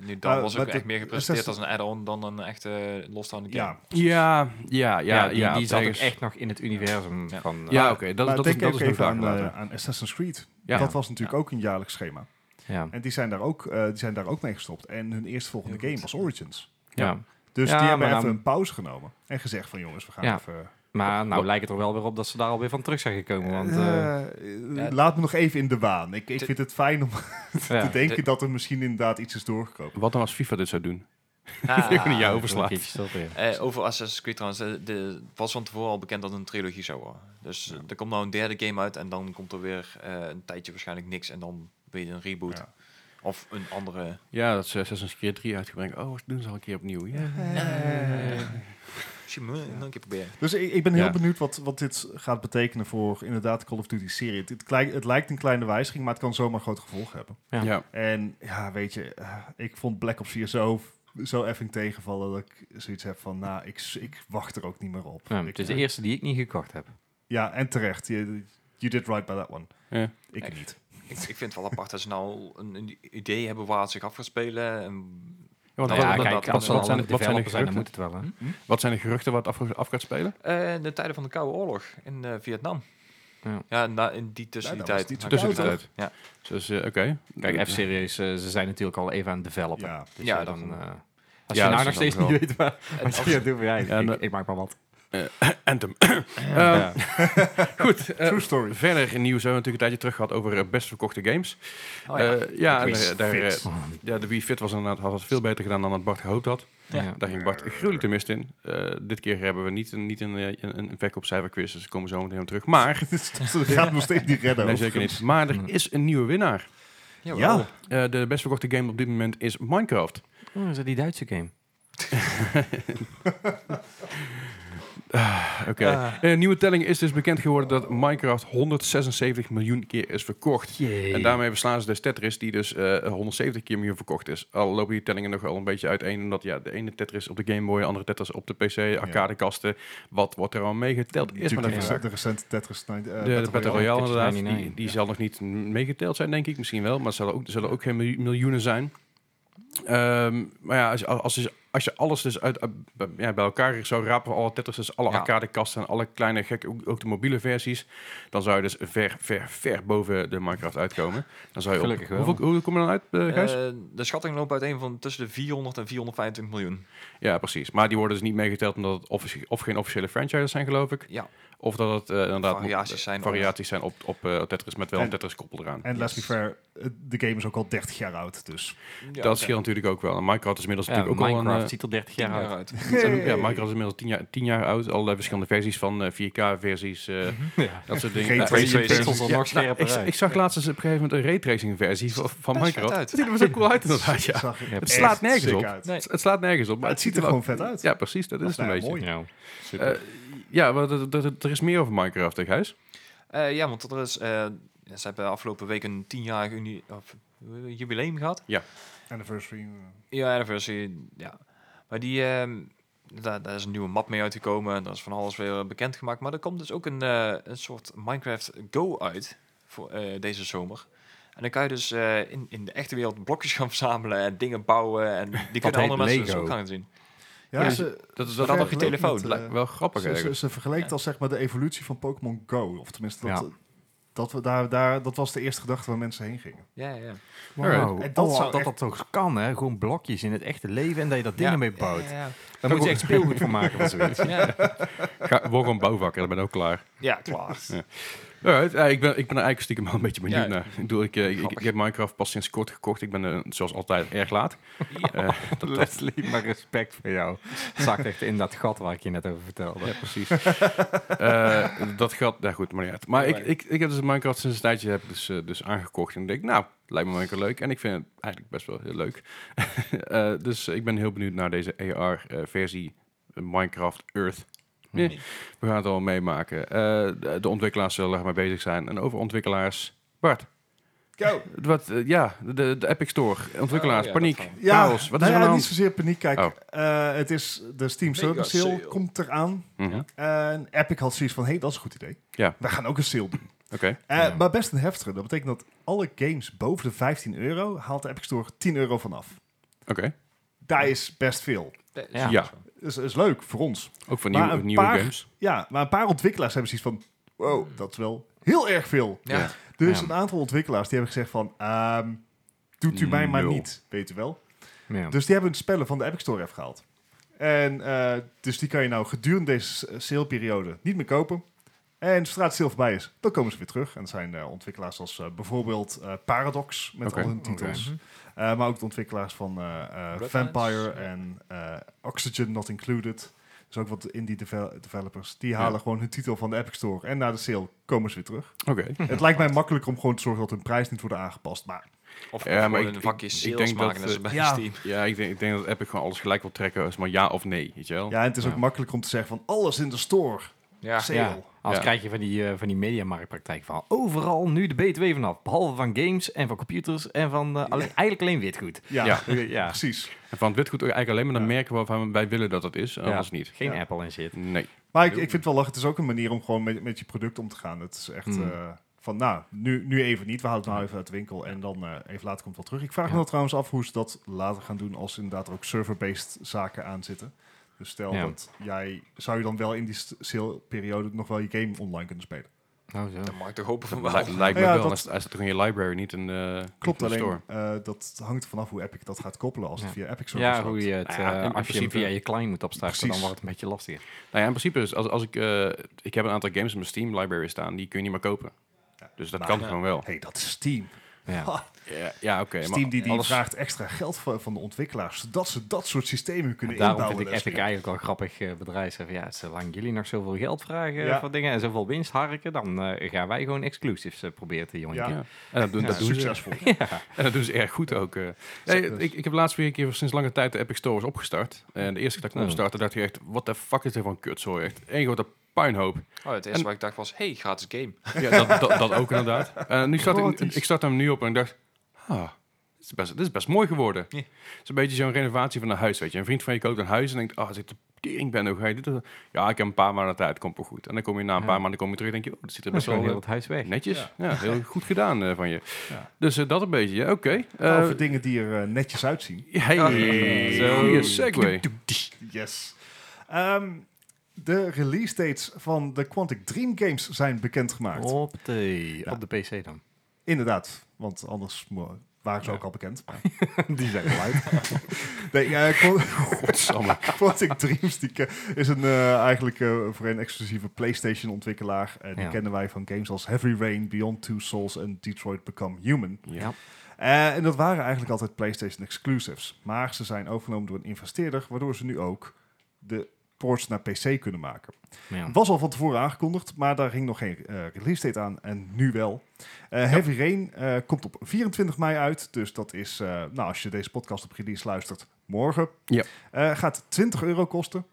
S4: nu dan
S3: Nou,
S4: was ook
S3: wat de-
S4: echt meer gepresenteerd als
S3: zesde-
S4: een add-on dan een echte losstaande game.
S3: ja.
S1: Ja, ja, ja.
S2: Ja, die,
S1: ja,
S2: die zat ook
S1: ergens-
S2: echt nog in het universum
S4: Ja.
S2: van...
S1: Ja,
S2: eh,
S1: oké. Dat,
S3: maar
S1: dat, is-
S3: denk
S1: dat
S3: ook
S1: is een
S3: even
S1: vraag
S3: aan,
S1: later.
S3: eh, aan Assassin's Creed.
S1: ja.
S3: Dat was natuurlijk ook een jaarlijks schema.
S2: ja.
S3: En die zijn daar ook, eh, die zijn daar ook mee gestopt. En hun eerstvolgende
S4: Heel
S3: game
S4: goed.
S3: was Origins.
S2: ja.
S3: Dus
S2: Ja,
S3: die hebben
S2: maar
S3: even
S2: dan-
S3: een pauze genomen. En gezegd van jongens, we gaan
S2: Ja.
S3: even...
S2: Maar nou lijkt het er wel weer op dat ze daar alweer van terug zijn gekomen. Want, eh,
S3: Eh, eh,
S4: ja.
S3: laat me nog even in de waan. Ik, ik
S4: Dit-
S3: vind het fijn om
S2: ja.
S3: te denken dat er misschien inderdaad iets is doorgekomen.
S1: Wat dan als FIFA dit zou doen?
S4: Ah.
S1: Ik ben jou overslaat.
S2: Keertjes erop weer.
S4: Eh, over Assassin's Creed trouwens, eh, de, het was van tevoren al bekend dat het een trilogie zou worden. Dus eh, er komt nou een derde game uit en dan komt er weer eh, een tijdje waarschijnlijk niks en dan weer een reboot.
S3: Ja.
S4: Of een andere...
S1: Ja, dat ze Assassin's Creed 3 uitgebracht. Oh, wat doen ze al een keer opnieuw. Ja.
S4: Eh, Misschien moet ik nog een keer proberen.
S3: Dus ik, ik ben heel
S1: Ja.
S3: benieuwd wat, wat dit gaat betekenen voor inderdaad de Call of Duty serie. Het, het, klei- het lijkt een kleine wijziging, maar het kan zomaar grote gevolgen hebben.
S1: Ja.
S2: Ja.
S3: En ja, weet je, eh, ik vond Black Ops 4 zo zo effing tegenvallen dat ik zoiets heb van, nou, ik, ik wacht er ook niet meer op.
S2: Ja,
S3: Ik- eh,
S2: het is de eerste die ik niet gekocht heb.
S3: Ja, en terecht. You, you did right by that one.
S1: Ja.
S3: Ik
S4: Echt.
S3: niet.
S4: Ik, ik vind het wel apart dat ze nou een, een idee hebben waar het zich af gaat spelen. En
S1: want
S4: Nou
S1: wat-
S4: ja,
S1: wat-
S4: kijk,
S1: wat-
S4: als
S1: wat,
S4: er al
S1: zijn- wat, zijn,
S2: de
S1: de
S2: developers zijn, dan
S1: geruchten,
S2: moet het wel. Hè?
S1: wat zijn de geruchten waar het af, af gaat spelen?
S4: Eh, in de tijden van de Koude Oorlog in eh, Vietnam.
S2: Ja.
S4: Ja, na, in die tussen die
S3: Ja, dat was
S4: tijd.
S3: niet zo
S1: Tussen de
S3: koud,
S1: tijd.
S4: Nou, Ja.
S1: Dus eh, oké.
S2: Kijk, F-Series, eh, ze zijn natuurlijk al even aan het developen.
S3: Ja.
S2: Dus
S4: Ja,
S2: ja,
S4: dat-
S2: dan... eh, als
S1: Ja, dat
S2: je nou
S1: is
S2: nog steeds
S4: wel-
S2: niet weet waar, wat je gaat doen, ja, ik,
S1: Ja,
S2: ik,
S1: maar-
S2: ik maak maar wat.
S1: Anthem. Ehm,
S2: Ja.
S1: Goed. eh,
S3: True story.
S1: verder in nieuws hebben we natuurlijk een tijdje terug gehad over eh, best verkochte games.
S4: Oh ja.
S1: Eh, ja, en,
S3: Wii
S1: eh, daar,
S3: Fit.
S1: eh,
S2: Oh,
S1: ja, de Wii Fit was inderdaad, had het veel beter gedaan dan het Bart gehoopt had.
S2: Ja.
S1: Daar ging Bart gruwelijk de mist in. Eh, dit keer hebben we niet, een- niet een, eh, een, een verkoopcijferquiz, dus we komen zo meteen op terug. Maar,
S3: Dat gaat nog steeds niet redden.
S1: nee, zeker niet. Maar er is een nieuwe winnaar.
S4: Jawel.
S3: Ja.
S1: Eh, de best verkochte game op dit moment is Minecraft.
S2: Oh, is dat die Duitse game?
S1: Oké. Eh, nieuwe telling is dus bekend geworden dat Minecraft 176 miljoen keer is verkocht. En daarmee beslaan ze dus Tetris, die dus eh, 170 keer miljoen verkocht is. Al lopen die tellingen nogal een beetje uiteen, omdat ja, de ene Tetris op de Game Boy, de andere Tetris op de PC, arcadekasten. Wat wordt er al meegeteld? Is maar
S3: Natuurlijk
S1: de
S3: de,
S1: vraag.
S3: recente, de recente Tetris Night. eh,
S1: De, de Battle Royale
S2: Tetris
S1: inderdaad,
S2: 99,
S1: die, die
S3: ja.
S1: zal nog niet m- meegeteld zijn, denk ik. Misschien wel, maar er zullen ook, er zullen ook geen miljo- miljoenen zijn. Ehm, maar ja, als, je- als, je- als je alles dus uit, uit- bij- ja, bij elkaar zou rapen, alle Tetris, dus alle
S4: Ja.
S1: arcadekasten en alle kleine gekke, ook, ook de mobiele versies, dan zou je dus ver, ver, ver boven de Minecraft uitkomen. Dan zou je op-
S2: Gelukkig wel.
S1: Hoeveel, hoeveel kom je dan uit, eh, Gijs?
S4: Eh, de schatting loopt uiteen van tussen de 400 en 425 miljoen.
S1: ja, precies. Maar die worden dus niet meegeteld omdat het offici- of geen officiële franchises zijn, geloof ik.
S4: Ja.
S1: Of dat het eh, inderdaad mo-
S4: Variaties zijn op-
S1: variaties zijn op, op eh, Tetris met wel een
S3: En-
S1: Tetris-koppel eraan.
S3: En Leslie Fair, eh, de game is ook al 30 jaar oud, dus...
S4: Ja,
S1: dat
S4: oké.
S1: scheelt natuurlijk ook wel. En Minecraft is inmiddels
S2: Ja,
S1: natuurlijk ook
S2: Minecraft
S1: al een...
S2: ziet er 30 jaar
S4: Ja,
S2: uit.
S4: uit.
S1: eh, zijn- ja, Minecraft is inmiddels 10 jaar, 10 jaar oud. Allerlei verschillende versies van eh, 4K-versies, eh,
S2: Ja.
S1: dat soort
S3: Ray
S1: dingen.
S3: tracing
S1: Ja,
S4: pixels
S2: er nog
S1: nou,
S2: scherper
S1: ik,
S2: uit.
S1: ik zag laatst eens op een gegeven moment een raytracing-versie van, van
S4: best
S1: Minecraft.
S4: vet
S1: Dat
S4: uit.
S1: ziet er best ook cool uit inderdaad, ja.
S3: Zag er
S2: Het
S3: echt
S1: slaat nergens
S3: sick
S1: op.
S3: uit.
S4: Nee.
S1: Het, het slaat nergens op, maar
S3: Maar het ziet er
S1: wel-
S3: gewoon vet uit.
S1: Ja, precies. Dat is het
S3: Nou
S1: een
S3: ja,
S1: beetje.
S3: mooi.
S2: Ja.
S1: Eh, ja, maar er, er- er- er is meer over Minecraft, hè, Gijs?
S4: Eh, ja, want er is, eh, ze hebben afgelopen week een tienjarig uni- of, eh, jubileum gehad.
S3: Anniversary. eh,
S4: Ja, anniversary, ja. Maar die, ehm, daar, daar is een nieuwe map mee uitgekomen. En daar is van alles weer bekendgemaakt. Maar er komt dus ook een, eh, een soort Minecraft Go uit voor eh, deze zomer. En dan kan je dus eh, in, in de echte wereld blokjes gaan verzamelen en dingen bouwen. En die kunnen
S2: heet
S4: andere mensen dus
S2: Lego.
S4: ook gaan zien.
S3: Ja,
S1: Ja,
S3: ze,
S1: Dat is
S4: wel-
S1: wel,
S4: op je telefoon,
S3: met, eh,
S1: lijkt me wel grappig
S3: ze, ze,
S1: eigenlijk.
S3: ze vergelijkt als zeg maar de evolutie van Pokémon Go. Of tenminste, dat,
S2: Ja.
S3: dat, we daar, daar, dat was de eerste gedachte waar mensen heen gingen.
S4: Ja, ja.
S1: Alright.
S3: En dat
S2: dat, Oh,
S3: zou
S2: dat
S3: echt-
S2: dat toch kan, hè? Gewoon blokjes in het echte leven en dat je dat
S4: Ja.
S2: dingen mee bouwt.
S4: Ja, ja,
S2: Daar moet je echt speelgoed van maken van zoiets.
S4: ja. ja.
S1: Ga, word gewoon bouwvakker, dan ben ik ook klaar.
S4: Ja, klaar.
S1: Alright, ja, ik, ben, ik ben er eigenlijk stiekem wel een beetje benieuwd
S4: Ja.
S1: naar. Ik, bedoel, ik, eh, ik, ik
S4: Grappig.
S1: heb Minecraft pas sinds kort gekocht. Ik ben eh, zoals altijd erg laat. Eh, dat- dat-
S2: Leslie, maar respect voor jou. Zakt echt in dat gat waar ik je net over vertelde.
S1: ja, precies. Eh, dat gaat, nou goed, maar niet uit. Maar ik, ik, ik heb dus Minecraft sinds een tijdje heb ik dus, eh, dus aangekocht. En ik denk, nou, lijkt me Minecraft leuk. En ik vind het eigenlijk best wel heel leuk. Eh, dus ik ben heel benieuwd naar deze AR-versie eh, Minecraft Earth.
S4: Hmm.
S1: Nee, we gaan het al meemaken. Eh, de, de ontwikkelaars zullen ermee bezig zijn. En over ontwikkelaars, Bart.
S3: Go!
S1: Wat, eh, ja, de, de Epic Store, ontwikkelaars,
S4: Oh, ja,
S1: paniek,
S4: dat
S3: Ja,
S1: chaos. Wat is er
S3: nou
S1: aan
S3: ja,
S1: de
S3: niet
S1: hand?
S3: zozeer paniek. Kijk,
S1: Oh.
S3: eh, het is de Steam
S4: Mega
S3: Service sale,
S4: sale.
S3: komt eraan.
S1: Mhm,
S3: En Epic had zoiets van, hé, hey, dat is een goed idee.
S1: Ja.
S3: We gaan ook een sale doen.
S1: Oké,
S3: Eh,
S2: Ja.
S3: Maar best een heftige. Dat betekent dat alle games boven de 15 euro haalt de Epic Store 10 euro vanaf.
S1: oké.
S3: Daar is best veel.
S4: Dat is
S2: Ja.
S1: Ja.
S3: Is, is leuk voor ons.
S1: Ook voor
S3: Maar
S1: nieuwe,
S3: een
S1: nieuwe
S3: paar-
S1: games.
S3: Ja, maar een paar ontwikkelaars hebben zoiets van,
S4: Hmm.
S3: wow, dat is wel heel erg veel.
S4: Ja.
S1: Ja.
S3: Er is
S2: Ja.
S3: Dus een aantal ontwikkelaars die hebben gezegd van, ehm, doet u mij maar
S1: Nul.
S3: niet, weet u wel.
S2: Ja.
S3: Dus die hebben hun spellen van de Epic Store afgehaald. En eh, dus die kan je nou gedurende deze s- saleperiode niet meer kopen. En zodra het sale voorbij is, dan komen ze weer terug. En dat zijn eh, ontwikkelaars als eh, bijvoorbeeld eh, Paradox met
S1: Oké.
S3: al hun titels.
S4: Mhm.
S3: Eh, maar ook de ontwikkelaars van eh, eh,
S4: Bloodlines,
S3: Vampire
S4: ja.
S3: en eh, Oxygen Not Included. Dus ook wat indie devel- developers. Die
S1: Ja.
S3: halen gewoon hun titel van de Epic Store. En na de sale komen ze weer terug.
S1: Oké.
S3: Het lijkt mij makkelijker om gewoon te zorgen dat hun prijs niet wordt aangepast. Maar
S4: Of
S1: Ja, maar
S4: gewoon
S1: ik-
S4: een
S1: ik-
S4: vakje
S1: ik
S4: sales
S1: denk dat,
S4: maken dat, ze
S1: eh,
S4: bij
S3: ja.
S4: Steam.
S1: Ja, ik denk, ik denk dat Epic gewoon alles gelijk wil trekken. Is maar ja of nee, weet je wel?
S3: ja, en het is
S2: Ja.
S3: ook makkelijker om te zeggen van alles in de store.
S4: Ja.
S3: Sale.
S2: Ja. Anders
S1: Oh. Ja.
S2: krijg je van die, eh, van die mediamarktpraktijk van overal nu de BTW vanaf. Behalve van games en van computers en van eh, alleen, eigenlijk alleen witgoed.
S3: Ja,
S1: Ja.
S2: Ja.
S3: precies.
S1: En van het witgoed eigenlijk alleen maar dan merken waarvan wij willen dat het is, anders niet.
S2: Geen
S3: Ja.
S2: Apple en shit.
S1: Nee.
S3: Maar ik, ik vind het wel lachen. Het is ook een manier om gewoon met, met je product om te gaan. Het is echt
S2: Hmm.
S3: eh, van, nou, nu, nu even niet. We houden het nou even uit de winkel en dan eh, even later komt het wel terug. Ik vraag me
S2: Ja.
S3: wel trouwens af hoe ze dat later gaan doen als inderdaad er ook server-based zaken aan zitten. Dus stel
S2: Ja.
S3: dat jij, zou je dan wel in die st- sale-periode nog wel je game online kunnen spelen?
S2: Nou zo.
S4: Dan mag ik toch hopen van wel.
S1: Lij- lijkt me
S3: Ja,
S1: wel.
S3: dat-
S1: Hij staat hij staat toch in je library, niet in de,
S3: Klopt,
S1: in de
S3: alleen
S1: store.
S3: eh, dat hangt vanaf hoe Epic dat gaat koppelen als
S2: Ja.
S3: het via Epic servers
S2: Ja, hoe je het,
S1: Nou ja, in
S2: eh, als je hem
S1: principe-
S2: via je client moet opstarten, dan
S3: Precies.
S2: wordt het een beetje lastiger.
S1: Nou ja, in principe is, als, als ik... eh, ik heb een aantal games in mijn Steam library staan, die kun je niet meer kopen.
S3: Ja.
S1: Dus dat
S3: Maar,
S1: kan
S4: ja.
S1: gewoon wel.
S3: hey, dat is Steam.
S2: Ja.
S3: Ha,
S1: Ja, ja oké. maar-
S3: Steam die, die
S1: alles-
S3: vraagt extra geld van, van de ontwikkelaars, zodat ze dat soort systemen kunnen
S2: Daarom
S3: inbouwen. dus.
S2: vind ik Epic eigenlijk wel een grappig eh, bedrijf. Zeg van, Ja, zolang jullie nog zoveel geld vragen eh,
S3: Ja.
S2: voor dingen en zoveel winst harken, dan eh, gaan wij gewoon exclusives eh, proberen te jongen.
S3: Ja.
S1: Ja. En dat, doen-
S3: Ja,
S1: dat doen ze.
S3: succesvol.
S1: En dat doen ze erg goed ook. eh. Nee, ik, ik heb laatst weer een keer sinds lange tijd de Epic Store is opgestart. En de eerste keer dat ik hem
S2: Oh.
S1: opstartte, dacht je echt... What the fuck is dit voor een kutzooi? Echt één grote puinhoop.
S4: Oh, het eerste
S1: En-
S4: wat ik dacht was, hey, gratis game.
S1: Ja, dat, dat, dat ook inderdaad. En nu start ik,
S3: Gratis.
S1: ik start hem nu op en ik dacht, ah, dit is best, dit is best mooi geworden.
S4: Ja.
S1: Het is een beetje zo'n renovatie van een huis, weet je. Een vriend van je koopt een huis en denkt, ah, als ik de tering ben, hoe ga je dit doen? Ja, ik heb een paar maanden tijd, komt wel goed. En dan kom je na een
S2: Ja.
S1: paar maanden kom je terug en denk je, oh, dat ziet er
S2: Dat is
S1: best
S2: gewoon
S1: wel
S2: heel
S1: eh,
S2: het huis weg.
S1: netjes.
S3: Ja.
S1: Ja. heel goed gedaan eh, van je.
S3: Ja.
S1: Dus eh, dat een beetje, ja, oké.
S3: Nou,
S1: Eh,
S3: Over dingen die er eh, netjes uitzien.
S1: hey,
S3: Zo.
S1: goeie segue.
S3: Yes. Ehm, de release dates van de Quantic Dream Games zijn bekendgemaakt.
S2: Op de,
S3: Ja.
S2: op de PC dan.
S3: Inderdaad, want anders mo- waren ze
S2: Ja.
S3: ook al bekend. Maar
S2: Die zijn wel uit.
S3: nee, eh, Quan-
S1: Godsamme.
S3: Quantic Dreams die ke- is een, eh, eigenlijk eh, voor een exclusieve PlayStation-ontwikkelaar. En die
S2: Ja.
S3: kennen wij van games als Heavy Rain, Beyond Two Souls en Detroit Become Human.
S1: Ja.
S3: Eh, en dat waren eigenlijk altijd PlayStation exclusives. Maar ze zijn overgenomen door een investeerder, waardoor ze nu ook de ports naar PC kunnen maken.
S2: Ja.
S3: Was al van tevoren aangekondigd, maar daar ging nog geen eh, release date aan. En nu wel. Eh, Heavy Rain eh, komt op 24 mei uit. Dus dat is, eh, nou, als je deze podcast op release luistert, morgen.
S1: Ja.
S3: Eh, gaat 20 euro kosten.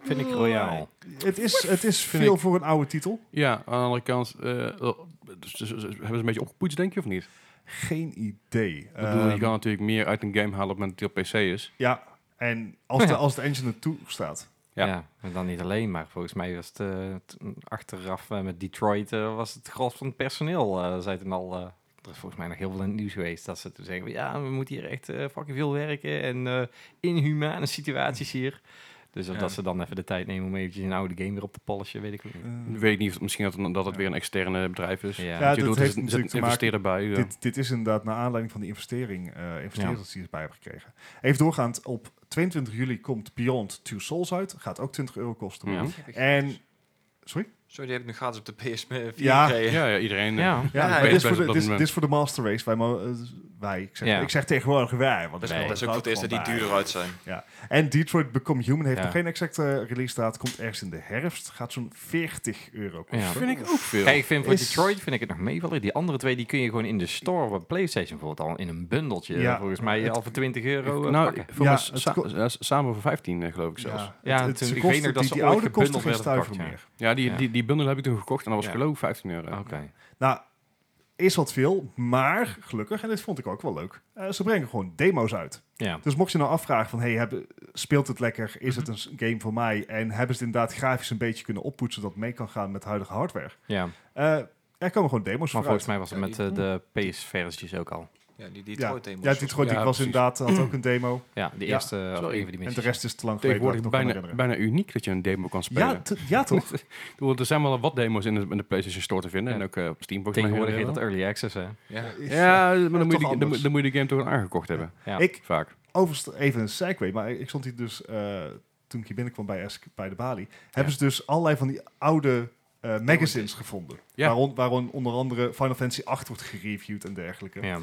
S2: Vind ik royaal.
S3: Het is, het is
S1: Vind
S3: veel
S1: ik-
S3: voor een oude titel.
S1: Ja, aan de andere kant, eh, eh, dus, dus- dus- hebben ze een beetje opgepoetst, denk je, of niet?
S3: Geen idee.
S1: Ik bedoel, je
S3: Ehm,
S1: kan natuurlijk meer uit een game halen op het moment dat die op PC is.
S3: ja, en
S1: Nou
S3: als de, als de engine het toestaat.
S1: Ja.
S2: Ja. en dan niet alleen, maar volgens mij was het eh, t- achteraf eh, met Detroit eh, was het gros van het personeel. eh zei toen al, eh, er is volgens mij nog heel veel in het nieuws geweest dat ze toen zeggen, ja, we moeten hier echt eh, fucking veel werken en eh, inhumane situaties hier. Dus of
S4: Ja.
S2: dat ze dan even de tijd nemen om eventjes een oude game weer op te polishen, weet ik ook niet. Dus,
S3: Eh,
S1: Ik weet niet of misschien dat, dat het weer een externe bedrijf is.
S2: Ja,
S3: Ja,
S1: Want je
S3: dat
S1: doet,
S3: heeft
S1: er zit-
S3: natuurlijk
S1: zit
S3: te
S1: een investeerder bij. ja.
S3: Dit, dit is inderdaad naar aanleiding van de investering, eh investeerders die erbij hebben gekregen. Even doorgaand, op 22 juli komt Beyond Two Souls uit. Gaat ook 20 euro kosten.
S1: Ja.
S3: En, sorry?
S4: Sorry, die heb ik nu gratis op de PS4
S3: Ja.
S4: gekregen.
S1: Ja, ja, iedereen. eh,
S2: Ja,
S3: Ja,
S4: Ja,
S3: maar
S4: ja,
S3: dit, is
S1: ja.
S3: voor de,
S1: Op dat
S3: dit, is, dit
S1: moment.
S3: is voor de Master Race. Wij, mo- eh, wij ik, zeg,
S2: Ja.
S3: ik zeg tegenwoordig wij. Want
S4: Dat is,
S2: Nee.
S4: dat is ook voor het eerst dat die duurder uit zijn.
S3: En Detroit Become Human heeft
S2: Ja.
S3: nog geen exacte release datum. Komt ergens in de herfst. Gaat zo'n 40 euro kosten.
S2: Ja.
S1: Dat vind ik ook veel.
S2: Kijk, ik vind voor
S3: Is-
S2: Detroit vind ik het nog meevallen. Die andere twee die kun je gewoon in de store bij PlayStation bijvoorbeeld al in een bundeltje
S3: Ja.
S2: volgens mij
S3: Het-
S2: al voor 20 euro eh,
S1: nou,
S2: pakken.
S1: voor mij
S3: Ja,
S1: sa-
S3: het
S1: sa-
S3: ko-
S1: eh, samen voor 15, eh, geloof ik zelfs. Ja,
S2: Ja,
S3: het,
S2: toen-
S3: het,
S2: ik
S3: kosten-
S2: weet nog dat
S3: die,
S2: ze
S3: die
S2: ooit
S3: oude
S2: gebundeld
S3: kosten geen
S2: werden
S3: stuiver
S2: gepakt, ja.
S3: meer.
S1: die,
S2: Ja.
S1: Die, die bundel heb ik toen gekocht en dat was
S2: Ja.
S1: geloof ik 15 euro.
S2: Oké.
S3: Nou, is wat veel, maar gelukkig, en dit vond ik ook wel leuk, eh, ze brengen gewoon demo's uit.
S2: Ja.
S3: Dus mocht je nou afvragen van, hey, hebben, speelt het lekker? Is het een
S2: Mhm.
S3: s- game voor mij? En hebben ze het inderdaad grafisch een beetje kunnen oppoetsen dat het mee kan gaan met huidige hardware?
S2: Ja.
S3: Eh, er komen gewoon demo's
S2: Maar
S3: voor
S2: volgens
S3: uit.
S2: mij was het
S4: Ja,
S2: met eh, de PS-versies ook al.
S4: Ja, die
S3: Ja,
S4: Detroit demos.
S3: ja Detroit
S1: Ja,
S3: die was
S1: precies.
S3: inderdaad had ook een demo.
S2: Ja, de
S3: Ja.
S2: eerste eh,
S1: Sorry.
S2: een van die
S3: En de
S2: missies.
S3: rest is te lang geleden. dat ik
S1: Tegenwoordig
S3: nog kan
S1: bijna,
S3: herinneren.
S1: bijna uniek dat je een demo kan spelen.
S3: Ja, t- ja, toch?
S1: Ik bedoel, er zijn wel wat demo's in de, in de PlayStation Store te vinden.
S2: Ja.
S1: En ook eh, op Steam. volgens mij
S2: Tegenwoordig heet dat
S1: heel
S2: Early Access, hè?
S4: Ja.
S1: veel. Ja, maar dan,
S3: toch
S1: moet je, die- dan,
S3: anders.
S1: moet- dan moet je de game toch aangekocht hebben.
S2: Ja.
S3: Ik,
S1: Vaak.
S3: Overigens, even een segue, maar ik stond hier dus eh, toen ik hier binnenkwam bij, Esk, bij de Bali. Hebben ze dus allerlei van die oude eh, magazines gevonden.
S1: Ja.
S3: Waarom, waarom onder andere Final Fantasy 8 wordt gereviewd en dergelijke.
S2: Ja.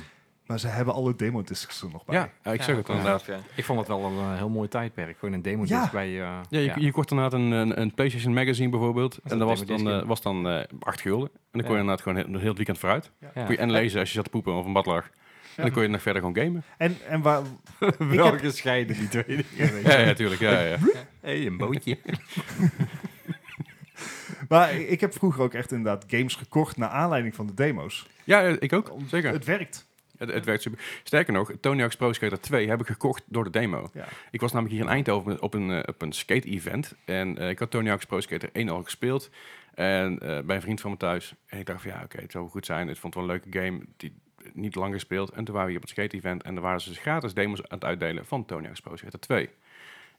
S3: Maar ze hebben alle demo discs er nog bij.
S1: Ja, eh, ik zeg het
S4: Ja,
S1: inderdaad.
S4: ja.
S2: Ik vond het wel een eh, heel mooi tijdperk. Gewoon een demo
S3: Ja.
S2: disc bij... eh,
S1: Ja, je, je kocht inderdaad een, een, een PlayStation Magazine bijvoorbeeld.
S2: is
S1: en
S2: een
S1: dat was dan,
S2: demo-disc,
S1: eh,
S2: ja.
S1: was dan eh 8 gulden. En dan kon
S2: Ja.
S1: je inderdaad gewoon heel, heel het weekend vooruit.
S2: ja.
S1: Kon je en lezen als je zat te poepen of een bad lag. En dan kon je nog verder gewoon gamen.
S3: En, en waar,
S2: Wel gescheiden, die twee dingen, weet je.
S1: Ja, ja, tuurlijk. Ja, ja.
S2: hey, een bootje.
S3: Maar ik heb vroeger ook echt inderdaad games gekocht naar aanleiding van de demo's.
S1: Ja, eh, ik ook. Zeker.
S3: Het werkt.
S1: Het, het werkt super. Sterker nog, Tony Hawk's Pro Skater 2 heb ik gekocht door de demo.
S3: Ja.
S1: Ik was namelijk hier in Eindhoven op een, eh, op een skate-event. En eh, ik had Tony Hawk's Pro Skater 1 al gespeeld. En eh, bij een vriend van me thuis. En ik dacht van ja, oké, het zou wel goed zijn. Het vond het wel een leuke game. Die niet lang gespeeld. En toen waren we hier op het skate-event. En daar waren ze dus gratis demos aan het uitdelen van Tony Hawk's Pro Skater 2.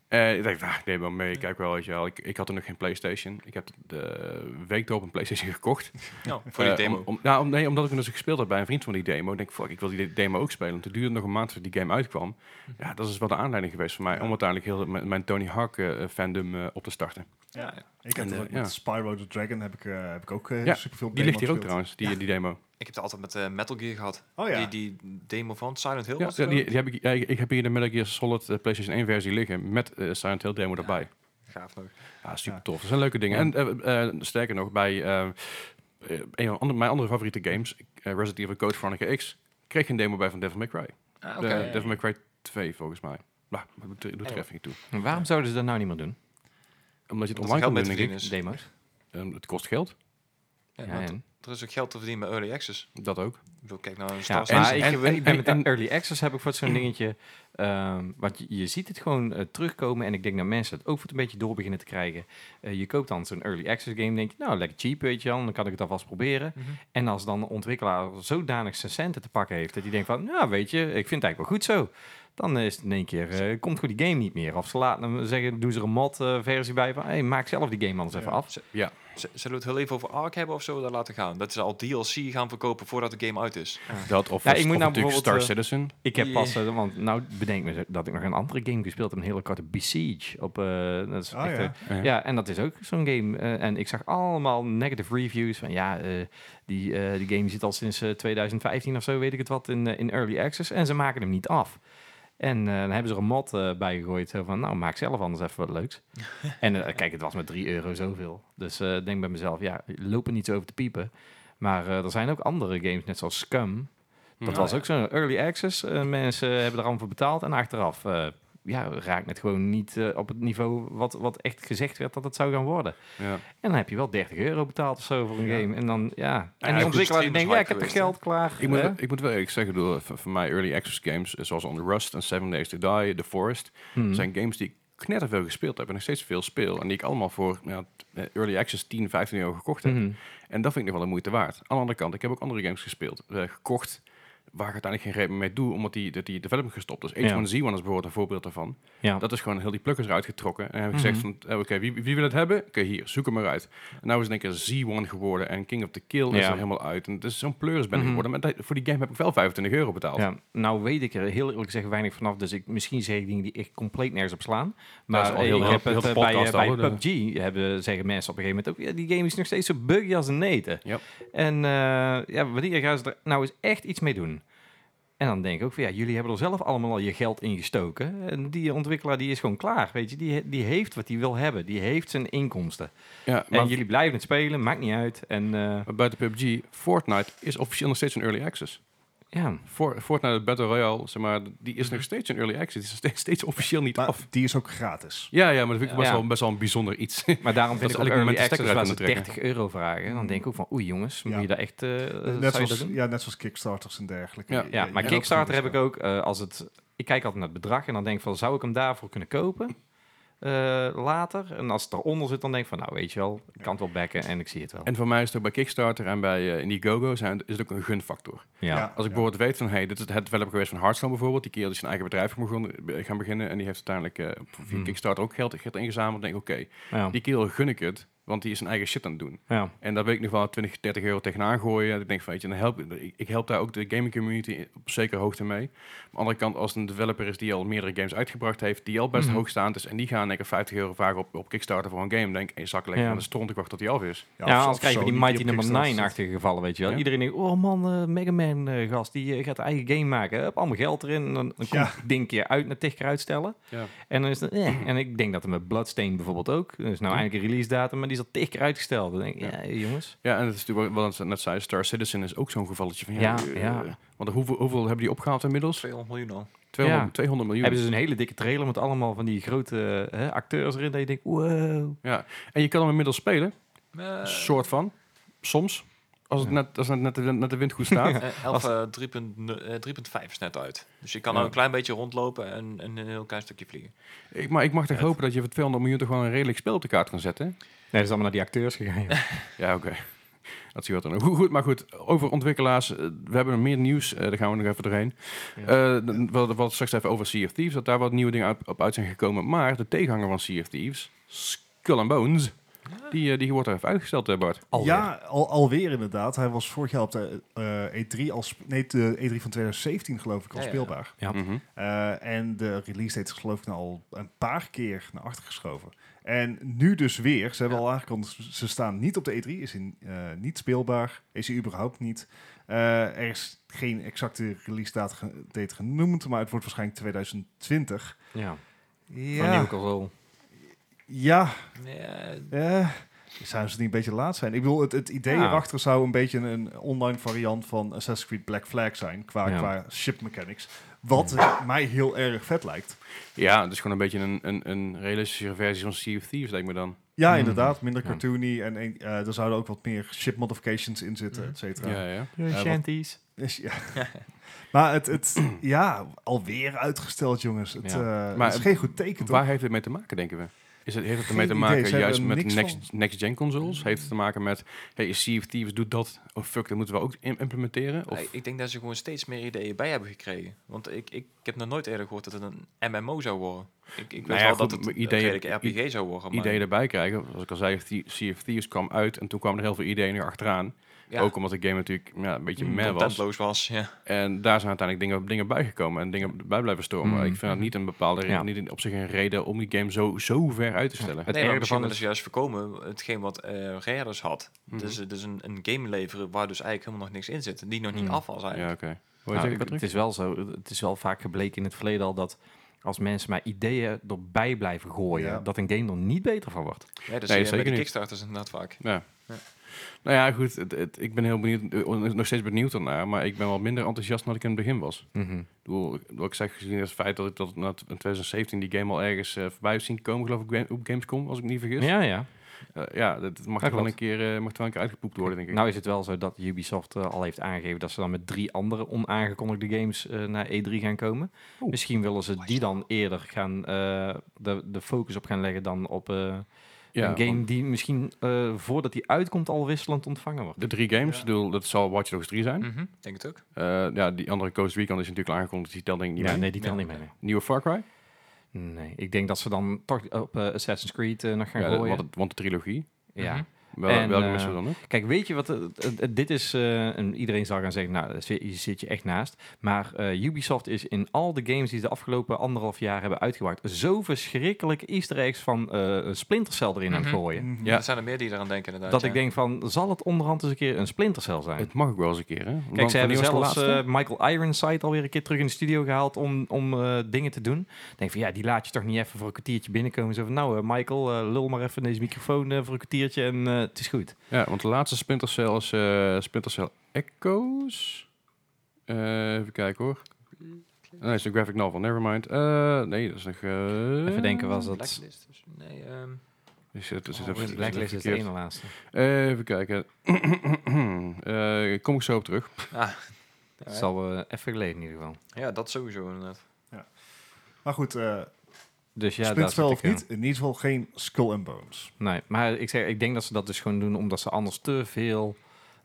S1: Eh ik dacht, ah, ik neem wel mee, ik kijk wel, weet je wel. Ik, ik had er nog geen Playstation. Ik heb de week erop een Playstation gekocht.
S4: Nou, voor die
S1: Eh,
S4: demo.
S1: Om, om- nou, om- nee, omdat ik hem dus gespeeld had bij een vriend van die demo. denk ik, fuck, ik wil die demo ook spelen. Toen duurde het nog een maand voordat die game uitkwam. Ja, dat is wel de aanleiding geweest voor mij om uiteindelijk heel mijn, mijn Tony Hawk eh, fandom eh, op te starten.
S4: ja.
S3: Ik heb
S1: En,
S3: dat
S1: eh,
S3: ook met
S1: ja.
S3: Spyro the Dragon heb ik, eh, heb ik ook eh
S1: Ja,
S3: superveel
S1: Die ligt hier ook
S3: demo's
S1: trouwens, die, die demo.
S4: Ik heb het altijd met eh, Metal Gear gehad.
S3: gespeeld. Oh ja.
S4: Die, die demo van Silent Hill.
S1: Ja,
S4: was het
S1: ja,
S4: wel?
S1: die, die heb ik, ja, ik ik heb hier de Metal Gear Solid eh, PlayStation 1 versie liggen met eh Silent Hill demo erbij.
S4: Gaaf nog.
S1: Ja, super
S3: Ja.
S1: tof. Dat zijn leuke dingen. En eh, eh, sterker nog, bij eh, eh, een van andere- mijn andere favoriete games, eh, Resident Evil Code Veronica X, kreeg ik een demo bij van Devil May Cry.
S4: Ah,
S1: De-
S4: oké.
S1: Eh, Devil May Cry 2 volgens mij. Nou, maar doet doet er even niet toe.
S2: En Waarom zouden ze dat nou niet meer doen?
S1: Omdat je het
S4: Want
S1: online
S4: er
S1: kan
S4: geld mee
S1: doen,
S4: te
S1: denk ik.
S4: verdienen is.
S2: Demo's.
S1: Ehm, het kost geld,
S4: Ja,
S2: Ja,
S4: want
S2: en-
S4: Er is ook geld te verdienen met early access.
S1: dat ook.
S4: Ik bedoel, kijk nou een
S2: Ja,
S4: Star
S1: en-
S2: maar ik,
S1: en-
S2: ik
S1: en-
S2: ben met
S1: en-
S2: de early access heb ik wat zo'n dingetje. ehm want je, je ziet het gewoon eh, terugkomen. En ik denk dat mensen het ook wat een beetje door beginnen te krijgen. Eh, je koopt dan zo'n early access game. Denk je, nou lekker cheap, weet je wel. Dan kan ik het alvast proberen.
S4: Mhm.
S2: En als dan de ontwikkelaar zodanig zijn centen te pakken heeft. Dat hij denkt van, nou weet je, ik vind het eigenlijk wel goed zo. Dan is het in één keer, eh, komt goed die game niet meer. Of ze laten hem zeggen, doen ze er een mod eh, versie bij van, hey, maak zelf die game anders even
S3: Ja.
S2: af.
S4: Z- Zullen we het heel even over Ark hebben of zo? Dat laten gaan. Dat ze al DLC gaan verkopen voordat de game uit is.
S1: Dat of,
S2: Ja, ik
S1: of
S2: moet nou
S1: natuurlijk Star
S2: bijvoorbeeld,
S1: Citizen.
S2: Ik heb
S4: Die-
S2: pas, eh, want nou bedenk me dat ik nog een andere game gespeeld heb, een hele korte Besiege. Op, eh, dat is
S3: Ah,
S2: echt,
S3: ja.
S2: eh, ja. en dat is ook zo'n game. eh, en ik zag allemaal negative reviews van ja, eh, die, eh, die game zit al sinds eh, 2015 of zo, weet ik het wat, in, eh, in early access. En ze maken hem niet af. En eh, dan hebben ze er een mod eh, bij gegooid zo van, nou maak zelf anders even wat leuks. en eh, kijk, het was met 3 euro zoveel. Dus eh, ik denk bij mezelf, ja, loop er niet zo over te piepen. Maar eh, er zijn ook andere games, net zoals Scum. Dat
S1: Nou,
S2: was
S1: ja.
S2: ook zo'n early access. Eh, mensen hebben er allemaal voor betaald. En achteraf eh, ja, raakt het gewoon niet eh, op het niveau wat, wat echt gezegd werd dat het zou gaan worden.
S1: Ja.
S2: En dan heb je wel 30 euro betaald of zo voor een
S3: Ja.
S2: game. En dan, ja. En
S1: goed,
S2: die ontwikkelaar die
S4: streamers
S2: denkt, ja, ik
S4: hype
S2: heb het
S4: geweest,
S2: geld klaar.
S1: Ik, moet,
S2: hè?
S1: ik moet wel eerlijk zeggen, ik bedoel, eh, voor, voor mij early access games, eh, zoals On Rust en Seven Days to Die, The Forest,
S2: Hmm.
S1: zijn games die ik knetterveel gespeeld heb en nog steeds veel speel. En die ik allemaal voor ja, eh, early access 10, 15 euro gekocht heb.
S2: Mhm.
S1: En dat vind ik nog wel de moeite waard. Aan de andere kant, ik heb ook andere games gespeeld, eh, gekocht, waar ik uiteindelijk geen reet meer mee doe, omdat die, dat die development gestopt is. Age
S2: Ja.
S1: One Z One is bijvoorbeeld een voorbeeld daarvan.
S2: Ja.
S1: Nou, Dat is gewoon heel die plukkers eruit getrokken. En hebben gezegd
S2: Mhm.
S1: van, eh, oké, wie, wie wil het hebben? Oké, hier, zoek hem maar uit. En nou is het een keer Z1 geworden en King of the Kill is
S2: Ja.
S1: er helemaal uit. En het is zo'n pleuris ben ik
S2: Mhm.
S1: geworden. Maar dat- voor die game heb ik wel 25 euro betaald.
S2: ja. Nou weet ik er heel eerlijk gezegd weinig vanaf. Dus ik, misschien zeg ik dingen die echt compleet nergens op slaan.
S1: is
S2: Maar
S1: al heel-
S2: ik
S1: heel-
S2: heb
S1: heel
S2: het
S1: de
S2: eh, bij, eh,
S1: podcast al, dus,
S2: bij
S1: hoor.
S2: PUBG hebben, zeggen mensen op een gegeven moment ook... Ja, die game is nog steeds zo buggy als een eten.
S1: Ja.
S2: En eh, ja, wanneer gaan ze er nou eens echt iets mee doen? En dan denk ik ook van ja, jullie hebben er zelf allemaal al je geld in gestoken. En die ontwikkelaar die is gewoon klaar, weet je. Die, die heeft wat hij wil hebben. Die heeft zijn inkomsten.
S1: Ja,
S2: en
S1: maar
S2: jullie blijven het spelen, maakt niet uit. En eh,
S1: maar buiten PUBG, Fortnite is officieel nog steeds een early access.
S2: ja,
S1: For- Fortnite Battle Royale, zeg maar, die is
S2: Mhm.
S1: nog steeds een early access. Die is nog steeds, steeds officieel niet
S3: Maar
S1: af.
S3: die is ook gratis.
S1: Ja, ja, maar dat vind ik
S2: Ja.
S1: best, wel, best wel een bijzonder iets.
S2: maar daarom
S1: Dat
S2: vind
S1: ze
S2: ik ook
S1: elk moment
S2: early
S1: de
S2: access
S1: stekker
S2: waar
S1: uit
S2: ze
S1: kunnen trekken.
S2: 30 euro vragen. Dan denk ik ook van oei jongens,
S3: Ja.
S2: moet je daar echt... eh, zou je
S3: net,
S2: dat
S3: zoals,
S2: doen?
S3: ja, net zoals Kickstarters en dergelijke.
S1: Ja.
S2: Ja, maar
S3: je- dus
S2: Kickstarter
S3: je-
S2: heb ik ook. eh, als het, ik kijk altijd naar het bedrag en dan denk ik van, zou ik hem daarvoor kunnen kopen eh, later? En als het eronder zit, dan denk ik van, nou weet je wel, ik kan het wel backen en ik zie het wel.
S1: en voor mij is het ook bij Kickstarter en bij eh, Indiegogo zijn, is het ook een gunfactor.
S2: ja.
S3: Ja.
S1: Als ik bijvoorbeeld weet van, hey, dit is het developer geweest van Hearthstone bijvoorbeeld. Die kerel is zijn eigen bedrijf begon- be- gaan beginnen. En die heeft uiteindelijk eh, via
S2: Hmm.
S1: Kickstarter ook geld, geld ingezameld. Dan denk ik, oké,
S2: Ja.
S1: die kerel gun ik het. Want die is zijn eigen shit aan het doen.
S2: ja.
S1: En daar weet ik nog wel 20, 30 euro tegenaan gooien. En ik denk van, weet je, dan help, ik, ik help daar ook de gaming community op zekere hoogte mee. Aan de andere kant, als het een developer is die al meerdere games uitgebracht heeft, die al best
S2: Mhm.
S1: hoogstaand is, en die gaan lekker 50 euro vragen op, op Kickstarter voor een game, dan denk ik, hey, zak lekker
S2: Ja.
S1: aan de stront, ik wacht tot die af is.
S2: Ja,
S3: of-
S2: anders
S3: of
S2: krijgen we die
S3: Sony
S2: Mighty
S3: op
S2: nummer
S3: Kickstarter
S2: 9-achtige gevallen, weet je wel.
S1: Ja.
S2: Iedereen denkt, oh man, eh, Mega Man eh, gast, die eh, gaat een eigen game maken. Hup, allemaal geld erin. En dan, dan komt
S3: Ja.
S2: het ding een keer uit naar tig keer uitstellen.
S1: Ja.
S2: En dan is het, eh. En ik denk dat er met Bloodstain bijvoorbeeld ook. Er is nou eindelijk een release datum, maar die is al tig keer uitgesteld. Dan denk ik,
S1: Ja.
S2: ja, jongens.
S1: Ja, en dat is natuurlijk wel- wat ik net zei, Star Citizen is ook zo'n gevalletje van, ja,
S2: Ja,
S1: eh,
S2: ja.
S1: want hoeveel, hoeveel hebben die opgehaald inmiddels?
S4: 200 miljoen al.
S1: 200,
S2: Ja.
S1: 200 miljoen.
S2: Hebben ze dus een hele dikke trailer met allemaal van die grote eh, acteurs erin. Dat je denkt, wow.
S1: ja. En je kan hem inmiddels spelen.
S4: Eh,
S1: soort van. Soms. Als het,
S2: Ja.
S1: net, als het net, de- net de wind goed staat.
S4: eh, elf, eh, 3.0 eh, 3.5 is net uit. Dus je kan
S1: Ja.
S4: nou een klein beetje rondlopen en, en een heel klein stukje vliegen.
S1: ik, maar ik mag toch hopen dat je voor 200 miljoen toch gewoon een redelijk spel op de kaart kan zetten.
S2: dat is allemaal naar die acteurs gegaan. ja.
S1: Ja, oké. Dat zie je dan. Goed, goed, maar goed. Over ontwikkelaars. eh, We hebben meer nieuws. eh, daar gaan we nog even doorheen.
S2: Ja.
S1: Eh, d- we hadden wat straks even over Sea of Thieves. Dat daar wat nieuwe dingen uit- op uit zijn gekomen. Maar de tegenhanger van Sea of Thieves, Skull and Bones,
S3: Ah.
S1: die, eh, die wordt er even uitgesteld, eh, Bart.
S2: Alweer.
S3: Ja, al, alweer inderdaad. Hij was vorig jaar op de eh, E3, als, nee, de E3 van 2017 geloof ik al
S4: Ja, ja.
S3: speelbaar.
S2: Ja.
S1: Mhm.
S3: Eh, en de release date is geloof ik nou al een paar keer naar achter geschoven. En nu dus weer, ze hebben al aangekondigd, ze staan niet op de E3, is in, eh, niet speelbaar, is hij überhaupt niet. Eh, er is geen exacte release date, ge- date genoemd, maar het wordt waarschijnlijk 2020.
S2: Ja. Maar
S3: Ja,
S2: nieuwe console.
S3: ja
S4: Ja,
S3: eh, zouden ze niet een beetje laat zijn? Ik bedoel, het, het idee
S2: Ja.
S3: erachter zou een beetje een online variant van Assassin's Creed Black Flag zijn, qua,
S2: Ja.
S3: qua ship mechanics. Wat mij heel erg vet lijkt.
S1: Ja, het is gewoon een beetje een, een, een realistische versie van Sea of Thieves, lijkt me dan.
S3: Ja,
S2: Mm.
S3: inderdaad. Minder
S2: Ja.
S3: cartoony. En eh, er zouden ook wat meer ship modifications in zitten,
S4: Mhm.
S3: et cetera.
S1: Ja, ja.
S3: wat-
S2: shanties.
S3: Dus ja. maar het, het, ja, alweer uitgesteld, jongens. Het, eh,
S1: Maar
S3: is geen goed teken, toch?
S1: Waar heeft het mee te maken, denken we? Is het, heeft het ermee
S3: Geen
S1: te
S3: idee,
S1: maken
S3: ze hebben
S1: juist
S3: er
S1: met
S3: niks
S1: next- next-gen consoles? Heeft het te maken met, hey, Sea of Thieves doet dat, oh fuck, dat moeten we ook im- implementeren? Of,
S4: Nee, ik denk dat ze gewoon steeds meer ideeën bij hebben gekregen. Want ik, ik, ik heb nog nooit eerder gehoord dat het een MMO zou worden. Ik, ik weet
S1: Nou ja,
S4: wel
S1: goed,
S4: dat het
S1: maar
S4: een
S1: ideeën-
S4: redelijke RPG zou worden. Maar
S1: ideeën erbij krijgen. Zoals ik al zei, The- Sea of Thieves kwam uit en toen kwamen er heel veel ideeën nog achteraan.
S4: ja,
S1: Ook omdat de game natuurlijk ja, een beetje
S2: Mm,
S1: meh was.
S4: contentloos was. Ja.
S1: En daar zijn uiteindelijk dingen, dingen bijgekomen en dingen bij blijven stormen.
S2: Mm.
S1: Ik vind dat niet een bepaalde reden,
S2: Ja.
S1: niet in- op zich een reden om die game zo, zo ver uit te stellen.
S2: Het
S4: nee,
S2: erge
S4: maar misschien
S2: ervan
S4: dat
S2: is-
S4: ze juist voorkomen hetgeen wat eh Rare dus had.
S1: Mhm.
S4: Dus, eh, dus een, een game leveren waar dus eigenlijk helemaal nog niks in zit. en Die nog niet
S2: Mhm.
S4: af was
S1: Ja,
S4: eigenlijk.
S1: oké. Wou je
S2: Nou,
S1: zeggen,
S2: het,
S1: Patrick?
S2: het is wel zo. Het is wel vaak gebleken in het verleden al dat als mensen maar ideeën erbij blijven gooien,
S3: Ja.
S2: dat een game er niet beter van wordt.
S4: Ja, dus
S1: Nee,
S4: nee, bij
S1: zeker
S4: de
S1: niet.
S4: Kickstarters inderdaad vaak.
S1: Ja.
S4: Ja.
S1: Nou ja, goed. Het, het- ik ben heel benieuwd, eh, nog steeds benieuwd ernaar, maar ik ben wel minder enthousiast dan ik in het begin was. Ik bedoel, wat ik zeg, gezien het feit dat ik tot na- in 2017 die game al ergens eh, voorbij heb zien komen, geloof ik, bij- op Gamescom, als ik me niet vergis.
S2: Ja, ja.
S1: Eh, ja, dat dat mag,
S2: Ja,
S1: er wel
S2: klopt.
S1: een keer, eh, mag er wel een keer uitgepoept worden, denk ik.
S2: Nou is het wel zo dat Ubisoft eh, al heeft aangegeven dat ze dan met drie andere onaangekondigde games eh, naar E3 gaan komen.
S1: Oeh.
S2: Misschien willen ze die dan eerder gaan eh, de, de focus op gaan leggen dan op eh,
S1: ja,
S2: een game
S1: want
S2: die misschien eh, voordat die uitkomt al wisselend ontvangen wordt.
S1: De drie games,
S3: Ja.
S1: ik bedoel, dat zal Watch Dogs 3 zijn.
S4: Mhm, Denk het ook.
S1: Eh, ja, die andere Coast Recon is natuurlijk al aangekondigd, dus die telt denk ik niet
S2: Ja,
S1: mee.
S2: nee, die telt
S4: Ja.
S2: niet mee. nee.
S1: Nieuwe Far Cry,
S2: Nee, ik denk dat ze dan toch op eh, Assassin's Creed eh, nog gaan
S1: ja, dat-
S2: gooien.
S1: want, het- want de trilogie.
S2: ja.
S4: Mhm.
S1: Wel,
S2: En,
S1: welke
S2: eh,
S1: mensen dan ook?
S2: Kijk, weet je wat? het- het- het- dit is. eh, en iedereen zal gaan zeggen, nou, daar zit- hier zit je echt naast. Maar eh, Ubisoft is in al de games die ze de afgelopen anderhalf jaar hebben uitgebracht. zo verschrikkelijk Easter eggs van eh Splinter Cell erin aan het
S4: Mhm.
S2: gooien.
S3: Mhm.
S1: Ja.
S4: Er zijn er meer die eraan denken inderdaad.
S2: Dat
S4: ja.
S2: ik denk van, zal het onderhand eens een keer een Splinter Cell zijn?
S1: Het mag ook wel eens een keer, hè?
S2: Kijk,
S1: Want van
S2: ze hebben
S1: die was de
S2: zelfs
S1: laatste.
S2: eh, Michael Ironside alweer een keer terug in de studio gehaald om, om eh, dingen te doen. Ik Denk van ja, die laat je toch niet even voor een kwartiertje binnenkomen. Zo van nou, eh, Michael, eh, lul maar even in deze microfoon eh, voor een kwartiertje en eh, het is goed.
S1: Ja, want de laatste Splinter Cell is eh, Splinter Cell Echoes. Eh, even kijken hoor. Oh, Nee, dat is een graphic novel, nevermind. Eh nee, dat is nog... eh,
S2: Even denken was dat.
S4: Blacklist. dus- Nee, ehm,
S1: Ik zit- ik
S4: Oh,
S1: zit even-
S4: die
S1: ik zit
S2: Blacklist is de
S1: verkeerd.
S2: ene laatste.
S1: Eh, Even kijken. Eh, kom ik zo op terug.
S4: ah,
S2: Dat is al eh, even geleden in ieder geval.
S4: ja, dat sowieso inderdaad.
S3: Maar goed, eh
S2: Dus ja,
S3: Splinter
S2: dat
S3: Cell of niet, in ieder geval geen Skull and Bones.
S2: Nee, maar ik, zeg, ik denk dat ze dat dus gewoon doen omdat ze anders te veel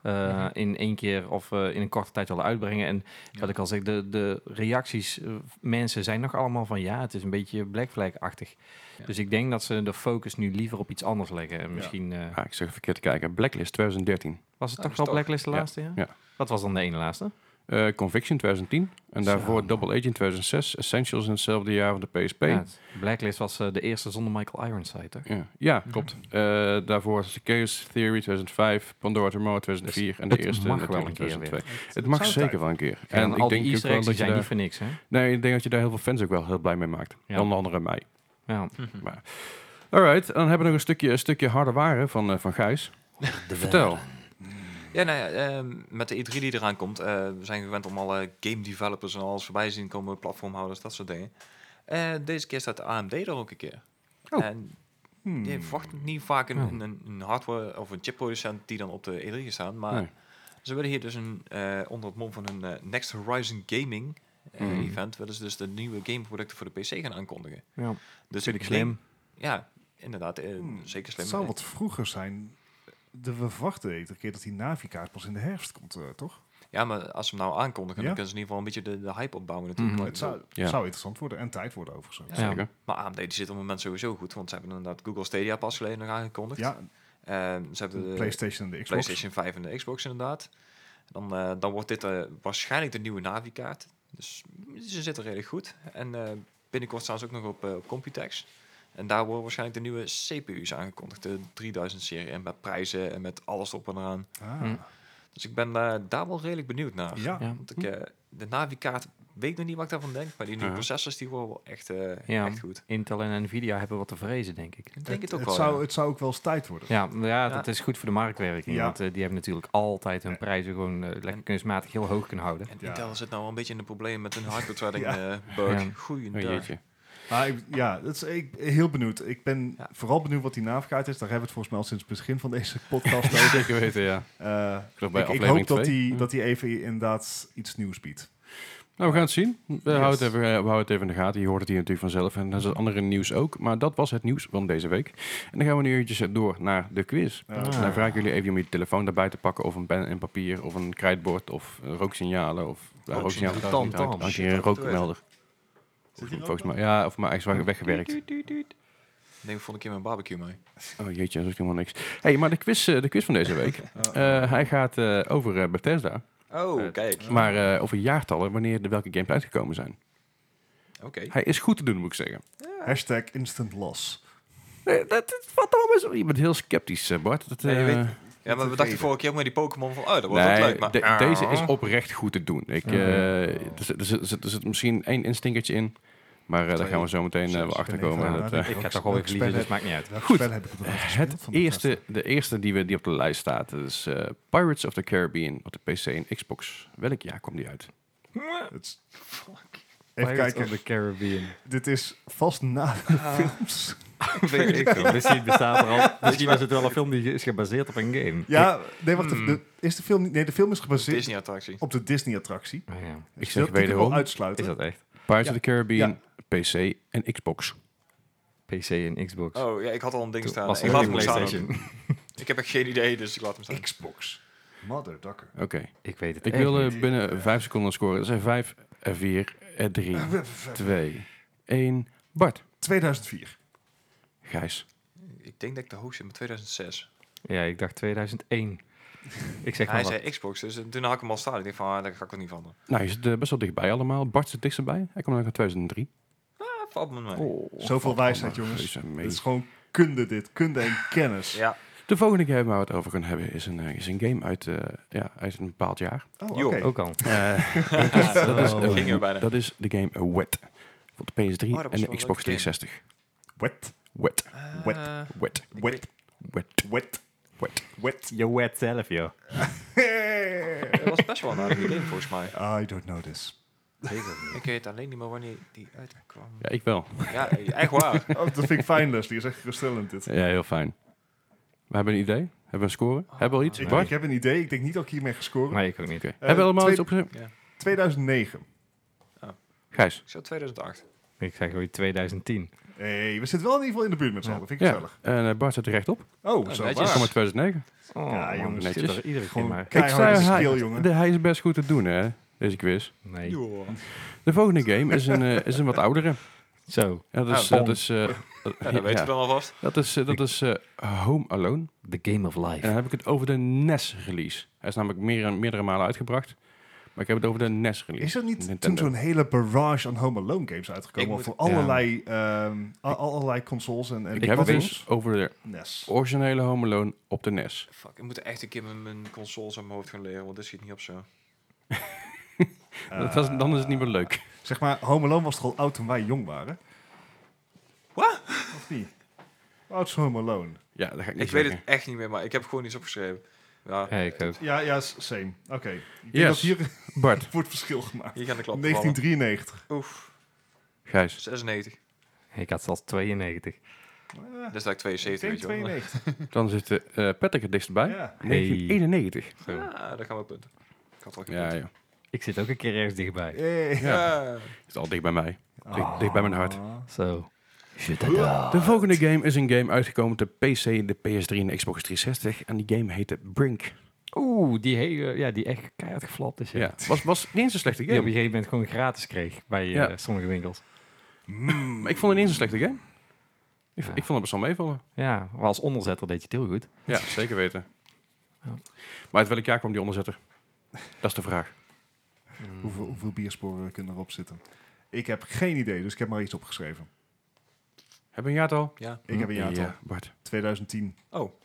S2: eh,
S4: Mhm.
S2: in één keer of eh, in een korte tijd willen uitbrengen. En
S4: Ja.
S2: wat ik al zeg, de, de reacties, eh, mensen zijn nog allemaal van ja, het is een beetje Black Flag-achtig.
S4: Ja.
S2: Dus ik denk dat ze de focus nu liever op iets anders leggen. En misschien eh,
S1: Ah, ik zeg verkeerd te kijken. Blacklist 2013.
S2: was het
S4: Ah,
S2: toch
S4: is
S2: wel
S4: toch.
S2: Blacklist de
S1: Ja,
S2: laatste, ja?
S1: ja.
S2: Dat was dan de ene laatste.
S1: Eh, Conviction 2010. En
S2: Zo.
S1: daarvoor Double Agent 2006. Essentials in hetzelfde jaar van de PSP.
S2: Ja,
S1: Ja,
S2: het- Blacklist was eh, de eerste zonder Michael Ironside, toch?
S1: ja. klopt. Eh, daarvoor was Chaos Theory 2005. Pandora Tomorrow 2004. en de
S2: het
S1: eerste
S2: mag
S1: natuurlijk
S2: wel een keer
S1: 2002.
S3: Het
S1: Het mag
S3: zou
S1: zeker
S3: tijd.
S1: wel een keer.
S2: En,
S1: En
S2: al
S1: ik
S2: die
S1: denk ook
S2: Easter
S1: wel
S2: eggs
S1: dat
S2: die
S1: je
S2: zijn
S1: daar...
S2: niet voor niks, hè?
S1: Nee, ik denk dat je daar heel veel fans ook wel heel blij mee maakt.
S2: Ja.
S1: Onder andere mij.
S2: Ja.
S1: Maar. Alright, dan hebben we nog een stukje, een stukje harde ware van, eh, van Gijs. Vertel.
S4: Ja, nou ja, ehm, met de E3 die eraan komt, eh, we zijn gewend om alle game developers en alles voorbij te zien komen, platformhouders, dat soort dingen. Eh, deze keer staat de AMD er ook een keer.
S1: Oh.
S4: En
S3: Hmm.
S4: Je verwacht niet vaak een,
S1: Ja.
S4: een- een, een hardware of een chipproducent die dan op de E3 staat. Maar
S1: Nee.
S4: ze willen hier dus een, eh, onder het mom van een eh, Next Horizon Gaming eh,
S1: Mhm.
S4: event, willen ze dus de nieuwe gameproducten voor de PC gaan aankondigen.
S2: Ja.
S4: Dus
S2: Vind ik
S4: denk-
S2: slim.
S4: Ja, inderdaad, eh,
S3: Hmm.
S4: zeker
S3: Het
S4: slim.
S3: zou wat vroeger zijn. De, we verwachten iedere keer dat die Navi-kaart pas in de herfst komt, eh, toch?
S4: Ja, maar als ze hem nou aankondigen,
S3: Ja.
S4: dan kunnen ze in ieder geval een beetje de, de hype opbouwen natuurlijk.
S2: Mhm.
S4: Maar
S3: Het zou,
S1: Ja.
S3: zou interessant worden en tijd worden overigens.
S4: Ja.
S3: Ja,
S1: Zeker.
S4: Maar AMD die zit op het moment sowieso goed, want ze hebben inderdaad Google Stadia pas geleden nog aangekondigd. Ehm, ze hebben
S3: de
S4: de
S3: PlayStation en de Xbox.
S4: PlayStation 5 en de Xbox inderdaad. Dan, eh, dan wordt dit eh, waarschijnlijk de nieuwe Navi-kaart. Dus ze zitten redelijk goed. En eh, binnenkort staan ze ook nog op, eh, op Computex. En daar worden waarschijnlijk de nieuwe CPU's aangekondigd. De 3000-serie. En met prijzen en met alles op en eraan.
S3: Ah,
S1: Hmm.
S2: Hm.
S4: Dus ik ben eh, daar wel redelijk benieuwd naar.
S3: Ja.
S2: Ja.
S4: Want ik, eh, de Navi-kaart weet ik nog niet wat ik daarvan denk. Maar die nieuwe
S1: Ja.
S3: Uh-huh.
S4: processors die worden wel echt, eh,
S2: Ja.
S4: echt goed.
S2: Intel en Nvidia hebben wat te vrezen, denk ik.
S4: Ik denk het, ook
S3: het,
S4: wel.
S3: zou,
S4: ja.
S3: het zou ook wel eens tijd worden.
S2: Ja, maar ja, dat is goed voor de marktwerking.
S3: Ja.
S2: Want eh, die hebben natuurlijk altijd hun prijzen gewoon eh, lekker
S4: En-
S2: kunstmatig heel hoog kunnen houden.
S4: En
S3: Ja.
S4: Intel zit nou wel een beetje in de probleem met hun hardware threading
S3: Ja.
S4: eh, bug.
S2: Ja.
S1: Oh,
S4: Goeiedag.
S1: jeetje.
S3: Maar ik- ja, dat is, ik heel benieuwd. Ik ben
S4: Ja.
S3: vooral benieuwd wat die navigaat is. Daar hebben we het volgens mij al sinds het begin van deze podcast
S1: Dat
S3: over.
S1: zeker weten, ja.
S3: Eh,
S1: geloof bij
S3: ik, ik
S1: aflevering
S3: hoop dat
S1: twee. Mm.
S3: die,
S1: Ja.
S3: dat die even inderdaad iets nieuws biedt.
S1: Nou, we gaan het zien. We,
S3: Yes.
S1: houden het even, eh, we houden het even in de gaten. Je hoort het hier natuurlijk vanzelf. En dat is het andere nieuws ook. Maar dat was het nieuws van deze week. En dan gaan we nu eventjes eh, door naar de quiz.
S3: Eh,
S2: Ah.
S1: En dan vraag ik jullie even om je telefoon daarbij te pakken. Of een pen en papier. Of een krijtbord. Of eh, rooksignalen. Of ja,
S4: Rooksignalen.
S1: rooksignalen.
S2: Tam,
S1: trouwens niet uit.
S2: tam.
S1: Als je
S4: Shit,
S1: een
S4: dat moet
S1: rookmelder.
S3: Zit die
S1: Volgens mij. Ja, of maar extra weggewerkt.
S4: Neem volgende keer mijn barbecue mee.
S1: Oh jeetje, dat is helemaal niks. hey, maar de quiz, eh, de quiz van deze week. Eh, hij gaat eh, over eh, Bethesda.
S4: Oh,
S1: Eh,
S4: kijk. Oké.
S1: Maar eh, over jaartallen. Wanneer de welke games uitgekomen zijn. Hij is goed te doen, moet ik zeggen.
S3: Hashtag instant loss.
S1: Nee, dat, dat- wat dan is, je bent heel sceptisch, eh, Bart. Dat,
S4: Ja, je
S1: eh,
S4: weet- Ja, maar we
S3: tevreden.
S4: dachten vorige keer ook met die Pokémon van, oh, dat wordt
S1: nee,
S4: ook leuk. Maar Oh. Ah.
S1: de- deze is oprecht goed te doen. Ik, eh,
S2: Ja.
S1: er, zit, er, zit, er zit- er zit misschien één instinkertje in, maar eh, daar gaan we zo meteen eh, wel achter komen.
S3: Ja,
S1: Dat,
S3: dat-
S1: eh,
S2: Ik ga
S3: Welk-
S2: toch wel weer
S3: welk
S2: verliezen,
S3: spel
S2: dus maakt niet uit.
S3: Welk
S1: Goed.
S3: spel heb ik op
S1: het eerste, de eerste die, we, die op de lijst staat is eh, Pirates of the Caribbean op de PC en Xbox. Welk jaar kwam die uit?
S3: Even kijken.
S2: de Caribbean.
S3: Dit is vast na de
S1: Ah.
S3: films.
S4: Weet ik veel.
S2: Misschien bestaat er al. Misschien was het wel een film die is gebaseerd op een game.
S3: Ja, nee, wacht.
S4: Hmm.
S3: De, is de film niet? Nee, de film is gebaseerd
S4: Disney-attractie.
S3: op de Disney-attractie.
S2: Ah, ja.
S1: Ik
S3: Dus
S1: zeg
S3: dat kan
S1: wederom,
S3: wel uitsluiten.
S2: Is dat echt?
S1: Pirates
S3: Ja.
S1: of the Caribbean, PC en Xbox.
S2: PC en Xbox.
S4: Oh, ja, ik had al een ding
S2: Toen
S4: staan.
S2: was
S4: Ik
S2: er
S4: laat
S2: een
S4: hem staan.
S2: PlayStation.
S4: Ik heb echt geen idee, dus ik laat hem staan.
S3: Xbox. Mother Ducker.
S1: Oké,
S2: Ik weet het
S1: ik
S2: echt
S1: wil eh,
S2: niet.
S1: binnen vijf seconden scoren. Dat zijn vijf, eh, vier, eh, drie, twee, één. Bart,
S3: 2004.
S1: Gijs.
S4: Ik denk dat ik de hoogste met 2006.
S2: Ja, ik dacht 2001. Ik zeg maar
S4: Hij
S2: wat.
S4: zei Xbox, dus eh, toen had ik hem al staan. Ik dacht van, ah, daar ga ik het niet van.
S1: Nou, je zit eh, best wel dichtbij allemaal. Bart zit dichtst bij. Hij komt uit 2003.
S4: Ah, valt me mee.
S3: Zoveel wijsheid, jongens.
S1: Reuze mee.
S3: Het is gewoon kunde dit. Kunde en kennis.
S4: Ja,
S1: De volgende game waar we het over kunnen hebben is een, eh, is een game uit, eh, ja, uit een bepaald jaar.
S3: Oh, oké.
S4: Joh.
S2: Ook al.
S1: Eh,
S4: dat
S1: dat, is, eh,
S4: Oh. ging er bijna.
S1: dat is de game Wet. Voor de PS3
S4: Oh, dat was
S1: en
S4: wel
S1: de
S4: een
S1: Xbox
S4: leuke game.
S1: 360.
S3: Wet,
S1: Wet,
S4: Ah,
S3: Wet.
S1: wet,
S4: Ik
S3: wet,
S1: wet,
S3: wet,
S1: wet.
S3: wet.
S2: Je wet zelf, joh.
S4: dat was best wel een aardige game volgens mij.
S3: I don't know this.
S4: Ik weet alleen niet meer wanneer die uitkwam.
S1: Ja, ik wel.
S4: Ja, eh, echt waar.
S3: Oh, dat vind ik fijn, Leslie. is echt geruststellend dit.
S1: Ja, heel fijn. We hebben een idee. Hebben we een score? Hebben we al iets?
S3: Ik,
S1: Bart?
S3: ik heb een idee. Ik denk niet dat ik hiermee gescoord.
S2: Nee, ik ook niet.
S1: Oké. hebben we allemaal
S3: twee-
S1: iets opgezet?
S3: 2009.
S1: Gijs.
S4: Ik zat 2008.
S2: Ik zeg gewoon 2010.
S3: hey, we zitten wel in ieder geval in de buurt met z'n allen. Vind ik
S1: Ja.
S3: gezellig.
S1: En eh, Bart zit er rechtop.
S3: Oh,
S4: Ja, netjes.
S3: zo
S1: Hij kwam
S3: waar.
S1: uit 2009.
S2: Oh,
S3: Ja,
S2: man,
S3: jongens,
S2: ik zit
S1: netjes.
S2: er iedere keer
S3: Gewoon
S2: maar.
S3: keiharde
S1: zei,
S3: skill,
S1: hij-
S3: jongen.
S1: de- hij is best goed te doen, hè? Deze quiz.
S2: Nee.
S1: De volgende game is een, eh, is een wat oudere.
S2: Zo,
S1: Ja, dat is,
S4: Ah,
S1: dat is, eh,
S4: Ja,
S1: ja,
S4: dat weten we dan alvast.
S1: dat is, eh, dat is eh, Home Alone.
S2: The Game of
S1: En
S2: Life.
S1: dan heb ik het over de NES-release. Hij is namelijk meer, meerdere malen uitgebracht. Maar ik heb het over de E NES-release.
S3: Is er niet
S1: Nintendo.
S3: toen zo'n hele barrage aan Home Alone games
S4: Ik
S3: uitgekomen?
S4: moet-
S3: voor allerlei, ehm, a- allerlei consoles en, en
S1: Ik heb het
S3: platforms?
S1: dus over de
S3: NES.
S1: originele Home Alone op de E NES.
S4: Fuck, ik moet echt een keer mijn- mijn consoles aan mijn hoofd gaan leren, want dit schiet niet op zo.
S1: dat was, dan is het niet meer leuk.
S3: Zeg maar, Home Alone was toch al oud toen wij jong waren?
S4: Wat?
S3: Of niet? Hoe Oud is Home Alone.
S1: Ja, dat ga
S4: Ik
S1: ik
S4: weet
S1: niet zeggen.
S4: het echt niet meer, maar ik heb gewoon iets opgeschreven. Ja,
S2: Ja, ik ook.
S3: Ja, ja, s- same. Oké. Ik denk
S1: Yes.
S3: dat hier
S1: Bart,
S3: wordt verschil gemaakt.
S4: hier gaan de klappen
S3: 1993.
S4: vallen. Oef,
S1: Gijs,
S4: 96.
S2: Ik had zelfs 92.
S3: Eh,
S4: Dus dat ik
S3: ik
S4: 72,
S3: denk
S4: weet je wel.
S3: 92.
S1: Dan zit eh eh, Patrick er dichtstbij.
S3: Ja.
S1: 1991.
S4: Ja, daar gaan we punten. Ik had al
S1: Ja, ja.
S2: Ik zit ook een keer ergens dichtbij.
S3: Hey.
S1: ja.
S4: Ja.
S1: Is al dicht bij mij. Dicht, dicht bij mijn hart.
S2: Zo.
S1: De volgende game is een game uitgekomen op de PC, de PS3 en de Xbox 360. En die game heette Brink.
S2: Oeh, die hele, ja, die echt keihard geflapt is. Ja.
S1: Ja. Was, was niet eens een slechte
S2: Die op een
S1: game.
S2: gegeven moment gewoon gratis kreeg bij eh,
S1: Ja.
S2: sommige winkels.
S1: Maar ik vond het niet eens een slechte game. Ik,
S2: Ja.
S1: ik vond het best wel meevallen.
S2: Ja, maar als onderzetter deed je het heel goed.
S1: Ja, zeker weten.
S2: Ja.
S1: Maar uit welk jaar kwam die onderzetter? Dat is de vraag.
S3: Hoeveel, hoeveel biersporen kunnen erop zitten? Ik heb geen idee, dus ik heb maar iets opgeschreven.
S1: Hebben we een jaartal?
S4: ja.
S3: Ik heb een jaartal.
S1: Hm, Ja, Bart.
S3: 2010.
S4: Oh,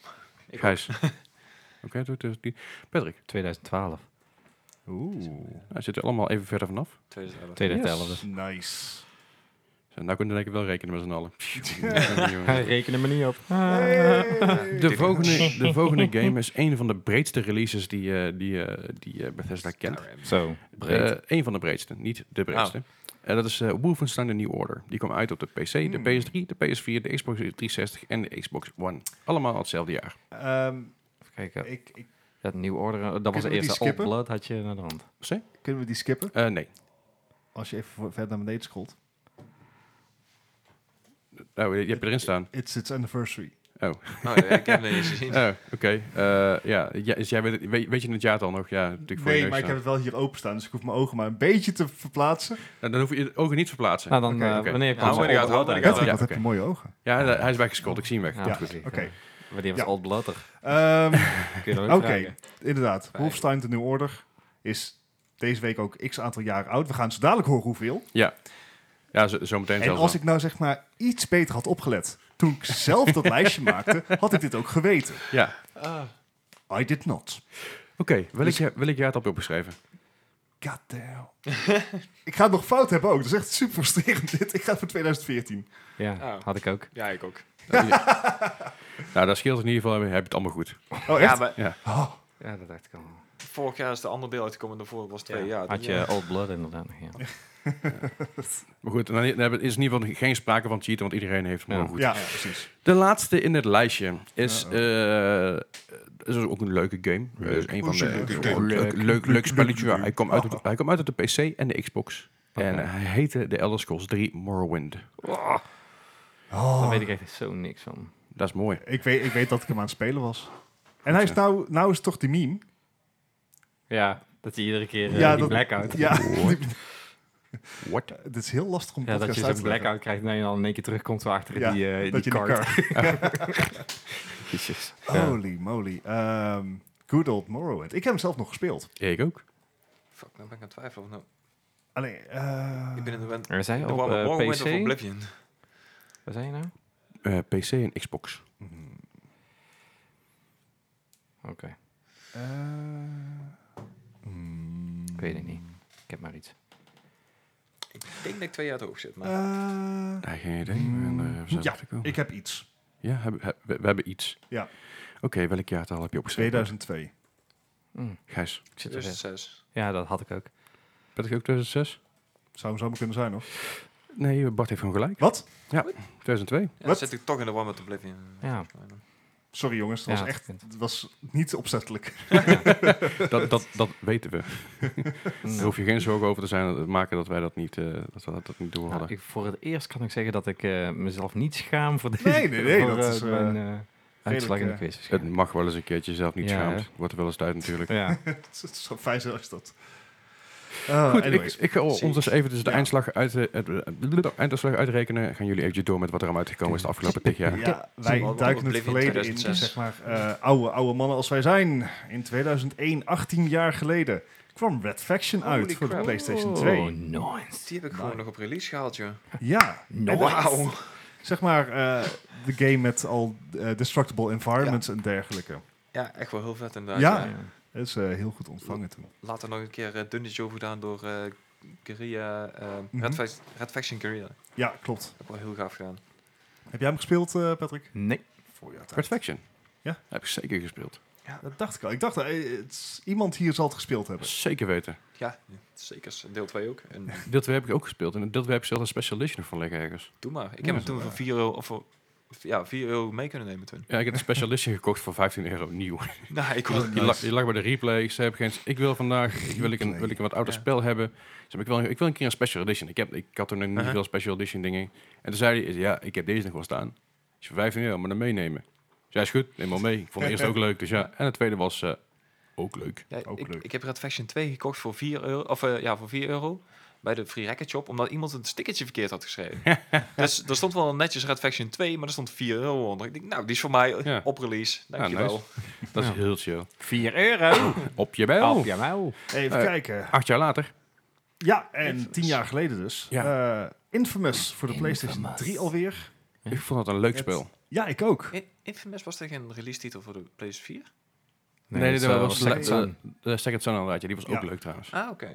S1: Ik Gijs. Oké, doe het dus die. Patrick,
S2: 2012,
S3: Oeh.
S1: hij zit er allemaal even verder vanaf.
S4: 2011.
S2: 2011.
S3: Nice.
S1: Zo, Nou kunnen we denk ik wel rekenen met z'n allen.
S2: Hij rekende me niet op.
S1: De volgende, de volgende game is een van de breedste releases die, eh, die, eh, die eh, Bethesda kent.
S2: Zo, breed.
S1: Eh, een van de breedste, niet de breedste. Eh, dat is eh, Wolfenstein The New Order. Die kwam uit op de PC, de
S3: Hmm.
S1: PS3, de PS4, de Xbox 360 en de Xbox One. Allemaal hetzelfde jaar.
S3: Ehm,
S2: Even kijken.
S3: ik, ik,
S2: Dat nieuw order, eh, dat was
S3: we
S2: de
S3: die
S2: eerste Old
S3: skippen?
S2: Blood had je naar de hand.
S1: Wat zei je?
S3: kunnen we die skippen?
S1: Eh, nee,
S3: Als je even voor- verder naar beneden scrolt.
S1: oh, je hebt erin staan.
S3: It's its anniversary.
S1: Oh,
S4: Nou ja, ik heb het niet eens gezien.
S1: oh oké. Eh, ja, ja, dus jij weet, het- weet, weet je het jaartal nog? Ja, natuurlijk voor je
S3: Nee,
S1: neus
S3: maar ik
S1: staan.
S3: heb het wel hier openstaan, dus ik hoef mijn ogen maar een beetje te verplaatsen.
S1: Nou, Dan hoef je je ogen niet te verplaatsen.
S2: Nou, dan
S3: Oké,
S2: eh,
S1: oké.
S2: wanneer kwam
S4: Hou
S2: ze
S4: in de gaten,
S2: Old
S4: hou in de
S2: Blood
S4: gaten.
S3: Patrick,
S1: ja,
S3: wat heb
S1: oké.
S3: je mooie ogen.
S1: Ja, hij is weggescrollt. Ik zie hem weg.
S2: uit?
S3: Ja,
S2: precies.
S3: Oké,
S2: Wanneer was
S3: Ja.
S2: Old Blood er?
S3: Ehm,
S2: Kun je dat ook
S3: oké,
S2: vragen?
S3: inderdaad.
S4: Fijn.
S3: Wolfenstein The New Order is deze week ook x aantal jaren oud. We gaan zo dadelijk horen hoeveel.
S1: Ja, zo, zo meteen
S3: En
S1: zelfs.
S3: als
S1: wel.
S3: ik nou zeg maar iets beter had opgelet toen ik zelf dat lijstje maakte, had ik dit ook geweten.
S1: Ja.
S3: I did not.
S1: Oké, welk,
S3: Dus-
S1: jaar- welk jaar heb je opgeschreven?
S3: God damn. ik ga het nog fout hebben ook. Dat is echt super frustrerend dit. Ik ga voor 2014.
S2: Ja,
S4: Oh.
S2: had ik ook.
S4: Ja, ik ook.
S1: Nou, dat scheelt in ieder geval. Heb je het allemaal goed.
S3: Oh,
S4: Ja,
S3: echt?
S4: maar
S3: Oh,
S2: Ja, dat dacht ik al.
S4: vorig jaar is de andere deel uitgekomen. Daarvoor was twee jaar.
S2: had je Old Blood inderdaad nog, ja.
S3: Oh.
S1: Maar goed, dan dan is in ieder geval geen sprake van cheaten, want iedereen heeft hem
S2: Ja.
S1: wel goed.
S3: ja, precies.
S1: De laatste in het lijstje is,
S3: Uh-oh.
S1: eh, is ook een leuke game. Is een van
S3: Oh,
S1: de,
S3: leuk,
S1: leuk,
S3: leuk,
S1: leuk, leuk, spelletje.
S3: leuk.
S1: Hij kwam uit, op- hij kwam uit op de PC en de Xbox.
S2: Oké.
S1: En hij heette The Elder Scrolls 3 Morrowind.
S2: Daar
S3: Oh,
S2: weet
S3: ik,
S2: ik echt zo niks van.
S1: Dat is mooi.
S3: weet, ik weet dat ik hem aan het spelen was. En hij is nou, nou is toch die meme?
S2: Ja, dat hij iedere keer eh,
S3: Ja,
S2: die
S3: dat-
S2: blackout. Oh,
S3: Ja,
S1: What?
S3: het is heel lastig om
S2: Ja, dat
S3: podcast
S2: je
S3: uit
S2: zo'n
S3: te leggen.
S2: blackout krijgt en je dan in één keer terugkomt waar achter
S3: Ja,
S2: die, eh,
S3: dat
S2: die
S3: je
S2: kart.
S3: die kar-
S1: Jezus.
S2: Ja.
S3: Holy moly. Ehm, good old Morrowind. Ik heb hem zelf nog gespeeld.
S1: Ik ook.
S4: Fuck, nou ben ik aan het twijfelen. of Nou,
S3: Alleen, eh,
S4: ik ben in de wend.
S2: Er zei
S4: De
S2: op
S4: warme
S2: eh,
S4: Morrowind of
S2: PC.
S4: Oblivion.
S2: Wat zei je nou?
S1: Eh, PC en Xbox.
S2: Oké,
S3: eh, hmm.
S2: ik weet het niet. Ik heb maar iets.
S4: Ik denk dat ik twee jaar te hoog zit. Maar
S3: Eh,
S1: Nee, geen idee. maar, eh, we zijn
S3: ja,
S1: er te komen.
S3: ik heb iets.
S1: Ja, hebben- he- we, we hebben iets.
S3: Ja.
S1: Oké, welk jaartal heb je opgeschreven?
S3: 2002.
S2: Mm,
S1: Gijs,
S2: ik
S4: Dus-
S2: zit er weer.
S4: 2006.
S2: ja, dat had ik ook.
S1: ben ik ook 2006?
S3: Zou hem zomaar kunnen zijn, hoor.
S1: Nee, Bart heeft gewoon gelijk.
S3: Wat?
S1: 2002.
S4: Ja, dan
S3: Wat?
S4: zit ik toch in de Warhammer Oblivion.
S2: Ja.
S3: Sorry, jongens. Dat
S2: Ja,
S3: was echt...
S2: dat
S3: Het was niet opzettelijk.
S1: Dat, dat, dat weten we. Daar
S3: Mm.
S2: Nou,
S1: hoef je geen zorgen over te zijn dat- maken dat wij dat niet, eh, dat we dat, dat niet door
S2: nou,
S1: hadden.
S2: ik- voor het eerst kan ik zeggen dat ik eh, mezelf niet schaam voor deze.
S3: Nee, nee, nee,
S2: voor,
S3: dat
S2: eh,
S3: is, eh,
S2: mijn eh, uitslag in de
S3: eh,
S2: quiz.
S1: het
S2: waarschijnlijk.
S1: mag wel eens een keertje zelf niet
S2: Ja,
S1: schaamt. Wordt er wel eens tijd natuurlijk.
S2: Ja,
S3: Het zou fijn zijn als dat... Eh,
S1: Goed, ik,
S3: anyways.
S1: ik ga ons dus even dus de
S3: Ja.
S1: eindslag, uit, eh, het- het- einduitslag uitrekenen. Gaan jullie eventjes door met wat er aan uitgekomen is de afgelopen tig jaar.
S3: Ja,
S4: Zo,
S3: wij
S4: wat
S3: duiken het
S4: Oblivion
S3: verleden in,
S4: 2006.
S3: zeg maar, eh, oude, oude mannen als wij zijn. In 2001, 18 jaar geleden, kwam Red Faction
S4: Holy
S3: uit voor de
S4: crap.
S3: PlayStation
S2: Oh,
S3: 2.
S2: nice.
S4: Die heb ik gewoon nog op release gehaald, joh.
S3: Ja,
S2: Nice.
S4: Wauw.
S3: zeg maar eh, de game met al eh, destructible environments en dergelijke.
S4: Ja, echt wel heel vet inderdaad.
S3: Ja.
S4: Ja.
S2: Ja.
S3: Dat is eh, heel goed ontvangen toen.
S4: Later nog een keer eh, Dungeon over gedaan door eh Guerrilla, eh,
S3: Mhm.
S4: Red, Fac- Red Faction Guerrilla.
S3: Ja, klopt.
S4: Ook wel heel gaaf gedaan.
S3: Heb jij hem gespeeld, eh, Patrick?
S2: Nee,
S3: Voor jou
S1: Perfection.
S3: Ja.
S1: Dat heb ik zeker gespeeld.
S3: Dat dacht ik al. Ik dacht, eh, het is- iemand hier zal het gespeeld hebben.
S1: Zeker weten.
S4: Ja, zeker. Deel 2 ook. En
S1: Deel 2 heb ik ook gespeeld. En deel 2 heb ik zelfs een special edition van liggen ergens.
S4: doe maar. Ik
S1: Ja,
S4: heb hem toen voor 4 euro of voor ja, 4 euro mee kunnen nemen toen.
S1: Ja, ik heb een specialistje gekocht voor 15 euro nieuw.
S4: Nou, ik
S1: Je, lag, je lag bij de replay. Ze hebben geen. Ik wil vandaag wil ik een,
S3: Replay.
S1: wil ik een wat ouder
S4: Ja.
S1: spel hebben. Ze hebben, ik, wil, ik wil een keer een special edition. Ik, heb, ik had toen nog niet
S4: Uh-huh.
S1: veel special edition dingen. En toen zei hij, ja, ik heb deze nog wel staan. Is voor 15 euro, maar dan meenemen. Dus ja, is goed. Neem maar mee. Ik vond de eerste ook leuk. Dus ja. En de tweede was eh, ook leuk.
S4: Ja,
S3: Ook
S4: ik,
S3: leuk.
S4: ik heb Red Faction 2 gekocht voor 4 euro, of, eh, ja, voor 4 euro bij de Free Racket Shop, omdat iemand een stickertje verkeerd had geschreven. dus er stond wel netjes Red Faction 2, maar er stond 4 euro onder. Ik denk, nou, die is voor mij eh,
S1: Ja.
S4: op release. Dankjewel.
S1: nice. Dat is heel chill.
S2: 4 euro.
S1: Op je bel.
S2: Op, jawel.
S3: Even
S1: Eh,
S3: kijken.
S1: Acht jaar later.
S3: Ja, en tien jaar geleden dus.
S1: Ja.
S3: eh, Infamous voor de PlayStation 3 alweer.
S1: Ik vond dat een leuk
S4: Het-
S1: spel.
S3: Ja, ik ook.
S4: In- Infamous was tegen een release titel voor de PlayStation 4?
S1: Nee, dat
S2: eh,
S1: was
S2: Second
S1: le-
S2: Son.
S1: De Second Son inderdaad. Ja, die was ook
S3: Ja.
S1: leuk trouwens.
S4: Ah, oké.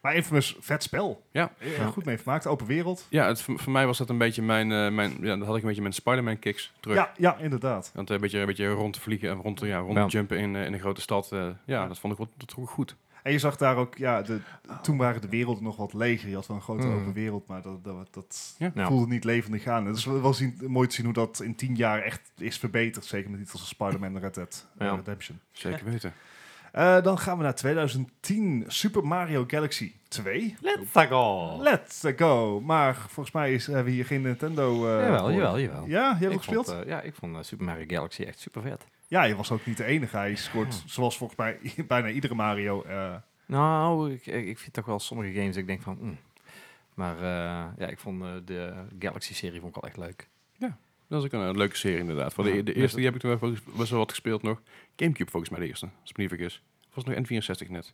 S3: Maar Infamous, vet spel.
S1: Ja.
S3: Eh, Goed mee vermaakt, open wereld.
S1: Ja, het, voor voor mij was dat een beetje mijn... eh, mijn ja, dan had ik een beetje mijn Spider-Man kicks terug.
S3: Ja, ja, inderdaad.
S1: Want eh, een beetje, een beetje rondvliegen en rond, ja,
S2: Ja.
S1: rondjumpen in, eh, in een grote stad. eh, ja, dat vond ik wel dat vond ik goed.
S3: En je zag daar ook, ja, de, toen waren de werelden nog wat leger. Je had wel een grote
S2: Hmm.
S3: open wereld, maar dat, dat, dat
S1: Ja.
S2: Ja.
S3: voelde niet levendig aan. Het is wel wel zien, mooi te zien hoe dat in tien jaar echt is verbeterd. Zeker met titels als Spider-Man en Red Dead eh,
S2: Ja.
S3: Redemption.
S1: Zeker weten.
S3: Eh, dan gaan we naar 2010, Super Mario Galaxy 2.
S2: Let's go.
S3: Let's go. Maar volgens mij is, hebben we hier geen Nintendo... eh,
S2: Jawel,
S3: voor.
S2: jawel, jawel.
S3: Ja, je hebt
S2: Ik
S3: ook gespeeld?
S2: vond, eh, ja, ik vond eh, Super Mario Galaxy echt super vet.
S3: Ja, je was ook niet de enige. Hij scoort,
S2: Hmm.
S3: zoals volgens mij bijna iedere Mario. eh,
S2: Nou, ik, ik ik vind toch wel sommige games dat ik denk van... mm. Maar eh, ja, ik vond eh, de Galaxy-serie vond ik wel echt leuk.
S1: Dat is ook een, eh, leuke serie inderdaad. Voor de,
S2: Ja,
S1: de
S2: net
S1: eerste die heb ik toen wel volgens- best wel wat gespeeld nog. Gamecube volgens mij de eerste, als ik me niet vergis. Was nog N64 net.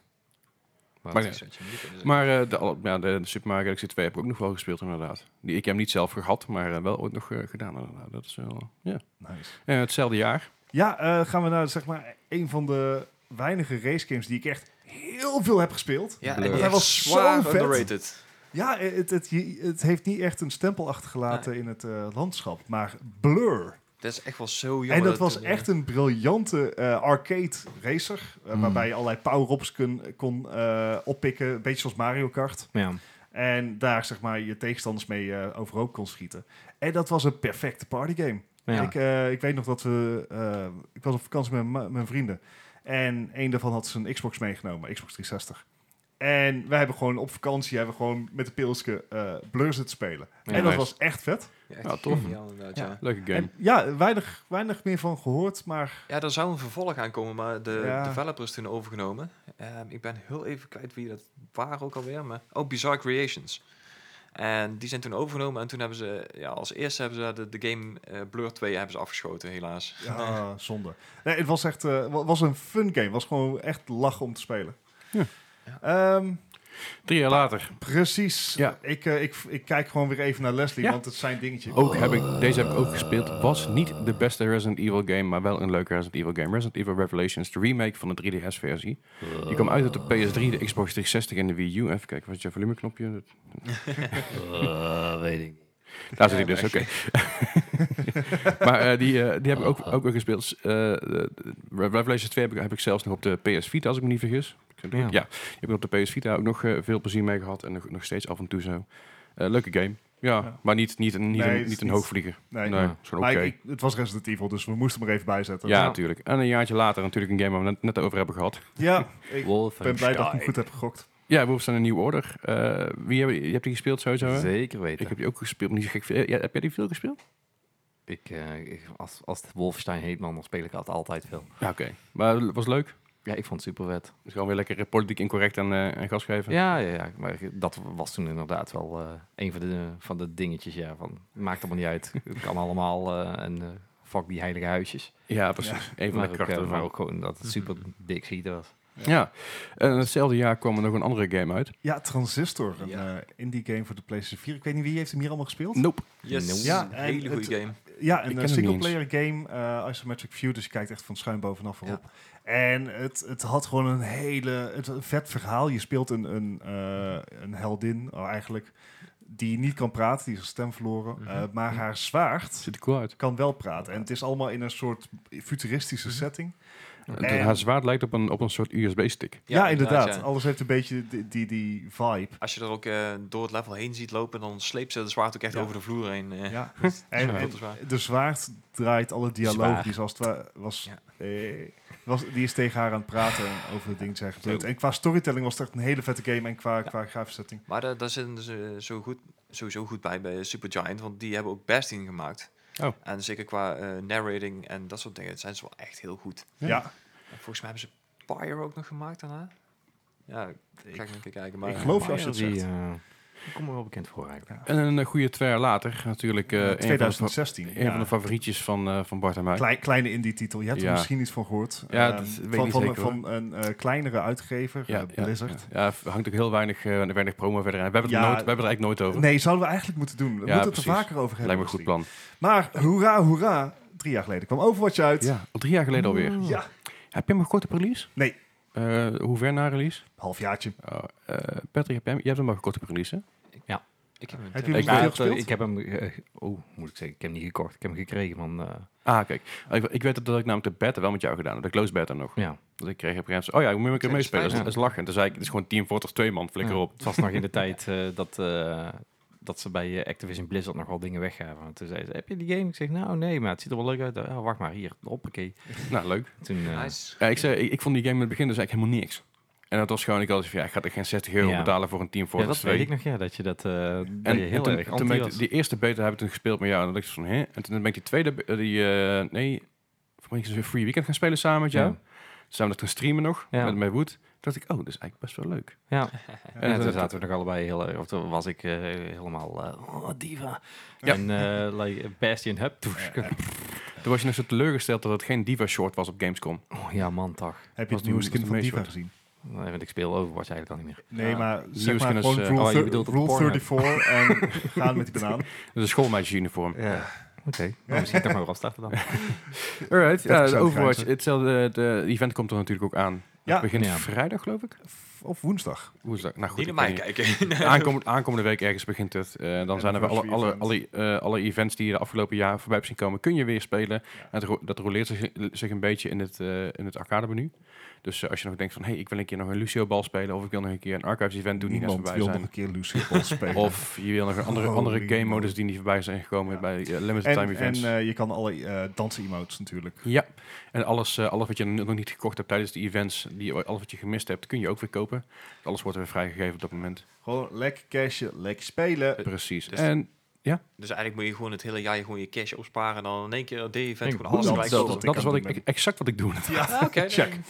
S2: Maar
S1: Maar
S2: het
S1: ja.
S4: Dat zou
S2: is-
S4: je niet kunnen
S2: dus-
S4: zeggen.
S1: Maar eh, de, al- ja, de, de Super Mario Galaxy 2 heb ik ook nog wel gespeeld inderdaad. Die, ik heb hem niet zelf gehad, maar eh, wel ooit nog eh, gedaan inderdaad. Dat is wel, ja.
S3: nice.
S1: Eh, hetzelfde jaar.
S3: Ja, eh, gaan we naar zeg maar een van de weinige racegames die ik echt heel veel heb gespeeld.
S4: ja, en
S1: Blur.
S4: die
S1: Hij
S4: echt
S3: was
S4: zwaar
S3: zo vet.
S4: underrated.
S3: Ja, eh, het, het, je- het heeft niet echt een stempel achtergelaten in het eh, landschap, maar Blur.
S4: Dat is echt wel zo jammer.
S3: en dat was
S4: eh,
S3: echt een briljante eh, arcade racer, eh,
S2: Mm.
S3: waarbij je allerlei power-ups kon, kon eh, oppikken, een beetje zoals Mario Kart.
S2: Ja.
S3: En daar zeg maar je tegenstanders mee eh, overhoop kon schieten. En dat was een perfecte partygame.
S2: Ja.
S3: Ik, eh, ik weet nog dat we... eh, ik was op vakantie met ma- mijn vrienden. En een daarvan had zijn Xbox meegenomen, Xbox 360. En wij hebben gewoon op vakantie hebben we gewoon met de pilske eh Blur zitten spelen.
S2: Ja,
S3: en dat
S1: nice.
S3: was echt vet.
S4: echt
S1: Ja, tof.
S4: geniaal inderdaad,
S3: Ja.
S4: ja.
S1: Leuke game.
S3: En, ja, weinig, weinig meer van gehoord, maar
S4: Ja, er zou een vervolg aankomen, maar de
S3: Ja.
S4: developers toen overgenomen. Ehm, ik ben heel even kwijt wie dat waren ook alweer. Maar, oh, Bizarre Creations. En die zijn toen overgenomen en toen hebben ze, ja, als eerste hebben ze de, de game eh, Blur 2 hebben ze afgeschoten, helaas.
S3: ja, zonde. Nee, het was echt eh, wa- was een fun game. was gewoon echt lachen om te spelen.
S1: Ja.
S3: Ehm,
S1: Drie jaar later.
S3: precies.
S1: Ja.
S3: Ik, eh, ik, ik kijk gewoon weer even naar Leslie,
S1: Ja. Oh.
S3: want het zijn dingetje.
S1: Ook heb ik, deze heb ik ook gespeeld. Was niet de beste Resident Evil game, maar wel een leuke Resident Evil game. Resident Evil Revelations, de remake van de 3DS-versie. Die kwam uit op de PS3, de Xbox 360 en de Wii U. Even kijken, wat is je volumeknopje?
S2: Eh, weet ik
S1: Daar zit ik dus, oké. maar eh, die, eh, die heb ik ook, ook weer gespeeld. Eh, de- de Revelations 2 heb ik, heb ik zelfs nog op de PS Vita, als ik me niet vergis. Ik denk-
S2: Ja.
S1: Ja, ik heb ik op de PS Vita ook nog eh, veel plezier mee gehad. En nog, nog steeds af en toe zo. Eh, leuke game. Ja,
S3: Ja.
S1: maar niet, niet, een- niet,
S3: Nee,
S1: een-
S3: het is
S1: niet een
S3: niet-
S1: hoogvlieger.
S3: Nee.
S1: Nee,
S2: Ja.
S1: is gewoon
S3: Maar
S1: oké.
S3: ik- ik- het was Resident Evil, dus we moesten hem er even bij zetten.
S1: Ja, natuurlijk. En een jaartje later natuurlijk een game waar we het net over hebben gehad.
S3: Ja, ik ben blij dat ik hem
S2: Wolfenstein.
S3: goed heb gegokt.
S1: Ja, Wolfenstein zijn een nieuw order. Eh, wie heb, je hebt die gespeeld sowieso? hè?
S2: Zeker weten.
S1: Ik heb die ook gespeeld, maar niet zo gek veel. Ja, heb jij die veel gespeeld?
S2: Ik, eh, ik- als, als het Wolfenstein heet, man, dan speel ik altijd, altijd veel.
S1: Ja, oké. Maar het was leuk.
S2: Ja, ik vond het super vet.
S1: Dus gewoon weer lekker eh, politiek incorrect aan, eh aan gas geven.
S2: Ja, ja, ja, maar dat was toen inderdaad wel eh, een van de, van de dingetjes. Ja, van, maakt allemaal niet uit. Het kan allemaal. eh, en eh, fuck die heilige huisjes.
S1: Ja, precies. Een van
S2: Maar
S1: de
S2: ook,
S1: krachten
S2: eh,
S1: ervan.
S2: maar ook gewoon dat het super dik schieten was.
S1: Ja. En hetzelfde jaar kwam er nog een andere game uit.
S3: Ja, Transistor, een
S4: Ja.
S3: eh, indie game voor de PlayStation 4. Ik weet niet wie heeft hem hier allemaal gespeeld.
S1: Nope.
S4: Yes,
S3: Ja,
S4: ja,
S3: en
S4: hele goede
S3: het-
S4: game.
S3: Ja,
S1: ken hem
S3: een
S1: niet
S3: single player game, eh, isometric view, dus je kijkt echt van schuin bovenaf
S4: Ja.
S3: erop. En het, het had gewoon een hele het, een vet verhaal. Je speelt een, een, eh, een heldin oh, eigenlijk, die niet kan praten, die is haar stem verloren.
S4: Mhm.
S3: eh, maar haar zwaard
S1: Ziet er cool uit. Mhm.
S3: kan wel praten. En het is allemaal in een soort futuristische setting.
S1: En haar zwaard lijkt op een, op een soort USB-stick.
S3: Ja, inderdaad.
S4: ja.
S3: Alles heeft een beetje die, die, die vibe.
S4: Als je er ook eh, door het level heen ziet lopen, dan sleept ze de zwaard ook echt
S3: Ja.
S4: over de vloer heen. eh.
S3: Ja. En,
S4: Ja.
S3: en de zwaard draait alle dialoogjes als het wa- was, eh, was. Die is tegen haar aan het praten over de dingen die zijn gebeurd.
S4: Zo.
S3: En qua storytelling was het echt een hele vette game. En qua, qua grafische setting.
S4: Maar daar daar zitten ze zo goed, sowieso goed bij bij Supergiant, want die hebben ook Bastion gemaakt.
S1: Oh.
S4: En zeker qua eh, narrating en dat soort dingen, het zijn ze wel echt heel goed.
S1: Ja.
S3: Ja.
S4: En volgens mij hebben ze Pyre ook nog gemaakt daarna. Ja, ik ga ik nog een keer kijken. Maar
S3: ik geloof je als je het
S2: Die,
S3: zegt.
S2: eh, die komt me wel bekend voor eigenlijk.
S1: En een eh, goede twee jaar later, natuurlijk eh, een, van de, fa-
S3: 2016.
S1: een van de favorietjes van, eh, van Bart en mij.
S3: Klei- kleine indie-titel. Je hebt
S1: Ja.
S3: er misschien iets van gehoord.
S1: Ja,
S3: Ehm,
S1: dat weet ik
S3: van,
S1: niet
S3: van,
S1: zeker,
S3: van een eh, kleinere uitgever, eh, Blizzard.
S1: Ja, ja, er hangt ook heel weinig, eh, weinig promo verder aan. We hebben, het
S3: Ja.
S1: nooit, we hebben het eigenlijk nooit over.
S3: Nee, zouden we eigenlijk moeten doen. We
S1: Ja,
S3: moeten het er
S1: precies.
S3: vaker over hebben.
S1: Lijkt me een goed
S3: misschien.
S1: plan.
S3: Maar hoera, hoera. Drie jaar geleden kwam Overwatch uit.
S1: Ja, al drie jaar geleden
S2: Mm.
S1: alweer.
S3: Ja.
S1: Heb je hem gekort op release?
S3: Nee.
S1: Eh, hoe ver na release?
S3: Halfjaartje.
S1: Oh, eh, Patrick, heb jij, hem- jij hebt hem al gekort op release, hè?
S4: ik heb een
S3: Heb
S4: tip.
S3: je
S2: Ik,
S3: hem
S2: had,
S3: gespeeld?
S2: eh, ik heb hem, eh, oh, moet ik zeggen, ik heb hem niet gekocht. Ik heb hem gekregen van, eh,
S1: Ah, kijk. Ik, ik weet dat, dat ik namelijk de beta wel met jou gedaan heb. De close beta nog.
S2: ja,
S1: Dus ik kreeg op een gegeven moment zo, oh ja, hoe moet ik een keer
S4: Ja,
S1: meespelen? Dat is,
S2: ja.
S1: dat is lachen. Toen zei ik, het is gewoon Team Fortress 2, man. Flikker
S2: Ja.
S1: op.
S2: het was nog in de tijd eh, dat, eh, dat ze bij eh, Activision Blizzard nogal dingen weggaven. En Toen zei ze, heb je die game? Ik zeg, nou nee, maar het ziet er wel leuk uit. Ja, wacht maar, hier, hoppakee.
S1: Nou, leuk.
S2: Toen, eh,
S4: Nice.
S1: Ja, ik, zei, ik, ik vond die game in het begin dus eigenlijk helemaal niks. En dat was gewoon, ik had van, ja, ik ga er geen 60 euro
S2: Ja.
S1: betalen voor een Team
S2: ja,
S1: Fortress
S2: dat weet
S1: 2.
S2: ik nog, ja, dat je dat, eh dat
S1: En,
S2: je
S1: en
S2: heel
S1: toen,
S2: erg
S1: toen
S2: anti
S1: ben ik
S2: was.
S1: die, die eerste beta heb ik toen gespeeld met jou. En dan dacht ik zo van, hè? En toen ben ik die tweede, be- eh, die, eh, nee, voor mij is het een free weekend gaan spelen samen met jou.
S2: Ja.
S1: Samen dat gaan streamen nog,
S2: Ja.
S1: met, met Wood. Toen dacht ik, oh, dat is eigenlijk best wel leuk.
S2: Ja, en,
S1: dat-
S2: toen zaten we nog allebei heel erg, of toen was ik eh, helemaal, eh, oh, diva.
S3: Ja.
S2: En eh like, Bastion Hub. Toen-
S1: Toen was je nog zo teleurgesteld dat het geen diva-short was op Gamescom.
S2: Oh, ja, man, toch.
S3: Heb je
S1: Was
S3: het nieuwe
S1: die-
S3: skin
S1: was
S3: van
S1: die
S3: Diva
S1: meest
S3: gezien?
S2: Nee, want ik speel Overwatch eigenlijk al niet meer.
S3: Nee,
S4: Ja.
S3: maar
S1: Nieuwe
S3: zeg maar
S1: skin is,
S3: gewoon
S1: eh,
S3: rule,
S2: oh, je
S3: thir-
S2: bedoelt het
S3: rule
S2: porno.
S3: 34 en gaan met die banaan.
S1: Dat is schoolmeisjesuniform.
S2: Oké, nou, misschien toch maar weer afstarten dan. Eh,
S1: Alright, ja,
S3: 30%
S1: Overwatch,
S3: grijs, hè?
S1: hetzelfde, het eh, event komt er natuurlijk ook aan.
S3: Ja.
S1: Het begint
S2: Ja.
S1: vrijdag, geloof ik.
S3: Of woensdag.
S1: Woensdag. Nou goed,
S4: Niet naar
S1: ik
S4: mij
S1: weet niet.
S4: kijken.
S1: Aankomend, aankomende week ergens begint het. Eh, dan
S3: En
S1: zijn er weer alle, alle,
S3: anniversary
S1: alle, eh, alle events die je de afgelopen jaar voorbij hebt zien komen, kun je weer spelen.
S3: Ja.
S1: En het ro- dat roleert zich, zich een beetje in het, eh, in het arcade menu. Dus eh, als je nog denkt van, hé, hey, ik wil een keer nog een Lucio bal spelen, of ik wil nog een keer een Archives event doen die net
S3: Niemand
S1: voorbij
S3: wil nog
S1: zijn.
S3: een keer Lucy Ball spelen.
S1: Of je wil nog een andere,
S3: Holy
S1: andere
S3: moly.
S1: game modus die niet voorbij zijn gekomen
S3: Ja.
S1: bij eh, limited time
S3: en en
S1: events.
S3: eh, je kan alle eh, dansen-emotes natuurlijk.
S1: Ja, en alles, eh, alles wat je nog niet gekocht hebt tijdens de events, die, alles wat je gemist hebt, kun je ook weer kopen. Alles wordt weer vrijgegeven op dat moment.
S3: Gewoon lekker cashen, lekker spelen.
S1: Precies.
S4: dus-
S1: en
S4: Dus eigenlijk moet je gewoon het hele jaar gewoon je cash opsparen en dan in één keer op die event
S2: Ik
S4: gewoon
S2: hoop
S4: alles
S3: dat-
S4: erbij
S3: dat-
S4: kopen.
S1: dat is
S3: aan
S1: wat
S3: het
S1: ik,
S3: doen
S1: exact wat ik doe.
S4: Ah, Oké, nee.
S3: Check.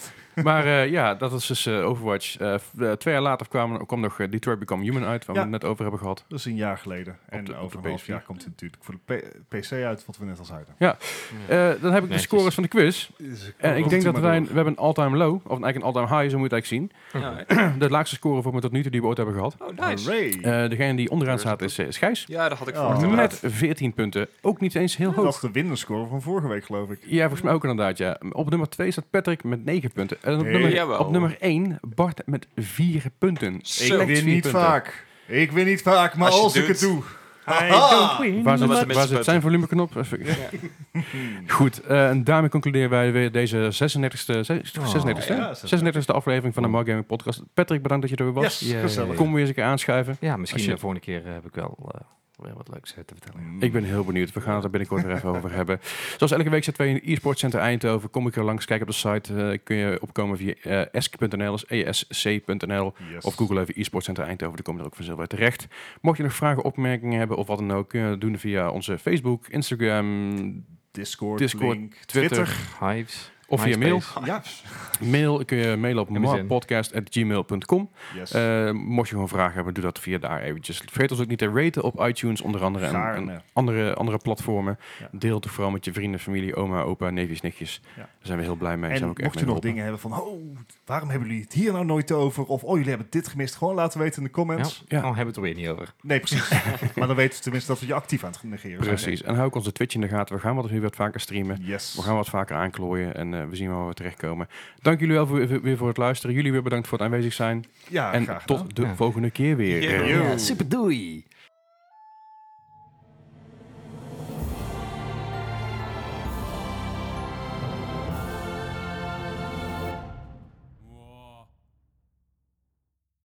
S1: maar eh, ja, dat is dus eh, Overwatch. Eh, f- eh, twee jaar later kwam, kwam nog eh, Detroit Become Human uit, waar
S3: Ja.
S1: we het net over hebben gehad.
S3: Dat is een jaar geleden. en
S1: de- op
S3: over
S1: de
S3: een half
S1: PS4.
S3: jaar komt het natuurlijk voor de P- PC uit, wat we net al zeiden.
S1: Eh, dan heb ik de
S2: Netjes.
S1: scores van de quiz. En Eh, ik denk dat wij, een- we hebben een all-time low, of eigenlijk een all-time high, zo moet je het eigenlijk
S4: Ja,
S1: zien. De laagste score voor me tot nu toe die we ooit hebben gehad.
S4: Oh, nice.
S3: Hooray!
S1: Eh, degene die onderaan staat is, eh, is Gijs.
S4: Ja, dat had ik
S3: Oh.
S4: verwacht. inderdaad.
S1: Met 14 punten. Ook niet eens heel hoog.
S3: Dat is de winnenscore van vorige week, geloof ik.
S1: Ja, volgens mij ook inderdaad, ja. Op nummer 2 staat Patrick met 9 punten. En op,
S3: Hey,
S1: nummer,
S4: jawel.
S1: op nummer 1 Bart met 4 punten.
S4: Zo.
S3: Ik
S1: Slechts
S3: win
S1: vier
S3: niet
S1: punten.
S3: vaak. Ik win niet vaak, maar
S4: Als
S3: als,
S4: je
S3: ik
S4: doet-
S3: het doe... Ah!
S1: Waar
S4: Met de
S1: zit, waar
S4: minste
S1: zit
S4: punten.
S1: zijn volumeknop? Even- Goed, eh, en daarmee concluderen wij weer deze 36e,
S2: Oh,
S1: 36 e
S3: ja,
S1: 36e aflevering van de Mark Gaming Podcast. Patrick, bedankt dat je er weer was.
S3: Yes,
S2: Yay.
S3: gezellig.
S1: Kom weer eens een keer aanschuiven.
S2: Ja,
S1: Als
S2: misschien
S1: je-
S2: de volgende keer eh, heb ik wel eh, weer wat leuks eh, te vertellen.
S3: Mm.
S1: Ik ben heel benieuwd. We gaan het er binnenkort weer even over hebben. Zoals elke week zitten wij in het e-sport center Eindhoven. Kom ik er langs, kijk op de site. eh, kun je opkomen via eh, esc.nl, dus esc.nl.
S3: Yes.
S1: Of Google even e-sport center Eindhoven, daar kom je er ook vanzelf bij terecht. Mocht je nog vragen, opmerkingen hebben of wat dan ook, kun je dat doen via onze Facebook, Instagram,
S3: Discord,
S1: Discord,
S3: link,
S1: Twitter. Ah,
S2: Hives.
S1: Of via
S2: MySpace.
S1: mail.
S3: Ja.
S1: Mail kun je mailen op
S2: MSN.
S1: marpodcast.gmail.com.
S3: Yes.
S1: Eh, mocht je gewoon vragen hebben, doe dat via daar eventjes. Vergeet ons ook niet te raten op iTunes onder andere en, en
S3: Gaarne.
S1: andere, andere platformen.
S3: Ja.
S1: Deel het vooral met je vrienden, familie, oma, opa, neefjes, nichtjes.
S3: Ja.
S1: Daar zijn we heel blij mee.
S3: En
S1: zijn we
S3: mocht
S1: ook
S3: je nog
S1: echt mee geholpen.
S3: dingen hebben van, oh, waarom hebben jullie het hier nou nooit over? Of, oh, jullie hebben dit gemist. Gewoon laten weten in de
S2: Ja,
S3: comments.
S1: Ja.
S2: ja. Oh, hebben we het er weer niet over.
S3: Nee, precies. maar dan weten ze tenminste dat we je actief aan het negeren zijn.
S1: Precies. En hou ook onze Twitch in de gaten. We gaan wat, weer wat vaker streamen.
S3: Yes.
S1: We gaan wat vaker aanklooien en eh, we zien waar we terechtkomen. Dank jullie wel voor, weer voor het luisteren. Jullie weer bedankt voor het aanwezig zijn.
S3: Ja,
S1: en
S3: graag.
S1: tot de
S2: Ja.
S1: volgende keer weer.
S4: Yeah.
S3: Yo.
S2: super doei!